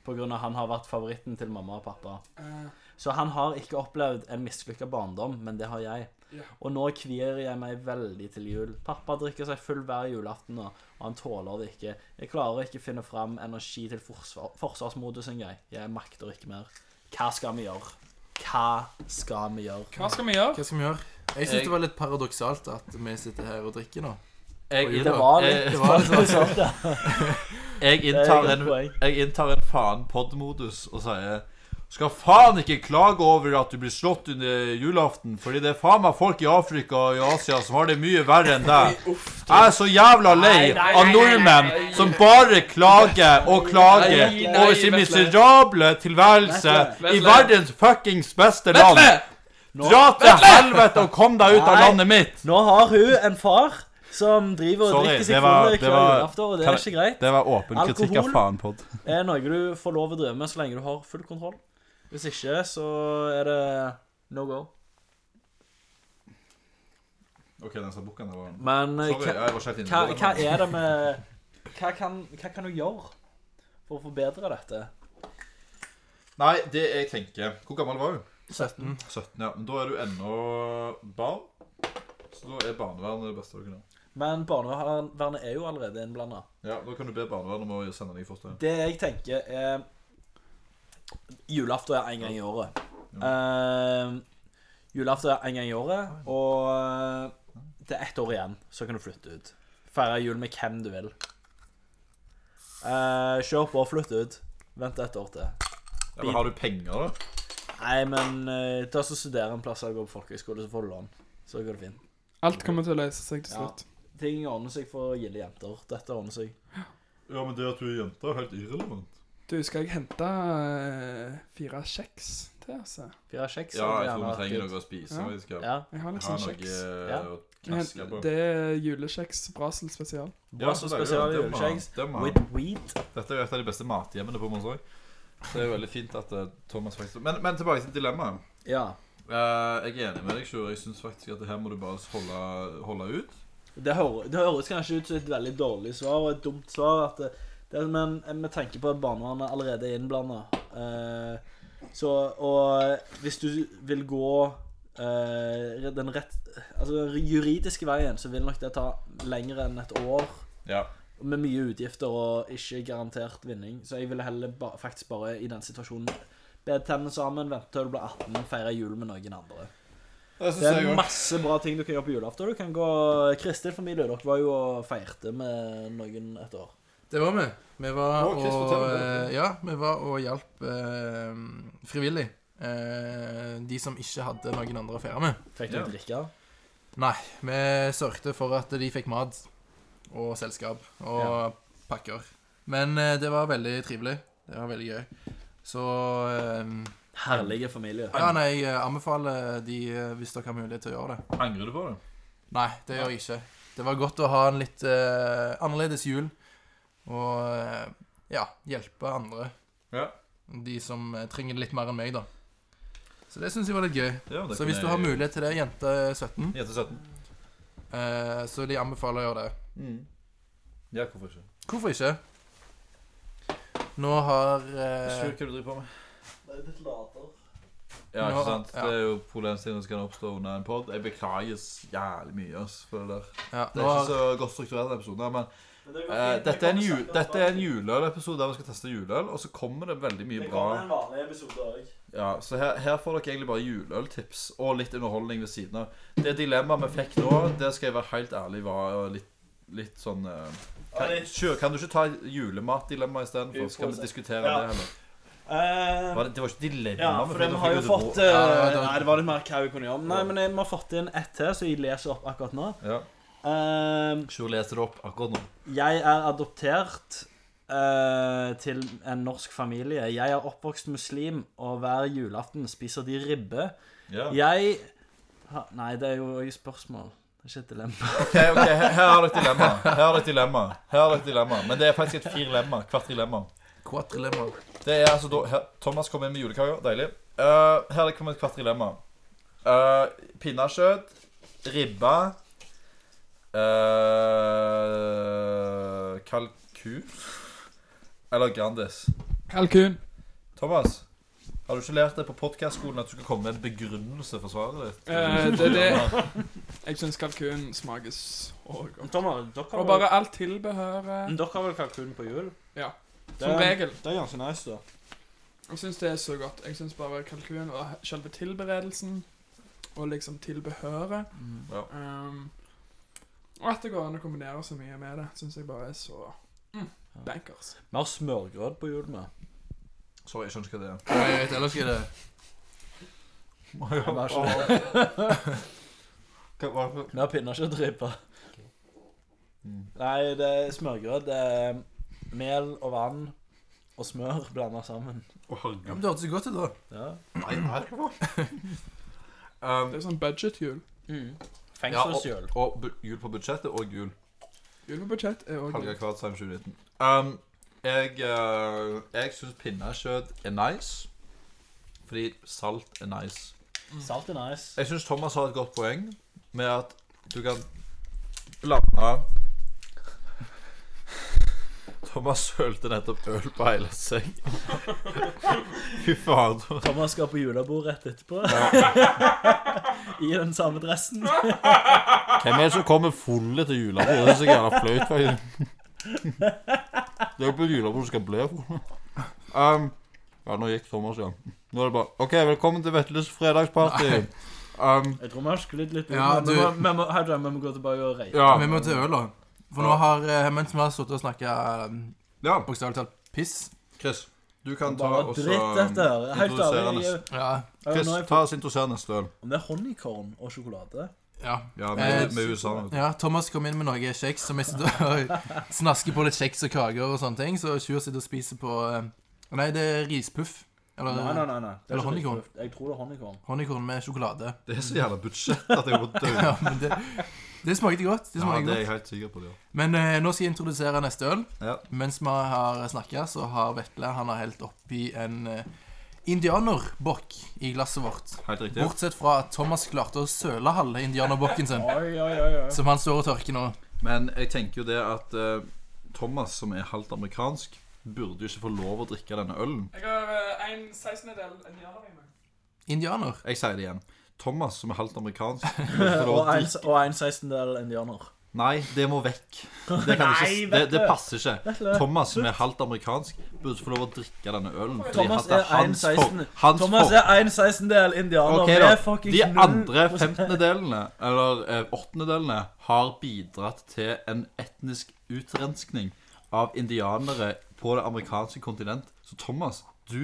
Speaker 6: pga. han har vært favoritten til mamma og pappa.
Speaker 5: Eh,
Speaker 6: Så han har ikke opplevd en mislykka barndom, men det har jeg.
Speaker 5: Ja.
Speaker 6: Og nå kvier jeg meg veldig til jul. Pappa drikker seg full hver julaften nå, og han tåler det ikke. Jeg klarer ikke finne fram energi til forsvar forsvarsmodus engang. Jeg makter ikke mer. Hva skal vi gjøre? Hva skal vi gjøre?
Speaker 5: hva skal vi gjøre?
Speaker 3: Hva skal vi gjøre? Jeg syns
Speaker 2: Jeg-
Speaker 3: det var litt paradoksalt at vi sitter her og drikker nå.
Speaker 2: Jeg,
Speaker 3: Oi,
Speaker 2: inn-
Speaker 6: Det var litt
Speaker 2: jeg,
Speaker 3: Det
Speaker 2: [laughs]
Speaker 3: var litt sånn
Speaker 6: sånn, det.
Speaker 2: jeg,
Speaker 6: Det er
Speaker 2: inntar
Speaker 6: et
Speaker 2: en,
Speaker 6: godt poeng.
Speaker 2: jeg inntar en faen pod-modus og sier skal faen ikke klage over at du blir slått under julaften, fordi det er faen meg folk i Afrika og i Asia som har det mye verre enn deg.
Speaker 6: [laughs]
Speaker 2: Jeg er så jævla lei av nordmenn som bare klager og klager
Speaker 5: Nei, nei,
Speaker 2: over sin
Speaker 5: Vetle.
Speaker 2: miserable tilværelse
Speaker 5: Vetle.
Speaker 2: i verdens fuckings beste land.
Speaker 5: Vetle!
Speaker 2: Dra til helvete og kom deg ut av
Speaker 6: Nei.
Speaker 2: landet mitt!
Speaker 6: Nå har hun en far som driver og
Speaker 2: Sorry,
Speaker 6: drikker
Speaker 2: det
Speaker 6: seg
Speaker 2: var-
Speaker 6: full
Speaker 2: det
Speaker 6: hver
Speaker 2: var-
Speaker 6: julaften, og det
Speaker 2: kan
Speaker 6: er
Speaker 2: jeg-
Speaker 6: ikke greit.
Speaker 2: Det var åpen kritikk av
Speaker 6: Alkohol.
Speaker 2: faen pod.
Speaker 6: Det er noe du får lov å drive med så lenge du har full kontroll. Hvis ikke, så er det no go.
Speaker 2: Ok, den sabukken der var
Speaker 6: Men eh,
Speaker 2: Sorry,
Speaker 6: hva,
Speaker 2: jeg var ikke helt inne
Speaker 6: hva,
Speaker 2: på det,
Speaker 6: hva
Speaker 2: men-
Speaker 6: er det med hva kan, hva kan du gjøre for å forbedre dette?
Speaker 2: Nei, det jeg tenker Hvor gammel var hun?
Speaker 3: 17.
Speaker 2: 17, ja. Men da er du ennå barn. Så da er barnevernet det beste du kan gjøre.
Speaker 6: Men barnevernet er jo allerede innblanda.
Speaker 2: Ja, Da kan du be barnevernet om å sende deg i fosterhjem.
Speaker 6: Det jeg tenker er Julaften er en gang i året. Eh, julaften er en gang i året, og det er ett år igjen, så kan du flytte ut. Feire jul med hvem du vil. Eh, kjør på, flytt ut. Vent et år til.
Speaker 2: Ja, men har du penger, da?
Speaker 6: Nei, men uh, ta så studere en plass og gå på folkehøyskole, så får du lån. Så går det fint.
Speaker 5: Alt kommer til å løse seg til
Speaker 6: Ja.
Speaker 5: slutt.
Speaker 6: Ting ordner seg for gilde jenter. Dette ordner seg.
Speaker 2: Ja, men det at du er jente, er helt irrelevant.
Speaker 5: Du, skal jeg hente eh, fire kjeks til oss?
Speaker 6: Fire kjeks.
Speaker 2: Ja,
Speaker 6: hadde gjerne
Speaker 2: jeg tror vi
Speaker 6: vært
Speaker 2: trenger
Speaker 6: good.
Speaker 2: noe å spise.
Speaker 5: Ja.
Speaker 2: og Vi skal
Speaker 6: Sånn Ja.
Speaker 5: Jeg har
Speaker 2: ha
Speaker 5: liksom
Speaker 2: noe eh,
Speaker 5: kjeks.
Speaker 6: Ja.
Speaker 2: å knaske på. sånn
Speaker 5: Det er julekjeks Brasel spesial.
Speaker 6: Bra så spesial
Speaker 2: det må han-
Speaker 6: julekjeks.
Speaker 2: det må han.
Speaker 6: With wheat.
Speaker 2: Dette er jo et av de beste mathjemmene på Monsøy. Det er jo veldig fint at eh, Thomas faktisk Men, men tilbake til dilemmaet.
Speaker 6: Ja.
Speaker 2: Eh, jeg er enig med deg, Sjur. Jeg syns faktisk at det her må du bare holde, holde ut.
Speaker 6: Det, hører, det høres kanskje ut som et veldig dårlig svar og et dumt svar. At det, det, men vi tenker på at barnevernet allerede er innblanda. så Og eh, hvis du vil gå eh, den rett Altså den juridiske veien, så vil nok det ta lengre enn et år.
Speaker 2: Ja.
Speaker 6: Med mye utgifter og ikke garantert vinning. Så jeg ville heller ba, faktisk bare i den situasjonen be tennene sammen, vente til du blir 18, feire jul med noen andre.
Speaker 2: Det
Speaker 6: Det er masse bra ting du kan gjøre på julaften. Du kan gå Kristin familie, dere var jo og feirte med noen et år.
Speaker 3: Det var vi. Vi var
Speaker 2: Å, Chris,
Speaker 3: og,
Speaker 2: fortell om det.
Speaker 3: eh, ja, vi var og hjalp eh, frivillig. Eh, de som ikke hadde noen andre å feire med.
Speaker 6: Fikk du
Speaker 2: Ja.
Speaker 6: drikke?
Speaker 3: Nei, vi sørgte for at de fikk mat og selskap og
Speaker 6: Ja.
Speaker 3: pakker. Men eh, det var veldig trivelig. Det var veldig gøy. Så eh,
Speaker 6: Herlige familie.
Speaker 3: Ja, nei, jeg eh, anbefaler de eh, hvis dere har mulighet til å gjøre det.
Speaker 2: Angrer du på det?
Speaker 3: Nei, det gjør jeg ikke. Det var godt å ha en litt eh, annerledes jul. Og eh, ja, hjelpe andre.
Speaker 2: Ja.
Speaker 3: De som eh, trenger det litt mer enn meg, da. Så det syns jeg var litt gøy.
Speaker 2: Ja, det
Speaker 3: Så
Speaker 2: kunne
Speaker 3: hvis du
Speaker 2: jeg-
Speaker 3: har mulighet til det, jente 17,
Speaker 2: Jente 17.
Speaker 3: eh, så de anbefaler å gjøre det.
Speaker 2: Mm. Ja, hvorfor ikke?
Speaker 3: Hvorfor ikke? Nå har eh,
Speaker 2: Sjur, hva du driver på med?
Speaker 6: Det er litt later.
Speaker 3: Nå-
Speaker 2: Ja, ikke sant?
Speaker 3: ja.
Speaker 2: Det er jo problemstillinger som kan oppstå under en pod. Jeg beklager så jævlig mye ass, for det der.
Speaker 3: ja,
Speaker 2: Det
Speaker 3: nå
Speaker 2: er ikke
Speaker 3: har,
Speaker 2: så godt strukturert episode, men eh, dette er en, ju dette er en juleøl-episode der vi skal teste juleøl, og så kommer det veldig mye bra.
Speaker 6: en vanlig episode òg.
Speaker 2: Ja, Så her, her får dere egentlig bare juleøltips og litt underholdning ved siden av. Det dilemmaet vi fikk nå, det skal jeg være helt ærlig var litt litt sånn eh, kan, Sjø, kan du ikke ta julematdilemma istedenfor? Skal vi diskutere
Speaker 6: Ja.
Speaker 2: det, eller?
Speaker 6: Eh,
Speaker 2: Var det, det var ikke dilemma.
Speaker 6: ja,
Speaker 2: men
Speaker 6: for vi
Speaker 2: da
Speaker 6: har
Speaker 2: fikk
Speaker 6: jo
Speaker 2: vi
Speaker 6: fått
Speaker 2: det
Speaker 6: eh,
Speaker 3: Ja, det var-
Speaker 6: Nei, det var litt mer hva vi kunne gjøre. Nei, men eh, vi har fått inn ett til, så jeg leser opp akkurat nå.
Speaker 2: rå. Ja.
Speaker 6: Eh,
Speaker 2: Sjur leser det opp akkurat nå.
Speaker 6: Jeg er adoptert eh, til en norsk familie. Jeg er oppvokst muslim, og hver julaften spiser de ribbe.
Speaker 2: Ja.
Speaker 6: Jeg ha, Nei, det er jo også et spørsmål. Det er ikke et dilemma.
Speaker 2: Ok, ok, her her har dere et dilemma. Her har dere et dilemma. Her har dere et dilemma. Men det er faktisk et firlemma. Hvert dilemma.
Speaker 3: Quadrilemma.
Speaker 2: Det er altså da her, Thomas kom inn med julekaker. Deilig. Eh, her er det kommet et kvart dilemma. Uh, Pinnekjøtt, ribba eh, Kalkun eller Grandis.
Speaker 5: Kalkun.
Speaker 2: Thomas, har du ikke lært det på podkastskolen at du skal komme med en begrunnelse for svaret ditt?
Speaker 5: Eh, det er [laughs] det. Jeg syns kalkun smaker så godt.
Speaker 6: Thomas, dere
Speaker 5: Og bare alt tilbehøret.
Speaker 6: dere har vel kalkun på jul?
Speaker 5: Mm. Ja.
Speaker 6: Det
Speaker 5: Som
Speaker 6: er,
Speaker 5: regel.
Speaker 4: Det er ganske nice, da.
Speaker 5: Jeg syns det er så godt. Jeg syns bare kalkun og selve tilberedelsen og liksom tilbehøret
Speaker 2: Ja.
Speaker 5: ehm, Og at det går an å kombinere så mye med det, syns jeg bare er så mm, bankers.
Speaker 6: vi har smørgrøt på jul med.
Speaker 2: Sorry, jeg skjønner ikke hva det er.
Speaker 3: Nei, jeg vet ellers ikke det.
Speaker 6: Vær så god.
Speaker 2: Hva var det?
Speaker 6: Vi har pinnekjøttribbe.
Speaker 2: Mm.
Speaker 6: Nei, det er smørgrøt. Det er mel og vann og smør blanda sammen.
Speaker 2: Å,
Speaker 3: Ja, men
Speaker 2: herregud.
Speaker 3: Det hørtes jo godt ut, da.
Speaker 6: Ja.
Speaker 2: Nei,
Speaker 3: [laughs]
Speaker 2: herregud. Um,
Speaker 5: Det er sånn budget-jul.
Speaker 2: ja, og,
Speaker 6: Fengselsjul.
Speaker 2: og bu- jul på budsjettet og jul.
Speaker 5: Jul på budsjett er òg
Speaker 2: Helga Kvartsheim 2019. Um, jeg uh, jeg syns pinnekjøtt er nice. Fordi salt er nice.
Speaker 5: Mm.
Speaker 6: Salt er nice.
Speaker 2: Jeg syns Thomas har et godt poeng med at du kan blande Thomas sølte nettopp øl på hele seg. [laughs] Fy faen. Thomas.
Speaker 6: Thomas skal på julebord rett etterpå. [laughs] I den samme dressen.
Speaker 2: Hvem er det som kommer fulle til julebord? Det er så jævla flaut. faktisk. Det er jo på et julebord du skal bli full. Um, ja, nå gikk Thomas igjen. Nå er det bare OK, velkommen til Vetles fredagsparty. Um,
Speaker 6: Jeg tror vi har sklidd litt ut.
Speaker 3: Ja,
Speaker 6: men vi
Speaker 3: du-
Speaker 6: må- vi må- Hadrian, vi må gå tilbake og reise.
Speaker 2: ja.
Speaker 3: Vi må til øl, da. For nå har eh, mens vi har sittet og snakka
Speaker 2: ja.
Speaker 3: bokstavelig talt piss
Speaker 2: Chris, du kan ta
Speaker 6: Bare
Speaker 2: og så
Speaker 6: dritt dette her. Helt
Speaker 2: introduserende.
Speaker 6: ærlig. jeg-
Speaker 3: Ja.
Speaker 6: jeg-
Speaker 2: Chris,
Speaker 6: nå er jeg-
Speaker 2: ta oss introdusere neste øl.
Speaker 6: Om det er honningkorn og sjokolade
Speaker 3: ja.
Speaker 2: Ja,
Speaker 3: Eh,
Speaker 2: med, med USA.
Speaker 3: Ja, Thomas kom inn med noe kjeks, som jeg sitter og [laughs] snasker på litt kjeks og kaker og sånne ting. Så Sjur sitter og spiser på eh, Nei, det er rispuff. Eller
Speaker 6: Nei, nei, nei. nei. Det er
Speaker 3: Eller
Speaker 6: ikke
Speaker 3: honningkorn.
Speaker 6: riktig. Jeg tror det er honningkorn.
Speaker 3: honningkorn med sjokolade. [laughs]
Speaker 2: Det er så jævla budsjett at jeg må
Speaker 6: [laughs]
Speaker 2: dø.
Speaker 3: Ja, men det, det smakte godt. Det
Speaker 2: Ja,
Speaker 3: smakte
Speaker 2: det er
Speaker 3: godt.
Speaker 2: jeg helt sikker på. det. ja.
Speaker 3: Men eh, nå skal jeg introdusere neste øl.
Speaker 2: Ja.
Speaker 3: Mens vi har snakka, så har Vetle han har helt oppi en eh, indianerbokk i glasset vårt.
Speaker 2: Helt riktig.
Speaker 3: Bortsett fra at Thomas klarte å søle halve indianerbokken
Speaker 2: [laughs]
Speaker 3: sin,
Speaker 6: Oi, oi, oi, oi.
Speaker 3: som han står og tørker nå.
Speaker 2: Men jeg tenker jo det at eh, Thomas, som er halvt amerikansk, burde jo ikke få lov å drikke denne ølen.
Speaker 5: Jeg har eh, en 16-del indianer i meg.
Speaker 3: Indianer.
Speaker 2: Jeg sier det igjen. Thomas, som er halvt amerikansk,
Speaker 6: [laughs]
Speaker 2: burde få
Speaker 6: Og
Speaker 2: lov å
Speaker 6: en,
Speaker 2: drikke
Speaker 6: og en 16-del indianer.
Speaker 2: Nei, det må vekk. Det, kan
Speaker 6: Nei,
Speaker 2: ikke, det,
Speaker 6: vet du.
Speaker 2: det passer ikke.
Speaker 6: Vetle.
Speaker 2: Thomas, som er halvt amerikansk, burde få lov å drikke denne ølen. fordi
Speaker 6: Thomas
Speaker 2: at det
Speaker 6: er en
Speaker 2: hans for-
Speaker 6: 16
Speaker 2: Hans
Speaker 6: Thomas
Speaker 2: for...
Speaker 6: er en 16-del indianer.
Speaker 2: Ok,
Speaker 6: vi
Speaker 2: da.
Speaker 6: er fucking
Speaker 2: De
Speaker 6: null
Speaker 2: andre
Speaker 6: prosent-
Speaker 2: femtendelene, eller eh, åttendedelene, har bidratt til en etnisk utrenskning av indianere på det amerikanske kontinent. Så Thomas, du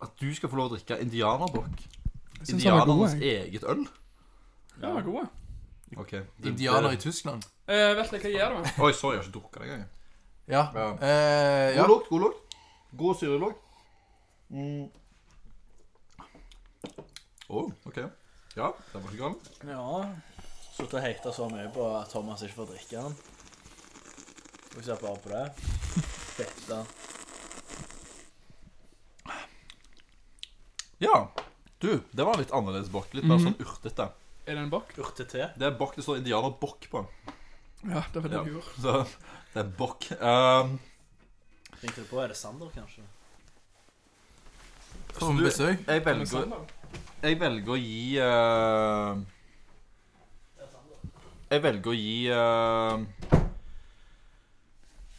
Speaker 2: At du skal få lov å drikke indianerbokk.
Speaker 5: Jeg syns han var god.
Speaker 2: Indianernes
Speaker 5: Jeg.
Speaker 2: eget øl?
Speaker 5: Ja, han var god. jeg.
Speaker 2: Ok det-
Speaker 3: Indianer
Speaker 2: det-
Speaker 3: i Tyskland.
Speaker 5: Eh, vet du hva jeg gjør da?
Speaker 2: Oi, sorry, jeg har ikke drukket det engang.
Speaker 3: Ja.
Speaker 2: Ja.
Speaker 3: Eh, ja.
Speaker 2: God lukt, god lukt. God Mm. syrelukt. Å, OK. Ja, det var ikke galt.
Speaker 6: [laughs] Ja. Sluttet å hate så mye på at Thomas ikke får drikke den. Skal vi se bare
Speaker 2: [laughs]
Speaker 6: på det. Fitte.
Speaker 2: Ja. Du, det var en litt annerledes bokk. Litt mer sånn urtete.
Speaker 5: Er det en bokk?
Speaker 6: Urtete.
Speaker 2: Det er bokk det står indianerbokk på. [laughs]
Speaker 5: Ja, det var det
Speaker 2: Ja.
Speaker 5: jeg gjorde.
Speaker 2: Så det er bokk. Ehm,
Speaker 6: Ringte det på? Er det Sander, kanskje?
Speaker 3: Får vi besøk?
Speaker 2: jeg, velger,
Speaker 5: sånn,
Speaker 2: jeg velger å gi eh, Jeg velger å gi eh,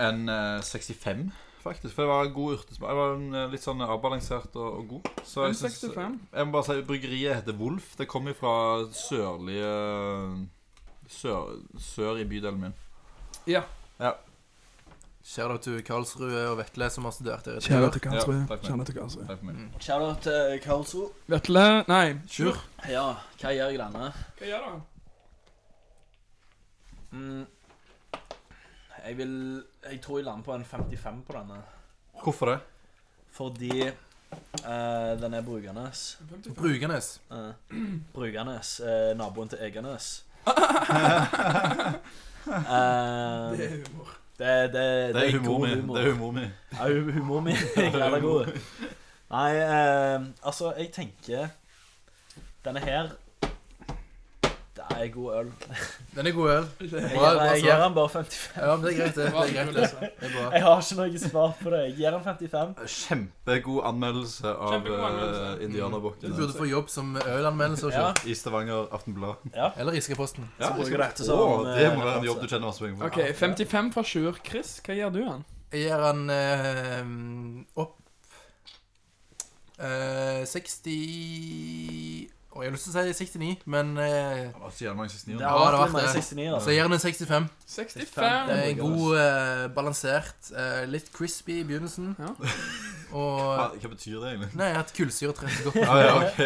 Speaker 2: en eh, 65, faktisk. For det var en god urtesmak. Det var en, eh, litt sånn avbalansert og, og god. Så
Speaker 5: En
Speaker 2: jeg, synes,
Speaker 5: 65.
Speaker 2: jeg må bare si Bryggeriet heter Wolf. Det kommer fra sørlige sør, sør i bydelen min.
Speaker 5: Ja.
Speaker 3: Shoutout til Karlsrud og Vetle, som har studert her. i tre
Speaker 7: Kjære
Speaker 3: år.
Speaker 7: til Karlsrud.
Speaker 2: Ja, takk for
Speaker 7: Kjære til Karlsrud.
Speaker 2: Takk for meg.
Speaker 6: Mm. Shoutout til Karlsro.
Speaker 5: Vetle Nei,
Speaker 3: Sjur.
Speaker 6: Ja, hva gjør jeg denne?
Speaker 5: Hva gjør han?
Speaker 6: Mm. Jeg vil Jeg tror jeg lander på en 55 på denne.
Speaker 2: Hvorfor det?
Speaker 6: Fordi eh, den er Brugernes.
Speaker 3: Brugernes.
Speaker 6: Eh, Brugernes. eh, naboen til Egernes.
Speaker 5: [laughs]
Speaker 6: Eh,
Speaker 5: Det er humor.
Speaker 6: det, det,
Speaker 2: Det er
Speaker 6: god
Speaker 2: humor min. Det er humor min.
Speaker 6: Ja, hu- humor
Speaker 2: [laughs]
Speaker 6: min er jævla god. Nei, eh, altså, jeg tenker Denne her Det er god øl.
Speaker 3: Den er god øl.
Speaker 6: Jeg
Speaker 3: Bra,
Speaker 6: gir-
Speaker 3: bra
Speaker 6: jeg gir
Speaker 3: svar.
Speaker 6: den bare 55.
Speaker 3: Ja, men det er greit, det. Det er greit, det. Det er bra.
Speaker 6: Jeg har ikke noe svar på det. Jeg gir den 55.
Speaker 2: Kjempegod anmeldelse av
Speaker 5: Kjempegod anmeldelse.
Speaker 2: eh,
Speaker 3: Du
Speaker 2: Indianerbukken.
Speaker 3: burde få jobb som ølanmeldelser.
Speaker 6: Ja.
Speaker 3: Sjur.
Speaker 2: I Stavanger Aftenblad.
Speaker 3: Eller Iskeposten.
Speaker 2: Ja,
Speaker 6: Mm. bruker
Speaker 2: ikke-
Speaker 6: du dette som,
Speaker 2: Åh,
Speaker 6: eh,
Speaker 2: det må være en
Speaker 6: referanse.
Speaker 2: jobb du tjener masse penger på.
Speaker 5: OK, 55 fra Sjur. Chris, hva gjør du han?
Speaker 3: Jeg gir han eh, opp eh, 60 Å, jeg har lyst til å si 69, men eh,
Speaker 2: Det var så jævlig mange 69
Speaker 6: Det
Speaker 2: år.
Speaker 6: har
Speaker 3: Ja, det
Speaker 6: vært
Speaker 3: var
Speaker 6: mange
Speaker 3: det.
Speaker 6: 69, altså.
Speaker 3: Så jeg gir han en 65.
Speaker 5: 65.
Speaker 3: Det er en god, eh, balansert, eh, litt crispy i begynnelsen.
Speaker 5: Ja.
Speaker 2: Hva,
Speaker 3: [laughs] Og
Speaker 2: hva betyr det
Speaker 6: [laughs]
Speaker 2: egentlig? Ah,
Speaker 3: Nei, at kullsyre treffer godt,
Speaker 2: Ja, ja, ok, ok.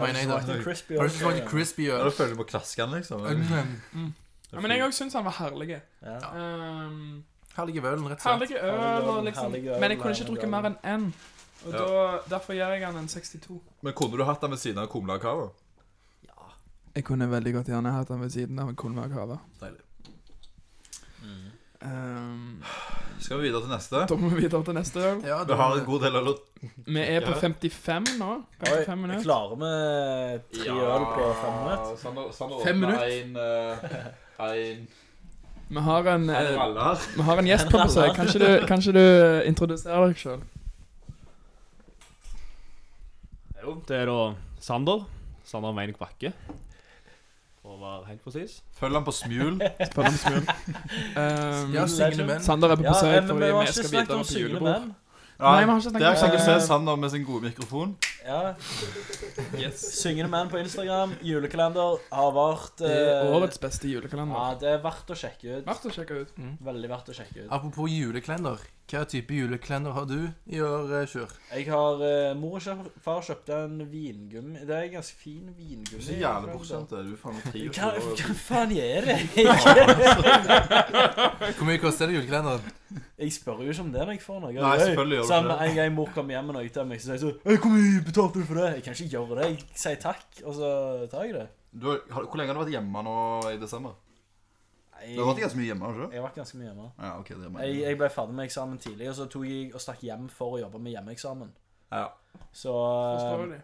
Speaker 3: mener jeg da.
Speaker 6: Smakte crispy
Speaker 3: Har du
Speaker 6: også.
Speaker 3: ikke smakt crispy
Speaker 2: Ja,
Speaker 3: øl?
Speaker 2: da føler du på klasken, liksom.
Speaker 3: Mm.
Speaker 5: Ja, men jeg òg syns han var herlig.
Speaker 6: Ja.
Speaker 5: Um,
Speaker 3: Herlig ølen, rett og slett.
Speaker 5: herlig øl og liksom
Speaker 6: herlig øl,
Speaker 5: Men jeg kunne
Speaker 6: herlig
Speaker 5: ikke drukke
Speaker 6: øl.
Speaker 5: mer enn én. Og
Speaker 2: Ja.
Speaker 5: da, derfor gir jeg han en 62.
Speaker 2: Men kunne du hatt den ved siden av kumla og kava?
Speaker 7: Jeg kunne veldig godt gjerne hatt den ved siden av en konvakave.
Speaker 2: Deilig.
Speaker 5: Um,
Speaker 2: Skal vi videre til neste?
Speaker 5: da må vi videre til neste øl.
Speaker 3: Ja, eh,
Speaker 2: Vi har en god del øl. å-
Speaker 5: Vi er på
Speaker 2: Ja.
Speaker 5: 55 nå. 55
Speaker 6: Mm. Oi,
Speaker 5: minutter.
Speaker 6: klarer vi tre øl på fem minutter?
Speaker 2: Sander, Sander
Speaker 3: Fem
Speaker 2: åpner
Speaker 3: minutter?
Speaker 2: En, eh,
Speaker 6: [laughs]
Speaker 2: en,
Speaker 5: Vi har en,
Speaker 2: en
Speaker 5: eh,
Speaker 2: ralle her.
Speaker 5: vi har en gjest på besøk. Kanskje du, kanskje du eh, introduserer deg sjøl?
Speaker 8: Jo, det er da Sander. Sander Meinik Bakke. For å være helt presis.
Speaker 2: Følg den på smul.
Speaker 5: Um,
Speaker 3: Ja, syngende menn.
Speaker 5: Sander er på
Speaker 6: Ja, eh,
Speaker 5: besøk,
Speaker 6: men
Speaker 5: for
Speaker 6: vi har
Speaker 5: vi
Speaker 6: ikke
Speaker 5: skal
Speaker 6: snakket om
Speaker 5: videre på
Speaker 6: syngende
Speaker 5: julebord.
Speaker 6: menn.
Speaker 5: Nei, vi har ikke
Speaker 2: Der kan
Speaker 5: snakket
Speaker 2: du
Speaker 5: om
Speaker 2: se Sander med sin gode mikrofon.
Speaker 6: Ja.
Speaker 5: Yes.
Speaker 6: Syngende menn på Instagram. Julekalender har vært
Speaker 5: Det er
Speaker 6: eh,
Speaker 5: årets beste
Speaker 6: Ja,
Speaker 5: julekalender.
Speaker 6: det er verdt å sjekke ut.
Speaker 5: Verdt å sjekke ut.
Speaker 6: Veldig verdt å sjekke ut.
Speaker 3: Apropos juleklender. Hva type juleklender har du i år, eh, Sjur?
Speaker 6: Jeg har eh, Mor og kjø- far kjøpte en vingummi. Det er en ganske fin vingummi.
Speaker 2: Så jævlig bortskjemt er du. Faen, tre
Speaker 6: Hva,
Speaker 2: år.
Speaker 6: hva faen gjør jeg?
Speaker 3: Hvor mye koster det julekalenderen?
Speaker 6: Jeg spør jo ikke om det når jeg får noe.
Speaker 2: Nei, selvfølgelig gjør du
Speaker 6: så
Speaker 2: ikke det.
Speaker 6: en gang mor kom hjem med noe til meg, så sa jeg så «Øy, Hvor mye betalte du for det? Jeg kan ikke gjøre det. Jeg sier takk, og så tar jeg det.
Speaker 2: Du har, har, hvor lenge har du vært hjemme nå i desember?
Speaker 6: Jeg,
Speaker 2: Du har vært ganske mye hjemme, har du ikke?
Speaker 6: jeg har vært ganske mye hjemme.
Speaker 2: Ja, ok, det er meg.
Speaker 6: Jeg, jeg ble ferdig med eksamen tidlig, og så tok jeg og stakk hjem for å jobbe med hjemmeeksamen.
Speaker 2: Ja.
Speaker 6: Så
Speaker 5: Forstår du
Speaker 6: eh,
Speaker 5: det?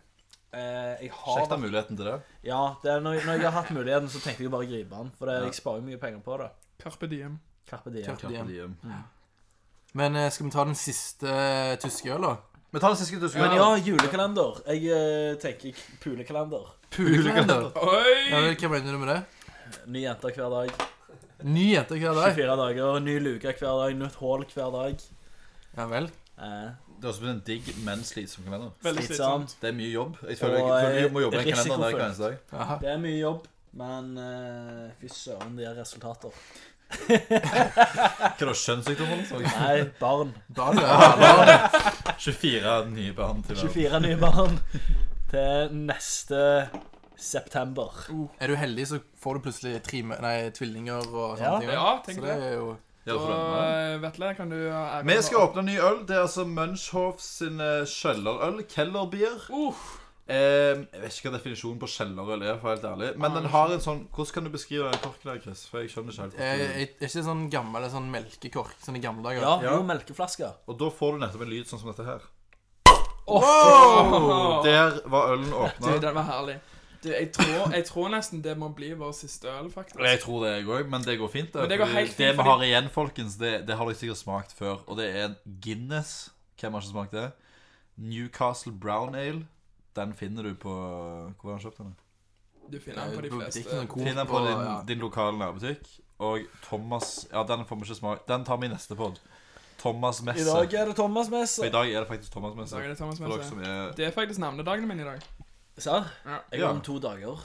Speaker 6: jeg har
Speaker 2: Sjekk da muligheten til det.
Speaker 6: Ja, det er når, når jeg har hatt muligheten, så tenkte jeg bare å gripe den. For det, jeg sparer mye penger på det.
Speaker 5: Carpe diem.
Speaker 6: Carpe diem.
Speaker 3: Carpe diem.
Speaker 2: Diem.
Speaker 3: Men eh, skal vi ta den siste eh, tyske øla?
Speaker 2: Men ta den siste du
Speaker 6: Men
Speaker 2: skulle
Speaker 6: ja, julekalender. Jeg eh, tenker k- pulekalender.
Speaker 3: Pulekalender. Ja,
Speaker 5: Oi!
Speaker 3: vel, hva mener du med det?
Speaker 6: Ny jente hver dag.
Speaker 3: Ny jente hver
Speaker 2: [laughs]
Speaker 3: dag?
Speaker 6: 24 dager. Ny luke hver dag. Nytt hull hver dag.
Speaker 3: Ja vel.
Speaker 6: Eh,
Speaker 2: Det er også blitt en digg, men slitsom kalender.
Speaker 5: Veldig
Speaker 6: slitsom.
Speaker 5: slitsomt.
Speaker 2: Det er mye jobb. Jeg føler jeg,
Speaker 6: Og,
Speaker 2: føler jeg må jobbe
Speaker 6: eh,
Speaker 2: med en kalender der hver
Speaker 6: risikofullt.
Speaker 2: eneste dag.
Speaker 3: Aha.
Speaker 6: Det er mye jobb, men eh, fy søren, det er resultater.
Speaker 2: Hva er det, kjønnssykdommer? liksom?
Speaker 6: Nei, [laughs] barn.
Speaker 3: Da er
Speaker 2: [laughs]
Speaker 3: det ja,
Speaker 2: 24 nye barn til verden.
Speaker 6: 24 nye barn til neste september.
Speaker 3: Er du heldig, så får du plutselig tre me- nei, tvillinger og
Speaker 6: Ja.
Speaker 3: sånne ting.
Speaker 5: Ja,
Speaker 3: Så
Speaker 5: tenk
Speaker 3: det
Speaker 5: det.
Speaker 3: er jo
Speaker 2: Ja,
Speaker 5: Og
Speaker 2: for den, ja.
Speaker 5: eh, Vetle, kan du ha æren
Speaker 2: Vi
Speaker 5: av-
Speaker 2: skal åpne en ny øl. Det er altså Munchhoff sin eh, kjellerøl. Kellerbier.
Speaker 5: Uh,
Speaker 2: Eh, jeg vet ikke hva definisjonen på kjellerøl er, for å være helt ærlig. Men
Speaker 5: Ah.
Speaker 2: den har en sånn Hvordan kan du beskrive den korken der, Chris? For jeg skjønner ikke helt.
Speaker 5: Eh,
Speaker 3: Er,
Speaker 2: hvordan du-
Speaker 3: er ikke sånn gammel sånn melkekork sånn i gamle dager?
Speaker 6: Ja,
Speaker 2: Ja.
Speaker 6: jo melkeflasker.
Speaker 2: Og da får du nettopp en lyd sånn som dette her.
Speaker 5: Wow!
Speaker 2: Der var ølen
Speaker 5: du,
Speaker 2: åpna.
Speaker 5: den var herlig. Du, jeg tror, jeg tror nesten det må bli vår siste øl, faktisk.
Speaker 2: Jeg tror det, jeg òg, men det går fint.
Speaker 5: Men det går
Speaker 2: fordi
Speaker 5: helt fint,
Speaker 2: det vi
Speaker 5: fordi-
Speaker 2: har igjen, folkens, det, det har dere sikkert smakt før, og det er en Guinness. Hvem har ikke smakt det? Newcastle Brown Ale. Den finner du på Hvor har han kjøpt den?
Speaker 5: Du finner den på de fleste.
Speaker 2: Finn den på din, din lokale nærbutikk. Og Thomas Ja, den får vi ikke smake Den tar vi i neste pod. Thomas
Speaker 6: I
Speaker 2: Messe.
Speaker 6: dag er det Thomas
Speaker 2: For I
Speaker 6: Messe.
Speaker 2: dag er det faktisk Thomas Messe.
Speaker 5: Dagen er Thomas
Speaker 2: For dere
Speaker 5: Messe.
Speaker 2: som er
Speaker 5: Det er faktisk navnedagen min i dag.
Speaker 6: Serr?
Speaker 5: Ja.
Speaker 6: Jeg
Speaker 2: Ja.
Speaker 6: har om to dager.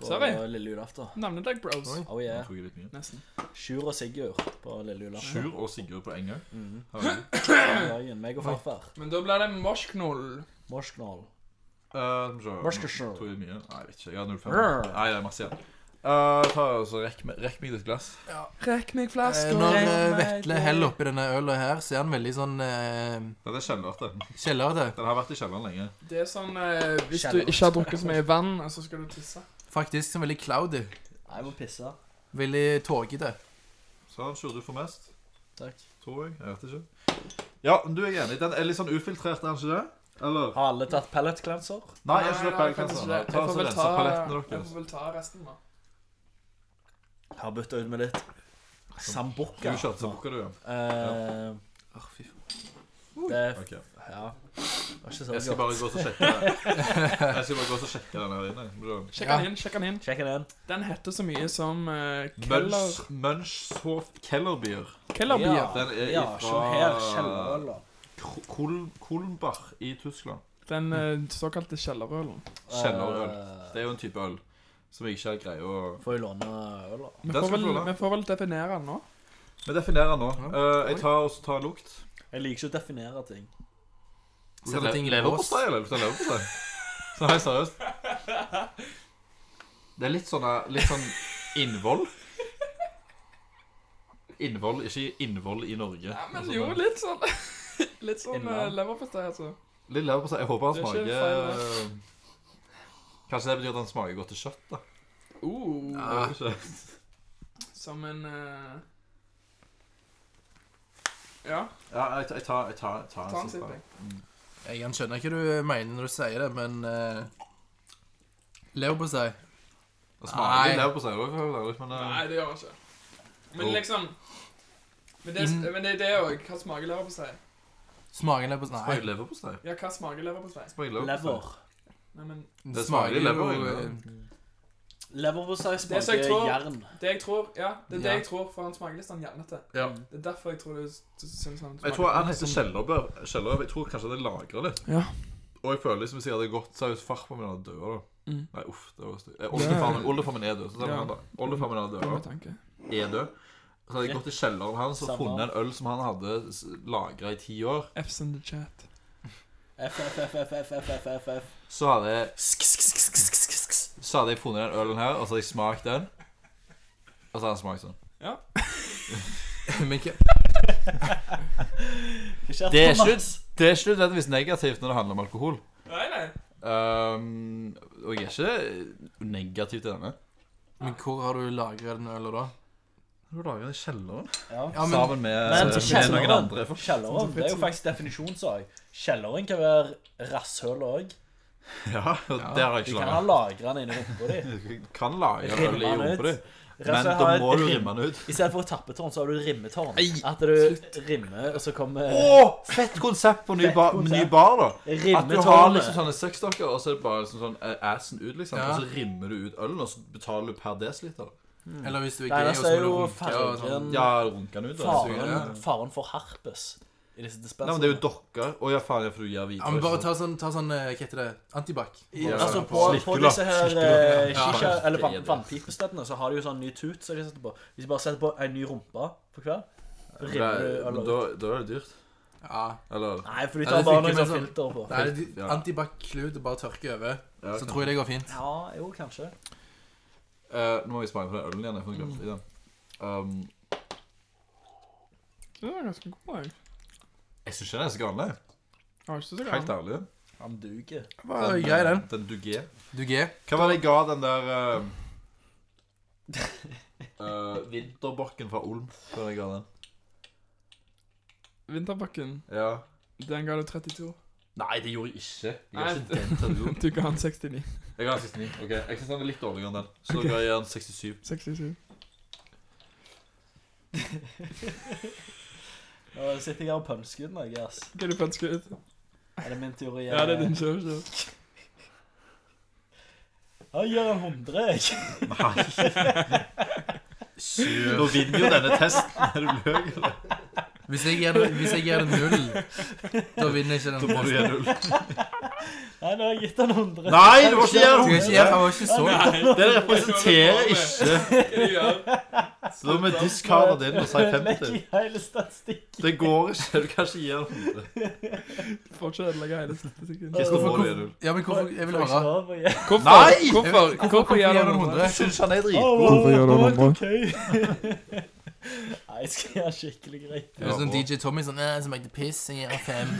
Speaker 6: på
Speaker 5: Sorry.
Speaker 6: lille julaften.
Speaker 5: Navnedag Bros.
Speaker 3: Oi.
Speaker 6: Oh
Speaker 2: Nå
Speaker 6: yeah.
Speaker 2: tok jeg litt mye.
Speaker 7: Nesten.
Speaker 6: Sjur og Sigurd på lille julaften.
Speaker 2: Sjur og Sigurd på en gang.
Speaker 6: Mhm.
Speaker 2: Har vi.
Speaker 6: Den dagen, Meg og farfar.
Speaker 5: Men da blir det Moshknoll.
Speaker 6: Morsknål.
Speaker 2: Eh, skal vi se.
Speaker 6: Worcestershire.
Speaker 2: Tok jeg mye? Nei, jeg vet ikke. Jeg har 05.
Speaker 6: Brr.
Speaker 2: Nei, det er masse igjen. Eh, ta, altså, rekk, meg- rekk meg ditt glass.
Speaker 7: Rekk meg
Speaker 3: Eh,
Speaker 7: flaska.
Speaker 3: Når
Speaker 7: rekk
Speaker 3: eh,
Speaker 7: meg
Speaker 3: Vetle
Speaker 7: glass.
Speaker 3: heller oppi denne øla her, så er han veldig sånn eh,
Speaker 2: Dette er kjellerete.
Speaker 3: kjellerete.
Speaker 2: Den har vært i kjelleren lenge.
Speaker 5: Det er sånn eh, Hvis
Speaker 6: Kjære.
Speaker 5: du ikke har drukket så mye vann, og så skal du tisse.
Speaker 3: Faktisk sånn veldig cloudy.
Speaker 6: Nei, Jeg må pisse.
Speaker 3: Veldig tåkete.
Speaker 2: Sånn, Sjur, du får mest.
Speaker 6: Takk.
Speaker 2: Tror jeg. Jeg vet ikke. Ja, men du er enig. Den er litt sånn ufiltrert, er den ikke det? Eller?
Speaker 6: Har alle tatt pelletglanser?
Speaker 2: Nei, jeg er ikke sånn. det
Speaker 5: Nei, nei,
Speaker 2: peiling.
Speaker 5: faktisk
Speaker 2: Ta
Speaker 5: ikke det.
Speaker 2: og
Speaker 5: Jeg får vel
Speaker 2: rense palettene
Speaker 5: Jeg
Speaker 2: deres.
Speaker 5: får vel ta resten, da.
Speaker 6: Har bytta ut med litt
Speaker 2: Du
Speaker 6: sambukka.
Speaker 2: kjørte sambuca, du, ja.
Speaker 6: Eh,
Speaker 3: Åh, fy faen.
Speaker 6: det er
Speaker 2: Ok.
Speaker 6: Ja. Det var ikke så
Speaker 2: Jeg skal
Speaker 6: godt.
Speaker 2: bare gå og så sjekke Jeg skal bare gå og så sjekke den her inne. Bra.
Speaker 5: Sjekk
Speaker 3: Ja.
Speaker 5: den inn. sjekk Den inn
Speaker 6: Sjekk den.
Speaker 5: Den heter så mye som eh, Keller...
Speaker 2: Munch, Munchhof Kellerbier.
Speaker 5: Kellerbier.
Speaker 6: Ja.
Speaker 2: Den er
Speaker 6: Ja, se her.
Speaker 2: ifra
Speaker 6: Kjellerøla.
Speaker 2: Kol- Kol- Kolmbach i Tyskland.
Speaker 5: Den eh, såkalte kjellerølen.
Speaker 2: Kjellerøl.
Speaker 6: Eh,
Speaker 2: Det er jo en type øl som jeg ikke greier å
Speaker 6: Får jeg låne øl, da?
Speaker 5: Vi
Speaker 2: Den
Speaker 5: får,
Speaker 2: skal
Speaker 5: vel,
Speaker 2: vi få, da.
Speaker 5: vi får vel definere den nå.
Speaker 2: Vi definerer den nå. Eh, jeg
Speaker 3: Oi.
Speaker 2: tar også tar lukt.
Speaker 6: Jeg liker ikke å definere ting.
Speaker 3: Sette ting i bås.
Speaker 2: Leverpostei, eller? Lukter leverpostei. Så helt seriøst. Det er litt sånn eh, Litt sånn innvoll. Innvoll, ikke innvoll i Norge.
Speaker 5: Ja, men
Speaker 2: Altså,
Speaker 5: jo,
Speaker 2: men-
Speaker 5: litt sånn Litt sånn uh,
Speaker 6: Innland.
Speaker 5: leverpostei, altså.
Speaker 2: Litt leverpostei. Jeg håper han
Speaker 5: Det er ikke
Speaker 2: smaker eh, Kanskje det betyr at han smaker godt til kjøtt, da.
Speaker 5: Uh,
Speaker 2: Jeg vet ikke.
Speaker 5: Som en eh, Ja,
Speaker 2: Ja, jeg, jeg tar, jeg tar, jeg tar
Speaker 5: ta en
Speaker 2: siste.
Speaker 5: sipp, jeg.
Speaker 3: Jeg kan skjønne hva du mener når du sier det, men uh, Leverpostei.
Speaker 2: Det smaker
Speaker 3: Nei.
Speaker 2: litt leverpostei òg, men eh,
Speaker 5: Nei, det gjør jeg ikke. Men
Speaker 2: Jo.
Speaker 5: liksom Men det,
Speaker 3: Inn-
Speaker 5: men det er det òg. Hva smaker leverpostei?
Speaker 3: Smaker leverpostei?
Speaker 2: smaker leverpostei.
Speaker 5: Ja, hva smaker leverpostei?
Speaker 2: Smaker leverpostei.
Speaker 6: Lever.
Speaker 5: Nei, men
Speaker 3: Nei,
Speaker 2: Det smaker lever,
Speaker 3: eh,
Speaker 6: Leverpostei
Speaker 5: Det som jeg
Speaker 6: smaker
Speaker 5: tror-
Speaker 6: jern.
Speaker 5: det jeg tror Ja, det er det
Speaker 3: Ja.
Speaker 5: jeg tror, for han smaker litt sånn jernete.
Speaker 3: Ja.
Speaker 5: Det er derfor jeg tror du s- du syns han
Speaker 2: Jeg
Speaker 5: smaker
Speaker 2: tror han
Speaker 5: litt
Speaker 2: heter
Speaker 5: sånn-
Speaker 2: Kjellerbø. Kjellerbø. Jeg tror kanskje det lagrer litt.
Speaker 5: Ja.
Speaker 2: Og jeg føler liksom hvis jeg hadde gått seriøst farfar min hadde dødd, da.
Speaker 5: Mm.
Speaker 2: Nei, uff, det var stygt. Eh, Oldefaren min- oldefaren min er død. Så tar vi
Speaker 5: Ja.
Speaker 2: han da. Oldefaren min hadde
Speaker 5: Dumme
Speaker 2: dødd,
Speaker 5: tanke.
Speaker 2: da. er død. Så hadde jeg gått i kjelleren hans og
Speaker 6: Samme.
Speaker 2: funnet en øl som han hadde lagra i ti år.
Speaker 5: F's in the chat.
Speaker 6: F, F, F, F, F, F, F, F, F.
Speaker 2: Så hadde jeg Så hadde jeg funnet den ølen her, og så hadde jeg smakt den. Og så hadde han smakt sånn.
Speaker 3: [laughs] Men hva
Speaker 6: Hva skjer,
Speaker 2: Det er ikke,
Speaker 6: Thomas?
Speaker 2: det er ikke nødvendigvis negativt når det handler om alkohol.
Speaker 5: Nei, nei.
Speaker 2: Ehm, og jeg er ikke negativ til denne.
Speaker 3: Men hvor har du lagret den ølen da?
Speaker 2: Du lager den i kjelleren
Speaker 6: Ja.
Speaker 3: Ja, men
Speaker 2: sammen med,
Speaker 6: Men
Speaker 2: med
Speaker 6: kjelleren-
Speaker 2: noen andre.
Speaker 6: Kjelleren det er jo faktisk definisjonssak. Kjelleren kan være rasshøl òg.
Speaker 2: Ja, og det har jeg
Speaker 6: Du
Speaker 2: ikke
Speaker 6: kan ha
Speaker 2: laga.
Speaker 6: lagra den inni rumpa
Speaker 2: [laughs]
Speaker 6: di.
Speaker 2: Du kan lage
Speaker 6: Rimme
Speaker 2: øl i
Speaker 6: den ut.
Speaker 2: rumpa di,
Speaker 6: Rett og
Speaker 2: men
Speaker 6: slett
Speaker 2: da
Speaker 6: ha
Speaker 2: må
Speaker 6: et
Speaker 2: du
Speaker 6: rim-
Speaker 2: rimme den ut.
Speaker 6: I stedet for tappetårn, så har du rimmetårn.
Speaker 3: Ei,
Speaker 6: At du rimmer, og så kommer
Speaker 2: Å, fett konsept på ny,
Speaker 6: Fett
Speaker 2: bar,
Speaker 6: konsept.
Speaker 2: ny bar, da. At du har
Speaker 6: rimmetårnet.
Speaker 2: liksom sånne sexdokker, og så er det bare liksom sånn eh, assen ut, liksom.
Speaker 3: Ja.
Speaker 2: Og så rimmer du ut ølen, og så betaler du per desiliter.
Speaker 3: Eller hvis du er
Speaker 6: Nei,
Speaker 3: gay, og
Speaker 6: det
Speaker 3: så
Speaker 6: er
Speaker 3: må du
Speaker 6: jo
Speaker 3: runke og sånn.
Speaker 6: fargen
Speaker 2: Ja, runker den ut, da.
Speaker 3: Faen.
Speaker 6: Faren, faren for herpes i disse
Speaker 2: Nei, men det
Speaker 6: dispensene.
Speaker 2: er jo dokker. Å ja, faen, ja, for du gir
Speaker 3: Ja, men
Speaker 2: videre.
Speaker 3: bare
Speaker 2: ikke sant?
Speaker 3: ta sånn, ta sånn eh, hva heter det, antibac. sånn
Speaker 2: Ja.
Speaker 6: Altså, på, på
Speaker 2: Slikkelapp.
Speaker 6: disse her eh,
Speaker 3: Ja,
Speaker 6: shisha,
Speaker 2: det
Speaker 6: eller
Speaker 2: er
Speaker 6: vann,
Speaker 2: det.
Speaker 6: vannpipestedene, så har de jo sånn ny tut som de setter på. Hvis de bare setter på en ny rumpe på hver, så rimmer du
Speaker 2: Men
Speaker 6: øl
Speaker 2: da,
Speaker 6: ut.
Speaker 2: da er det dyrt.
Speaker 3: Ja.
Speaker 2: Eller
Speaker 6: Nei, for de
Speaker 3: Ja,
Speaker 6: tar
Speaker 3: det
Speaker 6: bare noen
Speaker 3: fikk jo med
Speaker 6: sånn
Speaker 3: sånn-
Speaker 6: filter på.
Speaker 3: Nei, det-
Speaker 2: Ja.
Speaker 3: antibac-klut og bare tørke over,
Speaker 2: ja,
Speaker 3: så
Speaker 2: kan-
Speaker 3: tror jeg det går fint.
Speaker 6: Ja, jo, kanskje.
Speaker 2: Eh, Nå må vi smake på den ølen igjen. Jeg får glemt i den. Um,
Speaker 5: Den er ganske god, jeg.
Speaker 2: jeg syns ikke den er så gal, nei.
Speaker 5: Jeg har ikke så
Speaker 2: Helt ærlig.
Speaker 6: Han duger.
Speaker 3: Bare grei den.
Speaker 2: Den duger.
Speaker 3: Du G.
Speaker 2: Hva var det jeg ga den der [laughs] eh, eh, Vinterbokken fra Olm før jeg ga den?
Speaker 5: Vinterbakken,
Speaker 2: Ja.
Speaker 5: den ga du 32.
Speaker 2: Nei, det gjorde jeg ikke. Jeg
Speaker 5: Nei.
Speaker 2: ga ikke den til Olm.
Speaker 5: Du ga han 69.
Speaker 2: Jeg ga den 69. ok Jeg syns den er litt dårligere enn den. Så da ga jeg den 67.
Speaker 5: 67.
Speaker 6: Nå sitter jeg her og pønsker ut noe, ass.
Speaker 5: Hva er det pønsker ut?
Speaker 6: Er det min tur å
Speaker 5: Ja, det er din
Speaker 6: gjøre
Speaker 5: kjøp, kjøp.
Speaker 6: Jeg gjør en hundre, jeg.
Speaker 2: [laughs] Nå vinner jo denne testen. Er du løk, eller?
Speaker 3: Hvis jeg gir det, hvis jeg gir det null, da vinner ikke den.
Speaker 2: Da må du gi
Speaker 3: posten.
Speaker 2: null.
Speaker 6: Nei, nå har jeg gitt han 100.
Speaker 2: Nei, du må ikke gjøre
Speaker 3: Skal jeg ikke gjøre det? Jeg var ikke så
Speaker 2: det! Det representerer ikke
Speaker 5: Hva er det du gjør?
Speaker 2: Så da må vi discarde din og si 50.
Speaker 6: Legg i hele statistikken.
Speaker 2: Det går ikke. Du kan ikke gi den 100.
Speaker 5: Du får ikke ødelegge hele statistikken.
Speaker 2: Christer
Speaker 3: Hvorfor-
Speaker 2: må du gi null.
Speaker 3: Ja, men hvorfor Jeg vil
Speaker 6: Får ikke
Speaker 3: høre.
Speaker 6: lov å gi-
Speaker 5: Hvorfor?
Speaker 2: Nei!
Speaker 3: Hvorfor-
Speaker 5: Hvorfor, hvorfor gjør
Speaker 3: hvorfor
Speaker 5: han
Speaker 3: gjør han
Speaker 5: noe?
Speaker 2: Jeg syns han er
Speaker 6: Åh,
Speaker 2: dritgod.
Speaker 6: åh,
Speaker 7: Hvorfor gjør du
Speaker 6: åh,
Speaker 7: det, Mike?
Speaker 6: ok. [laughs] Nei, jeg skal gjøre skikkelig greit.
Speaker 3: Det er sånn
Speaker 2: Ja,
Speaker 3: DJ Tommy sånn «Eh, Som ekte piss. Jeg gir han fem.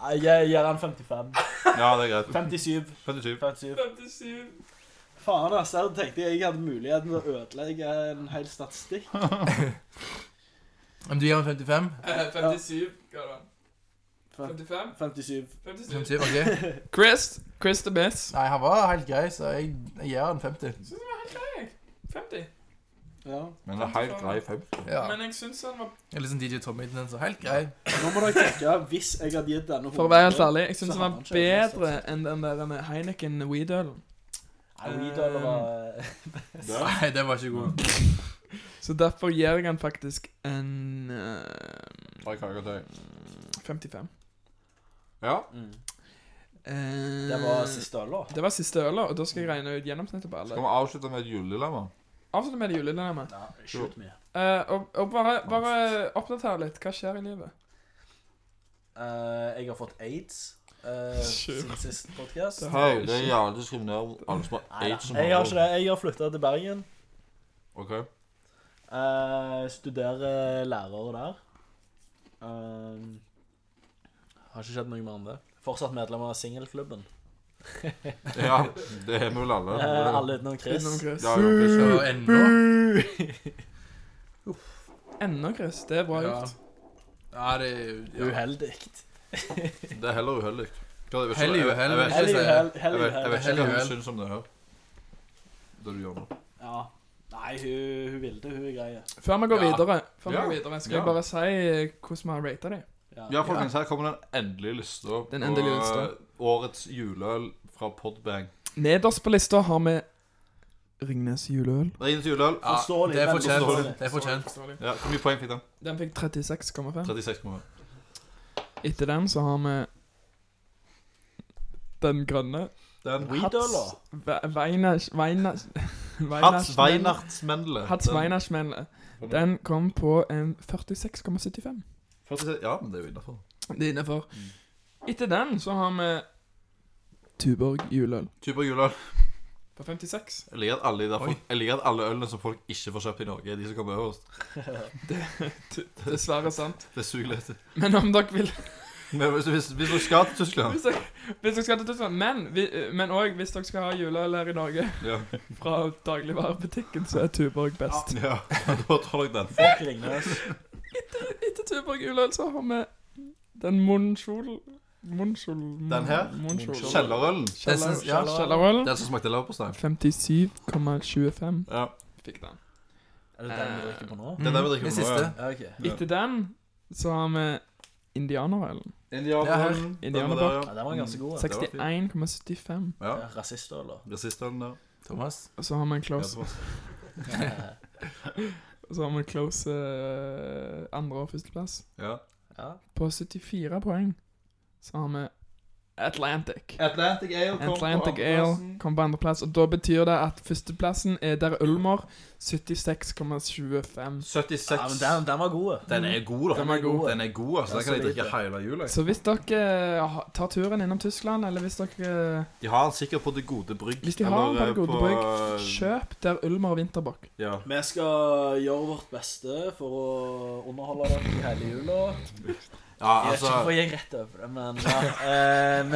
Speaker 6: Nei, jeg gir han 55.
Speaker 2: Ja, det er greit.
Speaker 6: 57.
Speaker 2: 57.
Speaker 6: 57.
Speaker 5: 57.
Speaker 6: Faen, ass. Jeg tenkte jeg hadde muligheten til å ødelegge en hel statistikk.
Speaker 3: Men du gir han 55?
Speaker 5: Eh, 57. Hva er det?
Speaker 6: Fem-
Speaker 5: 55?
Speaker 6: 57.
Speaker 5: 57.
Speaker 3: 57, ok
Speaker 5: Chris. Chris the best.
Speaker 3: Nei, han var helt grei, så jeg jeg gir han 50.
Speaker 5: Jeg synes han var helt grei. jeg. 50.
Speaker 6: Ja.
Speaker 2: Men det er helt grei 50.
Speaker 3: Ja.
Speaker 5: Men jeg synes han var
Speaker 3: Jeg er litt sånn DJ Tommy-tendens. så Helt grei.
Speaker 6: Nå må dere tenke hvis jeg hadde gitt denne
Speaker 5: For å være helt ærlig, jeg
Speaker 6: Så
Speaker 5: synes den
Speaker 6: har han
Speaker 5: var
Speaker 6: ikke en
Speaker 5: bedre
Speaker 6: masse.
Speaker 5: enn den der med Heineken Weedølen.
Speaker 6: Nei, Weedøl var
Speaker 3: Nei, den var ikke god.
Speaker 5: Så derfor gir jeg han faktisk en eh,
Speaker 2: Takk, takk, takk.
Speaker 5: 55.
Speaker 2: Ja.
Speaker 6: Mm.
Speaker 5: Eh,
Speaker 6: Det var siste øl, da.
Speaker 5: Det var siste øla, og da skal jeg regne ut gjennomsnittet på
Speaker 2: Skal
Speaker 5: alle.
Speaker 2: vi avslutte med et juledilemma?
Speaker 5: Avslutte med det julelemmet.
Speaker 6: Ja, shoot me.
Speaker 5: Eh, og, og bare, bare oppdater litt. Hva skjer i livet?
Speaker 6: Eh, jeg har fått aids eh,
Speaker 5: Sure.
Speaker 6: siden sist podkast.
Speaker 5: Det
Speaker 2: Hei, det er jævlig diskriminerende. Alle som har
Speaker 6: Nei,
Speaker 2: aids som
Speaker 6: jeg har ikke det. Jeg har flytta til Bergen.
Speaker 2: [laughs] Ok.
Speaker 6: Eh, studerer lærer der. Eh, har ikke skjedd noe mer enn det. Fortsatt medlem av singelklubben.
Speaker 2: Ja, det er vi vel alle.
Speaker 6: Eh, alle utenom Chris.
Speaker 5: Utenom Chris.
Speaker 2: Ja, jo, Chris, ja.
Speaker 3: Og ennå
Speaker 5: Ennå, Chris. Det er bra
Speaker 3: Ja.
Speaker 5: gjort.
Speaker 3: Ja, det er jo ja.
Speaker 6: Uheldig.
Speaker 2: Det er heller uheldig. Hva er det?
Speaker 3: Hell i
Speaker 2: Jeg-
Speaker 3: uhell,
Speaker 2: jeg vet-
Speaker 6: Hell i uhell. Hell
Speaker 2: Jeg
Speaker 6: i
Speaker 2: vet, jeg
Speaker 6: uhell.
Speaker 2: vet ikke hva
Speaker 3: Hellig
Speaker 2: hun
Speaker 3: uhell.
Speaker 2: syns om det her. Det du gjør nå.
Speaker 6: Ja. Nei, hun, hun ville det. Hun er grei.
Speaker 5: Før vi går
Speaker 3: Ja.
Speaker 5: videre, før vi
Speaker 2: Ja.
Speaker 5: går videre skal
Speaker 2: Ja.
Speaker 5: jeg bare si eh, hvordan vi har rata dem.
Speaker 2: Ja, folkens, her kommer den endelige lista.
Speaker 5: Den endelige
Speaker 2: på,
Speaker 5: lista.
Speaker 2: eh, Årets juleøl fra Podbang.
Speaker 5: Nederst på lista har vi
Speaker 7: Ringnes juleøl.
Speaker 2: Ringens juleøl.
Speaker 3: Ja,
Speaker 6: Forståelig,
Speaker 3: Det er
Speaker 6: veldig
Speaker 3: fortjent.
Speaker 6: forståelig.
Speaker 3: Det er fortjent.
Speaker 2: Ja, Hvor mye poeng fikk den?
Speaker 5: Den fikk 36,5.
Speaker 2: 36,5.
Speaker 5: Etter den så har vi den grønne.
Speaker 2: Den
Speaker 6: Weedøl, da.
Speaker 5: Ve- Weiners... [laughs] Weiners...
Speaker 2: Hatz
Speaker 5: Weiners-
Speaker 2: Weihnachtsmendle.
Speaker 5: Hats Weinersmelle. Den kom på en 46,75.
Speaker 2: Ja, men det er jo innafor.
Speaker 5: Det er innafor. Etter den så har vi Tuborg juleøl
Speaker 2: Typer juleøl.
Speaker 5: på 56.
Speaker 2: Jeg liker at alle, de der
Speaker 3: Oi.
Speaker 2: folk, jeg liker at alle ølene som folk ikke får kjøpt i Norge, er de som kommer øverst.
Speaker 5: Dessverre sant.
Speaker 2: Det suger litt.
Speaker 5: Men om dere vil
Speaker 2: Men hvis, hvis, hvis du skal til Tyskland
Speaker 5: Hvis dere, hvis dere skal til Tyskland Men vi- men òg hvis dere skal ha juleøl her i Norge
Speaker 2: Ja.
Speaker 5: fra dagligvarebutikken, så er Tuborg best.
Speaker 2: ja. [laughs] Da tar dere den.
Speaker 6: Folk ringer oss.
Speaker 5: Etter Tuborg juleøl så altså, har vi den Monschol Monschol
Speaker 2: Den her?
Speaker 5: Monschol.
Speaker 2: Kjellerølen.
Speaker 3: Jeg synes- ja.
Speaker 5: Kjellerøl.
Speaker 2: Den som smakte leverpostei.
Speaker 5: 57,25
Speaker 2: Ja.
Speaker 5: fikk den.
Speaker 6: Er det den vi drikker på nå?
Speaker 2: Det er den
Speaker 3: Den
Speaker 2: vi drikker på nå, ja.
Speaker 3: Mm. siste.
Speaker 6: Ja, ok.
Speaker 2: Ja.
Speaker 5: Etter den så har vi indianerølen.
Speaker 2: Indianerølen. Den var der,
Speaker 5: Indianerbakk.
Speaker 6: Ja, den var ganske god.
Speaker 2: Sek-
Speaker 6: Sek
Speaker 2: var fint.
Speaker 5: 61,75.
Speaker 2: ja. ja.
Speaker 6: Rasistøl, da.
Speaker 2: Rasistølen der.
Speaker 3: Thomas.
Speaker 5: Og så har vi en
Speaker 2: Ja,
Speaker 5: close,
Speaker 2: det var-
Speaker 5: og så har vi en close eh, andre- og førsteplass.
Speaker 2: Ja.
Speaker 6: Ja.
Speaker 5: På 74 poeng så har vi Atlantic.
Speaker 2: Atlantic Ale
Speaker 5: Atlantic Ale kom på andreplass, og da betyr det at førsteplassen er der Ulmer 76,25.
Speaker 2: 76.
Speaker 6: ja, men den, den var god.
Speaker 2: den er god, da.
Speaker 5: Den er god.
Speaker 2: Den er god, altså. Den kan jeg drikke hele jula. jeg.
Speaker 5: Så hvis dere eh, ha- tar turen innom Tyskland, eller hvis dere eh,
Speaker 2: De har den sikkert på Det Gode Brygg.
Speaker 5: Hvis de har den på
Speaker 2: eller,
Speaker 5: Det Gode
Speaker 2: eh,
Speaker 5: Brygg, kjøper der Ulmer Vinterbakk.
Speaker 2: Ja.
Speaker 6: Vi skal gjøre vårt beste for å underholde dere i hele jula.
Speaker 2: ja,
Speaker 6: Jeg vet
Speaker 2: altså
Speaker 6: ikke hvorfor jeg gikk rett over det, men ja. eh, Vi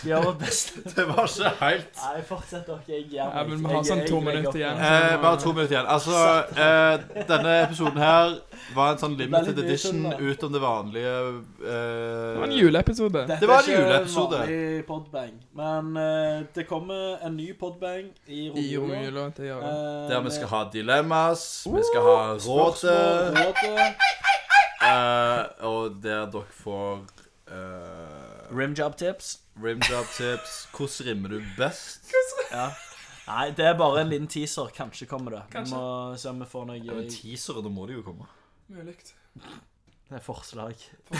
Speaker 6: skal gjøre vårt beste.
Speaker 2: [laughs] Det var ikke helt
Speaker 6: Nei, fortsett dere. Jeg gjør
Speaker 5: Ja,
Speaker 6: meg.
Speaker 5: men vi har
Speaker 6: Jeg-
Speaker 5: sånn
Speaker 6: jeg
Speaker 5: to
Speaker 6: legger
Speaker 5: minutter
Speaker 6: opp
Speaker 5: igjen.
Speaker 6: nå.
Speaker 2: eh, Bare to minutter igjen. Altså, eh, denne episoden her var en sånn limited
Speaker 6: Det er litt
Speaker 2: edition
Speaker 6: mye sånn, da.
Speaker 2: ut om det vanlige
Speaker 5: Det var en
Speaker 2: eh,
Speaker 5: juleepisode.
Speaker 6: Dette
Speaker 2: Det var en
Speaker 6: er ikke
Speaker 2: juleepisode.
Speaker 6: vanlig podbang, men eh, det kommer en ny podbang i
Speaker 5: I
Speaker 6: romjula.
Speaker 5: romjula til Jørgen.
Speaker 6: Eh,
Speaker 2: Der vi skal ha dilemmas, vi skal ha
Speaker 5: Uh,
Speaker 2: rådet,
Speaker 6: spørsmål, rådet.
Speaker 2: eh, og der dere får eh,
Speaker 6: Rimjob tips.
Speaker 2: rimjob tips. Hvordan rimmer du best?
Speaker 6: Ja. Nei, det er bare en liten teaser. Kanskje kommer det. Vi
Speaker 5: Kanskje.
Speaker 6: må se om vi får noe
Speaker 2: Ja, men teaser, da må det jo komme.
Speaker 5: Mulig.
Speaker 6: det er eh, forslag.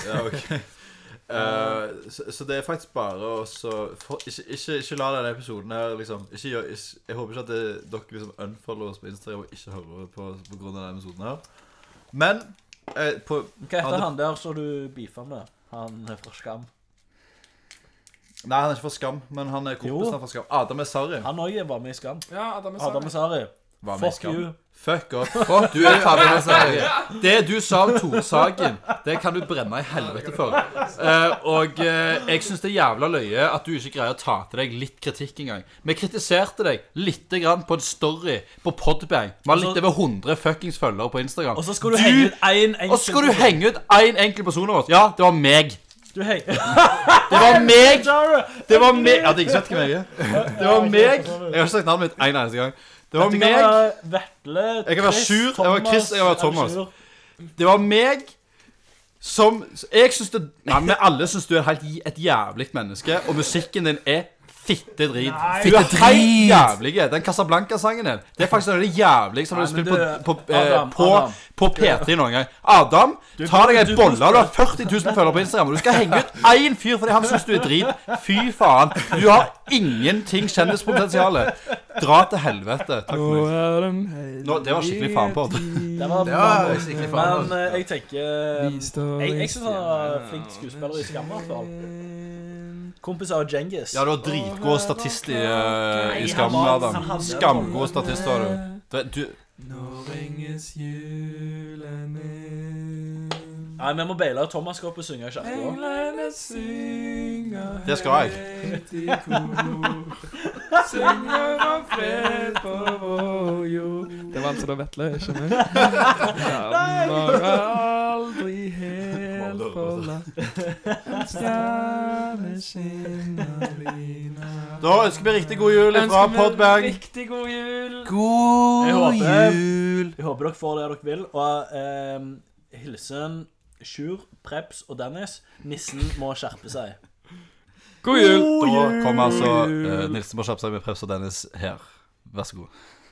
Speaker 2: Ja,
Speaker 6: [laughs]
Speaker 2: ok. Eh, så, så det er faktisk bare å så- for- ikke, ikke, ikke la denne episoden her liksom ikke, gjør- ikke, Jeg håper ikke at det, dere liksom unfollower oss på Instagram og ikke hører på på grunn av denne episoden her. Men eh,
Speaker 6: Hva
Speaker 2: på Ja, det-
Speaker 6: heter han der som du beefa med? Han er fra Skam.
Speaker 2: Nei, han er ikke fra Skam, men han er kompisen
Speaker 6: Jo.
Speaker 2: fra Skam. Adam er Sarri.
Speaker 6: Han òg var med i Skam.
Speaker 5: Ja, Adam er
Speaker 6: Adam
Speaker 5: sammen.
Speaker 6: Sari.
Speaker 2: Var med i
Speaker 6: Fuck
Speaker 2: Skam.
Speaker 6: you.
Speaker 2: Fuck off. Fuck, du er ferdig med serien. Det du sa om Torsagen, det kan du brenne i helvete for. Eh, og eh, jeg syns det er jævla løye at du ikke greier å ta til deg litt kritikk engang. Vi kritiserte deg lite grann på en story på Podbang. Vi har litt over 100 fuckings følgere på Instagram.
Speaker 6: Og så skal du, henge ut én enkelt
Speaker 2: og så skal du henge ut én enkelt person av oss. Ja, det var meg.
Speaker 6: Du heng-
Speaker 2: Det var meg.
Speaker 6: Sorry.
Speaker 2: Det var meg. Jeg hadde ikke sett hvem jeg er. Det var meg. Jeg har ikke sagt navnet mitt én eneste gang. Det var
Speaker 6: Du kan
Speaker 2: meg.
Speaker 6: være Vetle,
Speaker 2: Jeg kan være
Speaker 6: Chris,
Speaker 2: Sjur, jeg kan være
Speaker 6: Thomas,
Speaker 2: Chris, jeg kan
Speaker 6: er
Speaker 2: være
Speaker 6: du
Speaker 2: Thomas.
Speaker 6: Sjur?
Speaker 2: Det var meg som Jeg syns det Nei, vi alle syns du er helt, j- et jævlig menneske, og musikken din er fittedrit. Du er helt jævlig. Den Casablanca-sangen din. Det er faktisk noe av det jævligste som har
Speaker 6: Nei, men
Speaker 2: blitt spilt
Speaker 6: du-
Speaker 2: på, på, eh,
Speaker 6: Adam,
Speaker 2: på,
Speaker 6: Adam.
Speaker 2: på P3 noen gang. Adam, ta deg en bolle. Du har 40 000 følgere på Instagram, og du skal henge ut én fyr fordi han syns du er drit. Fy faen. Du har ingenting kjendispotensial. Dra til helvete. Takk for meg. Nå, det var skikkelig faen på.
Speaker 6: Det var
Speaker 2: Det var skikkelig altså. faen.
Speaker 6: Men eh, jeg tenker Jeg, jeg syns han var flink skuespiller i Skam, i hvert fall. Kompis av Djengis.
Speaker 2: Ja, du var dritgod statist i, uh, i Skam,
Speaker 6: han var-
Speaker 2: Adam.
Speaker 6: han hadde- Eh.
Speaker 2: Skamgod statist var du. Du, du.
Speaker 3: Nå ringes julen inn.
Speaker 6: Nei, vi må baile. Thomas skal opp og synge i kirka.
Speaker 3: Englene synger
Speaker 2: Det skal jeg.
Speaker 3: høyt i kor. Synger om fred på vår jord.
Speaker 7: Det var altså da Vetle,
Speaker 3: [laughs]
Speaker 7: ikke meg. Den var aldri helt forlatt. En stjerne skinner i natt.
Speaker 2: Da ønsker vi riktig god jul fra Podbang.
Speaker 5: Riktig god jul.
Speaker 6: Jeg
Speaker 2: God
Speaker 6: håper-
Speaker 2: jul.
Speaker 6: Jeg håper dere får det dere vil. Og ehm, hilsen Sjur, Preps og Dennis. Nissen må skjerpe seg.
Speaker 2: altså, eh, Da kommer altså uh, Nilsen må kjappe seg med Preps og Dennis her. Vær så god.